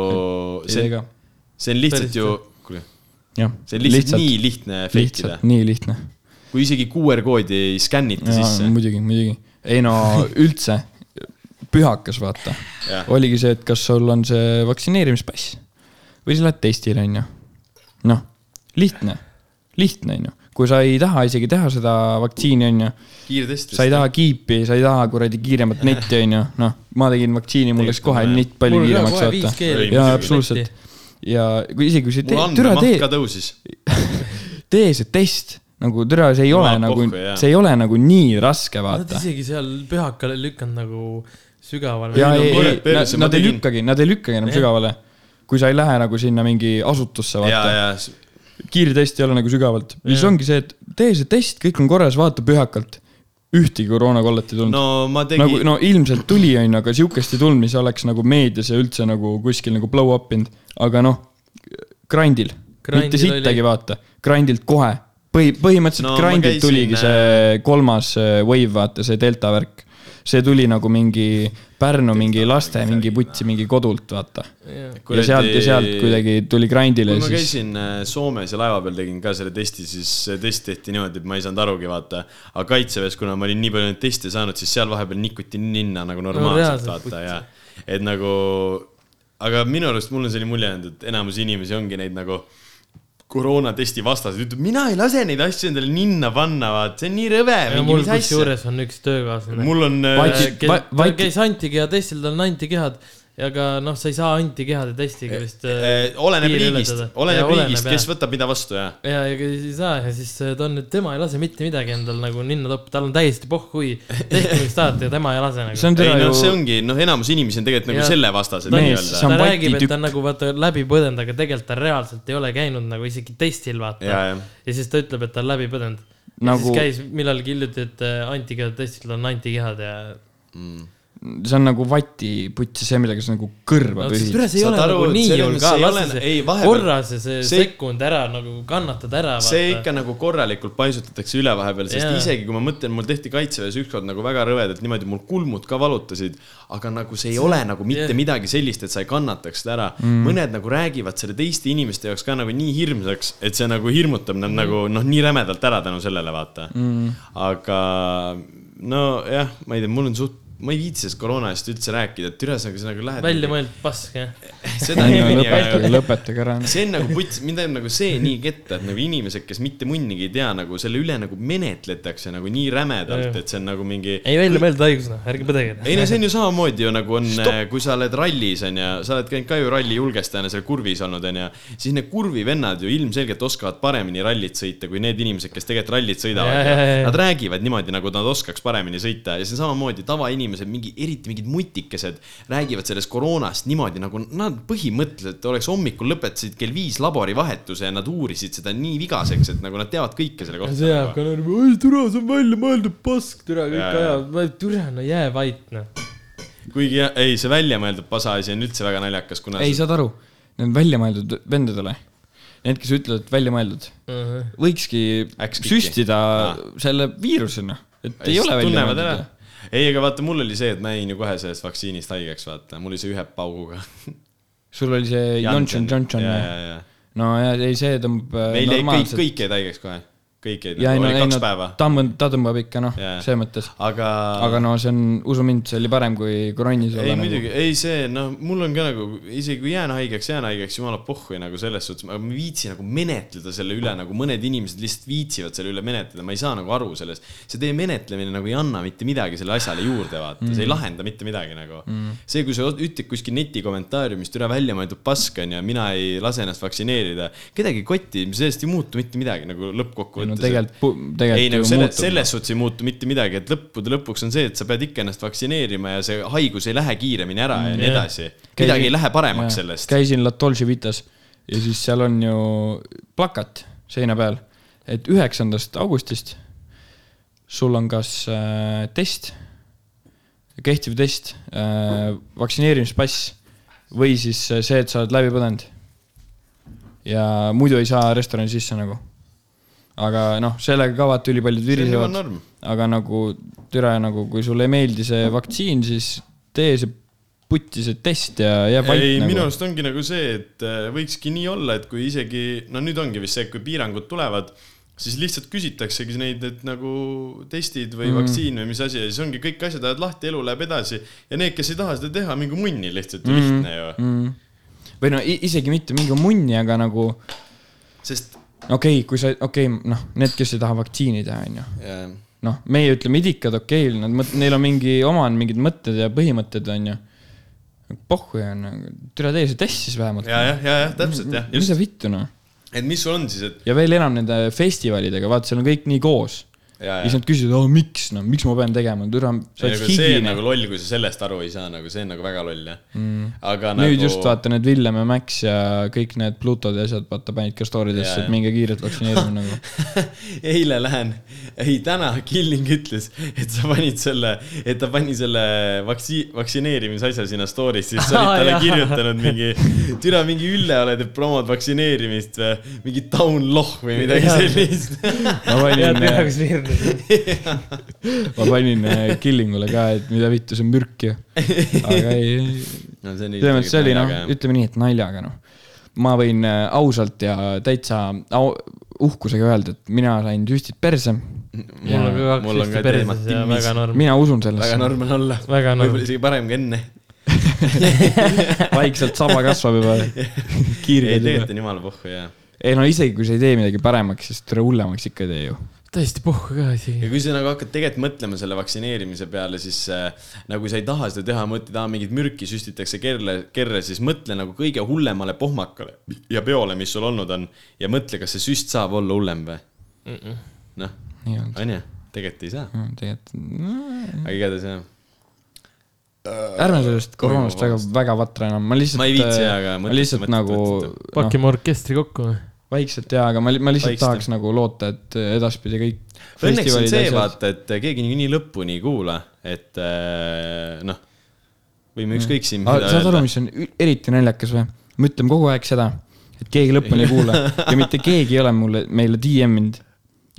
Speaker 1: ei
Speaker 2: see
Speaker 1: tee ka.
Speaker 2: on , see on lihtsalt
Speaker 3: Päriselt
Speaker 2: ju
Speaker 3: või? ,
Speaker 2: kuule ,
Speaker 1: jah ,
Speaker 2: see on lihtsalt, lihtsalt nii lihtne fake ida
Speaker 1: lihtsalt , nii lihtne .
Speaker 2: kui isegi QR-koodi ei skännita sisse .
Speaker 1: muidugi , muidugi . ei no üldse , pühakas vaata
Speaker 2: Jah. .
Speaker 1: oligi see , et kas sul on see vaktsineerimispass või sa lähed testile , onju . noh , lihtne , lihtne , onju . kui sa ei taha isegi teha seda vaktsiini , onju ,
Speaker 2: kiirtest .
Speaker 1: sa ei taha kiipi , sa ei taha kuradi kiiremat netti , onju . noh , ma tegin vaktsiini , mul läks kohe nett palju
Speaker 3: mul ka
Speaker 1: kiiremaks ,
Speaker 3: kohe viis
Speaker 1: vaata .
Speaker 3: keeli .
Speaker 1: jaa , absoluutselt . ja kui isegi kui sa ei
Speaker 2: mul
Speaker 1: tee , türa
Speaker 2: andmemaht
Speaker 1: tee
Speaker 2: ka tõusis .
Speaker 1: tee see test , nagu türa , see ei ole
Speaker 2: Jumal
Speaker 1: nagu
Speaker 2: pohhu, jaa. ,
Speaker 1: see ei ole nagu nii raske ,
Speaker 3: Nad
Speaker 1: vaata .
Speaker 3: isegi seal pühakale lükkanud nagu sügavale .
Speaker 1: ja
Speaker 2: on
Speaker 1: ei , ei ,
Speaker 2: korrad
Speaker 1: nad,
Speaker 2: perse, ma
Speaker 1: nad ei
Speaker 2: tegin-
Speaker 1: lükkagi , nad ei lükkagi enam sügavale . kui sa ei lähe nagu sinna mingi asutusse ,
Speaker 2: ja ,
Speaker 1: vaata .
Speaker 2: ja
Speaker 1: kiirtest ei ole nagu sügavalt . ja siis ongi see , et tee see test , kõik on korras , vaata pühakalt . ühtegi koroonakollet ei tulnud
Speaker 2: no
Speaker 1: no, .
Speaker 2: ma tegin
Speaker 1: nagu , no ilmselt tuli , onju , aga sihukest ei tulnud , mis oleks nagu meedias ja üldse nagu kuskil nagu blow up inud . aga noh , Grindil,
Speaker 3: Grindil
Speaker 1: grindil , mitte sittagi
Speaker 3: oli-
Speaker 1: oli... , vaata . Grindilt kohe , põhi , põhimõtteliselt
Speaker 2: No
Speaker 1: no,
Speaker 2: ma
Speaker 1: Grindilt
Speaker 2: käisin,
Speaker 1: äh, tuligi see kolmas äh, wave , vaata see delta värk . see tuli nagu mingi Pärnu mingi laste mingi putsi mingi kodult , vaata . ja sealt ja sealt kuidagi tuli grindile
Speaker 2: kui ma
Speaker 1: siis .
Speaker 2: käisin äh, Soomes ja laeva peal tegin ka selle testi , siis see test tehti niimoodi , et ma ei saanud arugi vaata . aga kaitseväes , kuna ma olin nii palju neid teste saanud , siis seal vahepeal nikuti ninna nagu normaalselt
Speaker 3: reaalselt
Speaker 2: no, vaata
Speaker 3: putsi.
Speaker 2: ja , et nagu . aga minu arust mul on selline mulje jäänud , et enamus inimesi ongi neid nagu koroonatesti vastased , ütleb , mina ei lase neid asju endale ninna panna , vaata , see on nii rõve .
Speaker 3: ja mul kusjuures on üks töökaaslane .
Speaker 2: mul on . äh,
Speaker 1: Patid-
Speaker 3: Kes-
Speaker 1: Va-
Speaker 3: ta
Speaker 1: vait-
Speaker 3: käis antikeha testil , tal on antikehad , aga noh , sa ei saa antikehade testiga vist .
Speaker 2: Äh, oleneb riigist , oleneb riigist , kes võtab mida vastu ja
Speaker 3: ja , ja kes ei saa ja siis äh, ta on nüüd , tema ei lase mitte midagi endal nagu ninna toppa , tal on täiesti pohhui , tehke mis tahate ja tema ei lase
Speaker 1: see
Speaker 3: nagu .
Speaker 1: on
Speaker 2: ei
Speaker 1: teda
Speaker 2: noh , see
Speaker 1: ju ,
Speaker 2: ongi , noh , enamus inimesi on tegelikult nagu
Speaker 3: Ja.
Speaker 2: selle vastased
Speaker 1: Mees, see
Speaker 2: nii-öelda .
Speaker 1: on
Speaker 3: ta räägib , et
Speaker 1: vatitükk.
Speaker 3: ta on nagu vaata läbi põdenud , aga tegelikult ta reaalselt ei ole käinud nagu isegi testil , vaata .
Speaker 2: ja , ja ,
Speaker 3: ja siis ta ütleb , et ta on läbi põdenud nagu... .
Speaker 1: Nagu-
Speaker 3: siis käis millalgi hiljuti , et äh, antikehade testil on antikehad ja .
Speaker 1: see on nagu vatiputsi , see , millega sa nagu kõrva pühid .
Speaker 3: see ei
Speaker 2: Saad
Speaker 3: ole
Speaker 2: aru,
Speaker 3: nagu
Speaker 2: et
Speaker 3: nii
Speaker 2: see
Speaker 3: hull
Speaker 2: on-
Speaker 3: ka
Speaker 2: see , ei
Speaker 3: lase
Speaker 2: ole-
Speaker 3: see
Speaker 2: ei, vahepeal-
Speaker 3: korra see , see
Speaker 2: see-
Speaker 3: sekund ära nagu kannatad ära .
Speaker 2: see ikka nagu korralikult paisutatakse üle vahepeal , sest
Speaker 3: Jaa.
Speaker 2: yeah. isegi kui ma mõtlen , mul tehti kaitseväes ükskord nagu väga rõvedalt niimoodi , mul kulmud ka valutasid , aga nagu see ei ole nagu mitte
Speaker 3: Jah.
Speaker 2: yeah. midagi sellist , et sa ei kannataks seda ära mm. . mõned nagu räägivad selle teiste inimeste jaoks ka nagu nii hirmsaks , et see nagu hirmutab nad mm. nagu noh , nii rämedalt ära tänu sellele , vaata mm. . aga nojah , ma ei tea , mul on suht , ma ei viitsi sellest koroona asjast üldse rääkida , et ühesõnaga sa nagu lähed .
Speaker 3: väljamõeldud pask , jah .
Speaker 2: seda niipidi , aga
Speaker 1: lõpetage , lõpetage ära . noh.
Speaker 2: see on nagu puts , mind teeb nagu see nii ketta , et nagu inimesed , kes mitte mõnigi ei tea , nagu selle üle nagu menetletakse nagu nii rämedalt , et see on nagu mingi .
Speaker 3: ei väljamõeldud haigus , noh , ärge põdege .
Speaker 2: ei no see on ju samamoodi ju nagu on , kui sa oled rallis onju , sa oled käinud ka ju ralli julgestajana seal kurvis olnud onju , siis need kurvivennad ju ilmselgelt oskavad paremini rallit sõita kui need inimesed , kes tegelikult rallit
Speaker 3: Ja,
Speaker 2: sõidavad
Speaker 3: ja, ja, ja. .
Speaker 2: Nad räägivad niimoodi , nagu nad oskaks paremini sõita ja see on samamoodi tavainimesed , mingi eriti mingid mutikesed räägivad sellest koroonast niimoodi , nagu nad põhimõtteliselt oleks hommikul lõpetasid kell viis laborivahetuse ja nad uurisid seda nii vigaseks , et nagu nad teavad kõike selle kohta .
Speaker 3: see jääb ka nagu , oi türa , see on väljamõeldud pask , türa , kõik
Speaker 2: Jaa, jaa.
Speaker 3: ajavad , türa , no jää vait , noh .
Speaker 2: kuigi jah, ei , see väljamõeldud pasa asi on üldse väga naljakas , kuna
Speaker 1: ei , saad aru , need on väljamõeldud vendadele . Need , kes ütlevad , et väljamõeldud , võikski
Speaker 2: Äkki.
Speaker 1: süstida
Speaker 2: Aa.
Speaker 1: selle viirusena , et ei
Speaker 2: siis
Speaker 1: ole
Speaker 2: tunnevad
Speaker 1: väljamõeldud
Speaker 2: ära. . ei , aga vaata , mul oli see , et ma jäin ju kohe sellest vaktsiinist haigeks , vaata , mul oli see ühe pauguga .
Speaker 1: sul oli see Johnson , Johnson , no ja ei , see tõmbab äh,
Speaker 2: meil jäi kõik ,
Speaker 1: normaalselt . nagu
Speaker 2: kõik jäid haigeks kohe , kõik jäid ,
Speaker 1: ja ei no ,
Speaker 2: oli
Speaker 1: ei
Speaker 2: kaks
Speaker 1: no
Speaker 2: päeva ,
Speaker 1: ta on , ta tõmbab ikka noh
Speaker 2: Jaa. ,
Speaker 1: selles mõttes .
Speaker 2: aga .
Speaker 1: aga no see on , usu mind , see oli parem kui koronis
Speaker 2: ei
Speaker 1: olla nagu .
Speaker 2: muidugi , ei see noh , mul on ka nagu isegi kui jään haigeks , jään haigeks , jumala pohhui nagu selles suhtes , ma ma ei viitsi nagu menetleda selle üle , nagu mõned inimesed lihtsalt viitsivad selle üle menetleda , ma ei saa nagu aru sellest . see teie menetlemine nagu ei anna mitte midagi sellele asjale juurde , vaata mm. , see ei lahenda mitte midagi nagu mm. . see , kui sa ot- ütled kuskil neti kommentaariumist üle välja mõeldud pask on ja mina ei lase ennast vaktsineerida , kedagi ei kotti , sellest ei muutu mitte midagi nagu lõppkokkuvõttes
Speaker 1: no . tegelikult , tegelikult
Speaker 2: ei nagu
Speaker 1: ju
Speaker 2: selle ,
Speaker 1: muutub.
Speaker 2: selles suhtes ei muutu mitte midagi , et lõppude lõpuks on see , et sa pead ikka ennast vaktsineerima ja see haigus ei lähe kiiremini ära ja nii
Speaker 3: jah.
Speaker 2: edasi . midagi ei lähe paremaks sellest .
Speaker 1: käisin La Dolce Vitas ja siis seal on ju plakat seina peal , et üheksandast augustist sul on kas äh, test , kehtiv test äh, , vaktsineerimispass või siis äh, see , et sa oled läbi põdenud . ja muidu ei saa restorani sisse nagu . aga noh , sellega ka vaata ülipaljud
Speaker 2: on juba
Speaker 1: virisevad
Speaker 2: norm. ,
Speaker 1: aga nagu türa nagu , kui sulle ei meeldi see
Speaker 2: Noh.
Speaker 1: vaktsiin , siis tee see putti see test ja jää vait
Speaker 2: ei ,
Speaker 1: nagu
Speaker 2: minu . arust ongi nagu see , et äh, võikski nii olla , et kui isegi , no nüüd ongi vist see , et kui piirangud tulevad , siis lihtsalt küsitaksegi neid , et nagu testid või mm. vaktsiin või mis asi ja siis ongi kõik asjad lähevad lahti , elu läheb edasi ja need , kes ei taha seda teha , mingu munni lihtsalt mm. , lihtne ju mm. .
Speaker 1: või no i- isegi mitte mingi munni , aga nagu okei
Speaker 2: sest
Speaker 1: okay, , kui sa , okei okay, , noh , need , kes ei taha vaktsiini teha , onju .
Speaker 2: äh,
Speaker 1: noh , meie ütleme idikad , okei okay, , nad mõt- , neil on mingi , oma on mingid mõtted ja põhimõtted , onju . pohhu ja nagu , türa tee see test siis vähemalt .
Speaker 2: ja , jah , ja , jah , täpselt jah ,
Speaker 1: mis
Speaker 2: just ,
Speaker 1: sa vittu noh .
Speaker 2: et mis sul on siis , et
Speaker 1: ja veel enam nende festivalidega , vaata , seal on kõik nii koos .
Speaker 2: ja,
Speaker 1: ja siis nad küsivad , aa miks , no miks ma pean tegema , türa , sa oled noh.
Speaker 2: ei , nagu see on
Speaker 1: higine
Speaker 2: nagu . loll , kui sa sellest aru ei saa , nagu see on nagu väga loll jah mm. . aga
Speaker 1: nüüd
Speaker 2: nagu...
Speaker 1: nagu... just vaata need Villem ja Max ja kõik need Plutod ja asjad , vaata panid ka story
Speaker 2: Jaa,
Speaker 1: desse ,
Speaker 2: jah.
Speaker 1: et minge kiirelt vaktsineerima nagu .
Speaker 2: [LAUGHS] eile lähen , ei täna Killing ütles , et sa panid selle , et ta pani selle vaktsi- , vaktsineerimise asja sinna story'sse , siis
Speaker 1: [LAUGHS]
Speaker 2: sa
Speaker 3: Aa,
Speaker 2: olid talle
Speaker 3: jaa.
Speaker 2: kirjutanud mingi , türa mingi Ülle oled , et promod vaktsineerimist või mingi taun lohh või midagi
Speaker 3: Jaa.
Speaker 1: [LAUGHS]
Speaker 2: sellist .
Speaker 1: ma äh,
Speaker 3: ja
Speaker 1: panin ,
Speaker 3: tühjaks virn . mõtlesin .
Speaker 1: ma panin äh, Killingule ka , et mida vittu , see on mürk ju . aga ei ,
Speaker 2: no see on
Speaker 1: selles mõttes see oli noh , ütleme nii , et naljaga noh . ma võin äh, ausalt ja täitsa au, uhkusega öelda , et mina sain süstid perse .
Speaker 3: mul on ka
Speaker 2: Mul on
Speaker 3: kaks
Speaker 2: ka
Speaker 3: ühte
Speaker 2: teema
Speaker 3: perses ja
Speaker 2: timmis.
Speaker 3: väga norm- ,
Speaker 1: mina usun
Speaker 2: väga
Speaker 1: sellesse ,
Speaker 2: normaalne olla .
Speaker 3: Väga norm-
Speaker 2: võib-olla isegi parem kui enne .
Speaker 1: vaikselt saba kasvab
Speaker 2: [LAUGHS]
Speaker 1: juba .
Speaker 2: ei ,
Speaker 1: kiirgelt
Speaker 2: tegelikult
Speaker 1: juba .
Speaker 2: on jumala pohhu ja .
Speaker 1: ei no isegi kui sa ei tee midagi paremaks , siis tule hullemaks ikka ei tee ju .
Speaker 3: täiesti puhku ka
Speaker 2: ja
Speaker 3: isegi .
Speaker 2: kui sa nagu hakkad tegelikult mõtlema selle vaktsineerimise peale , siis äh, nagu sa ei taha seda teha , mõtled , aa mingit mürki süstitakse kerre , kerre , siis mõtle nagu kõige hullemale pohmakale ja peole , mis sul olnud on ja mõtle , kas see süst saab olla hullem või . noh ,
Speaker 1: ei olnud ,
Speaker 2: onju , tegelikult ei saa ,
Speaker 1: tegelikult .
Speaker 2: aga igatahes jah .
Speaker 1: ärme sellest
Speaker 2: Toimub
Speaker 1: koroonast väga , väga vatra enam , ma lihtsalt .
Speaker 2: Ma ei viitsi, aga
Speaker 1: ma
Speaker 2: mõttetu-
Speaker 1: lihtsalt
Speaker 2: mõttetu-
Speaker 1: nagu
Speaker 2: mõttetu.
Speaker 1: noh ,
Speaker 3: pakkime orkestri kokku või ?
Speaker 1: vaikselt jaa , aga ma , ma lihtsalt
Speaker 2: Vaikselt.
Speaker 1: Vaikselt. tahaks nagu loota , et edaspidi kõik .
Speaker 2: õnneks on see , vaata , et keegi nii lõpuni ei kuula , et äh, noh , võime ükskõik siin mida
Speaker 1: Mm. Ah, saad aru ,
Speaker 2: öelda .
Speaker 1: mis on ü- eriti naljakas või ? me ütleme kogu aeg seda , et keegi lõpuni ei
Speaker 2: [LAUGHS]
Speaker 1: kuula ja mitte keegi ei ole mulle , meile DM-inud .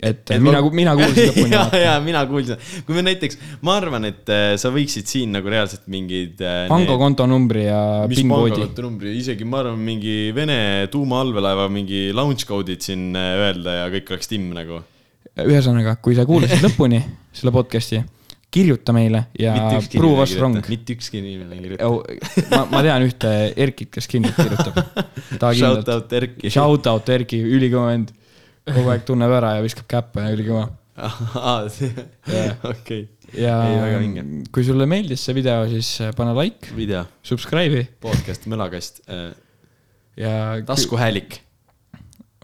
Speaker 1: et
Speaker 2: Et
Speaker 1: mina
Speaker 2: ma- ,
Speaker 1: mina
Speaker 2: [LAUGHS]
Speaker 1: kuulsin lõpuni
Speaker 2: ja ,
Speaker 1: vaata .
Speaker 2: ja mina kuulsin , kui me näiteks , ma arvan , et äh, sa võiksid siin nagu reaalselt mingeid .
Speaker 1: pango kontonumbri ja
Speaker 2: mis
Speaker 1: PIN-koodi .
Speaker 2: pangakontonumbri , isegi ma arvan , mingi Vene tuumaallveelaeva mingi launch code'id siin äh, öelda ja kõik oleks timm nagu .
Speaker 1: ühesõnaga , kui sa kuulasid lõpuni selle podcast'i , kirjuta meile ja pruu vastu rong .
Speaker 2: mitte ükski inimene ei kirjuta .
Speaker 1: ma , ma tean ühte Erkit , kes kindlalt kirjutab . ta
Speaker 2: Shout
Speaker 1: kindlalt ,
Speaker 2: out Erki . [LAUGHS]
Speaker 1: shout out Erki , ülikõva vend . kogu aeg tunneb ära ja viskab käppe , ülikõva .
Speaker 2: okei ,
Speaker 1: ja
Speaker 2: Ei, väga vinge.
Speaker 1: kui sulle meeldis see video , siis äh, pane like ,
Speaker 2: video ,
Speaker 1: subscribe'i
Speaker 2: podcast , mölakast äh,
Speaker 1: ja .
Speaker 2: taskuhäälik ,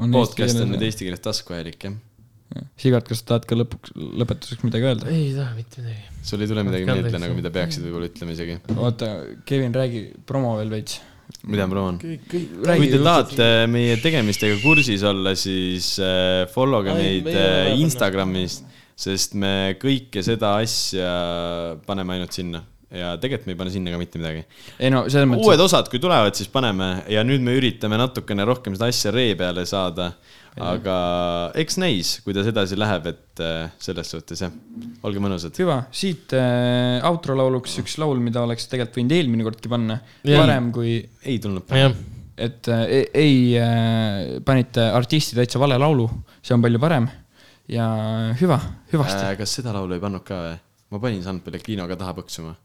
Speaker 2: podcast on nüüd . eesti keeles taskuhäälik , jah .
Speaker 1: Sigat , kas sa tahad ka lõpuks , lõpetuseks midagi öelda ?
Speaker 3: ei taha mitte midagi .
Speaker 2: sul ei tule midagi
Speaker 3: Andke
Speaker 2: meelde
Speaker 3: andeks.
Speaker 2: nagu , mida peaksid võib-olla ütlema isegi .
Speaker 1: oota , Kevin , räägi promo veel veits .
Speaker 2: mida ma proovin ? kui te
Speaker 1: räägi ,
Speaker 2: tahate meie tegemistega kursis olla , siis äh, follow ge
Speaker 3: Ai,
Speaker 2: meid
Speaker 3: me ei
Speaker 2: äh,
Speaker 3: ole pannud.
Speaker 2: Instagramis , sest me kõike seda asja paneme ainult sinna ja tegelikult me ei pane sinna ka mitte midagi .
Speaker 1: ei no selles mõttes ,
Speaker 2: uued osad , kui tulevad , siis paneme ja nüüd me üritame natukene rohkem seda asja ree peale saada . aga eks näis , kuidas edasi läheb , et äh, selles suhtes jah , olge mõnusad
Speaker 1: et . hüva , siit äh, outro lauluks üks laul , mida oleks tegelikult võinud eelmine kordki panna ,
Speaker 3: Jah.
Speaker 1: varem kui
Speaker 2: ei tulnud .
Speaker 3: jah ,
Speaker 1: et äh, ei- ei äh, , panite artisti täitsa vale laulu , see on palju parem ja hüva , hüvasti äh, .
Speaker 2: kas seda laulu ei pannud ka või ? ma panin San Pellegrino ka taha põksuma .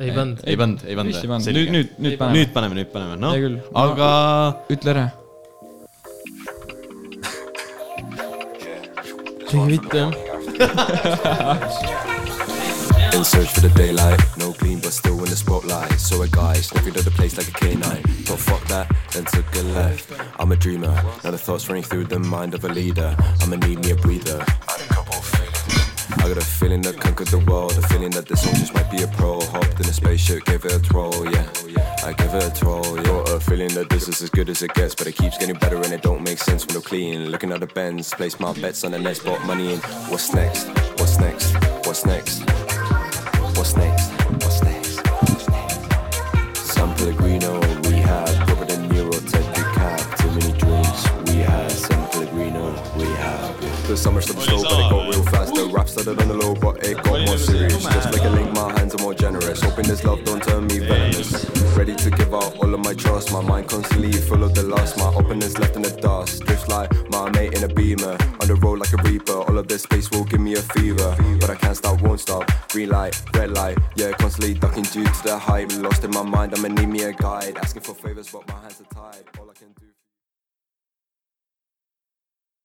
Speaker 3: ei pannud .
Speaker 2: ei pannud , ei pannud
Speaker 1: vist ei pannud ,
Speaker 2: Selge.
Speaker 1: nüüd , nüüd , nüüd paneme
Speaker 2: nüüd paneme , nüüd paneme ,
Speaker 1: Hea küll.
Speaker 2: noh , aga
Speaker 1: ütle ära .
Speaker 3: ei mitte jah .
Speaker 8: In search for the daylight, no gleam, but still in the spotlight. Saw a guy sniffing through the place like a canine. Thought fuck that, then took a left. I'm a dreamer, now the thoughts running through the mind of a leader. I'ma need me a breather. I got a feeling that conquered the world, a feeling that this song just might be a pro. Hopped in a spaceship, gave it a twirl, yeah. I give it a twirl, yeah. Got a feeling that this is as good as it gets, but it keeps getting better and it don't make sense when I'm clean. Looking at the bends, place my bets on the next, bought money in. What's next? What's next? What's next? What's next? What's next? What's next? San Pellegrino, we have proper than Nero, Ted Decap. Too many dreams, we have San Pellegrino, we have. The summer slipped slow, but it got real fast. The rap started on the low, but it got more serious. Just like a link, my hands are more generous. Hoping this love don't turn me venomous. Ready to give out all of my trust. My mind constantly full of the lust. My opponents left in the dust. Drifts like my mate in a beamer. On the road like a reaper. All of this space will give me a fever. But I can't stop, won't stop. Green light, red light. Yeah, constantly ducking due to the hype. Lost in my mind, I'ma need me a guide. Asking for favors, but my hands are tied. All I can do.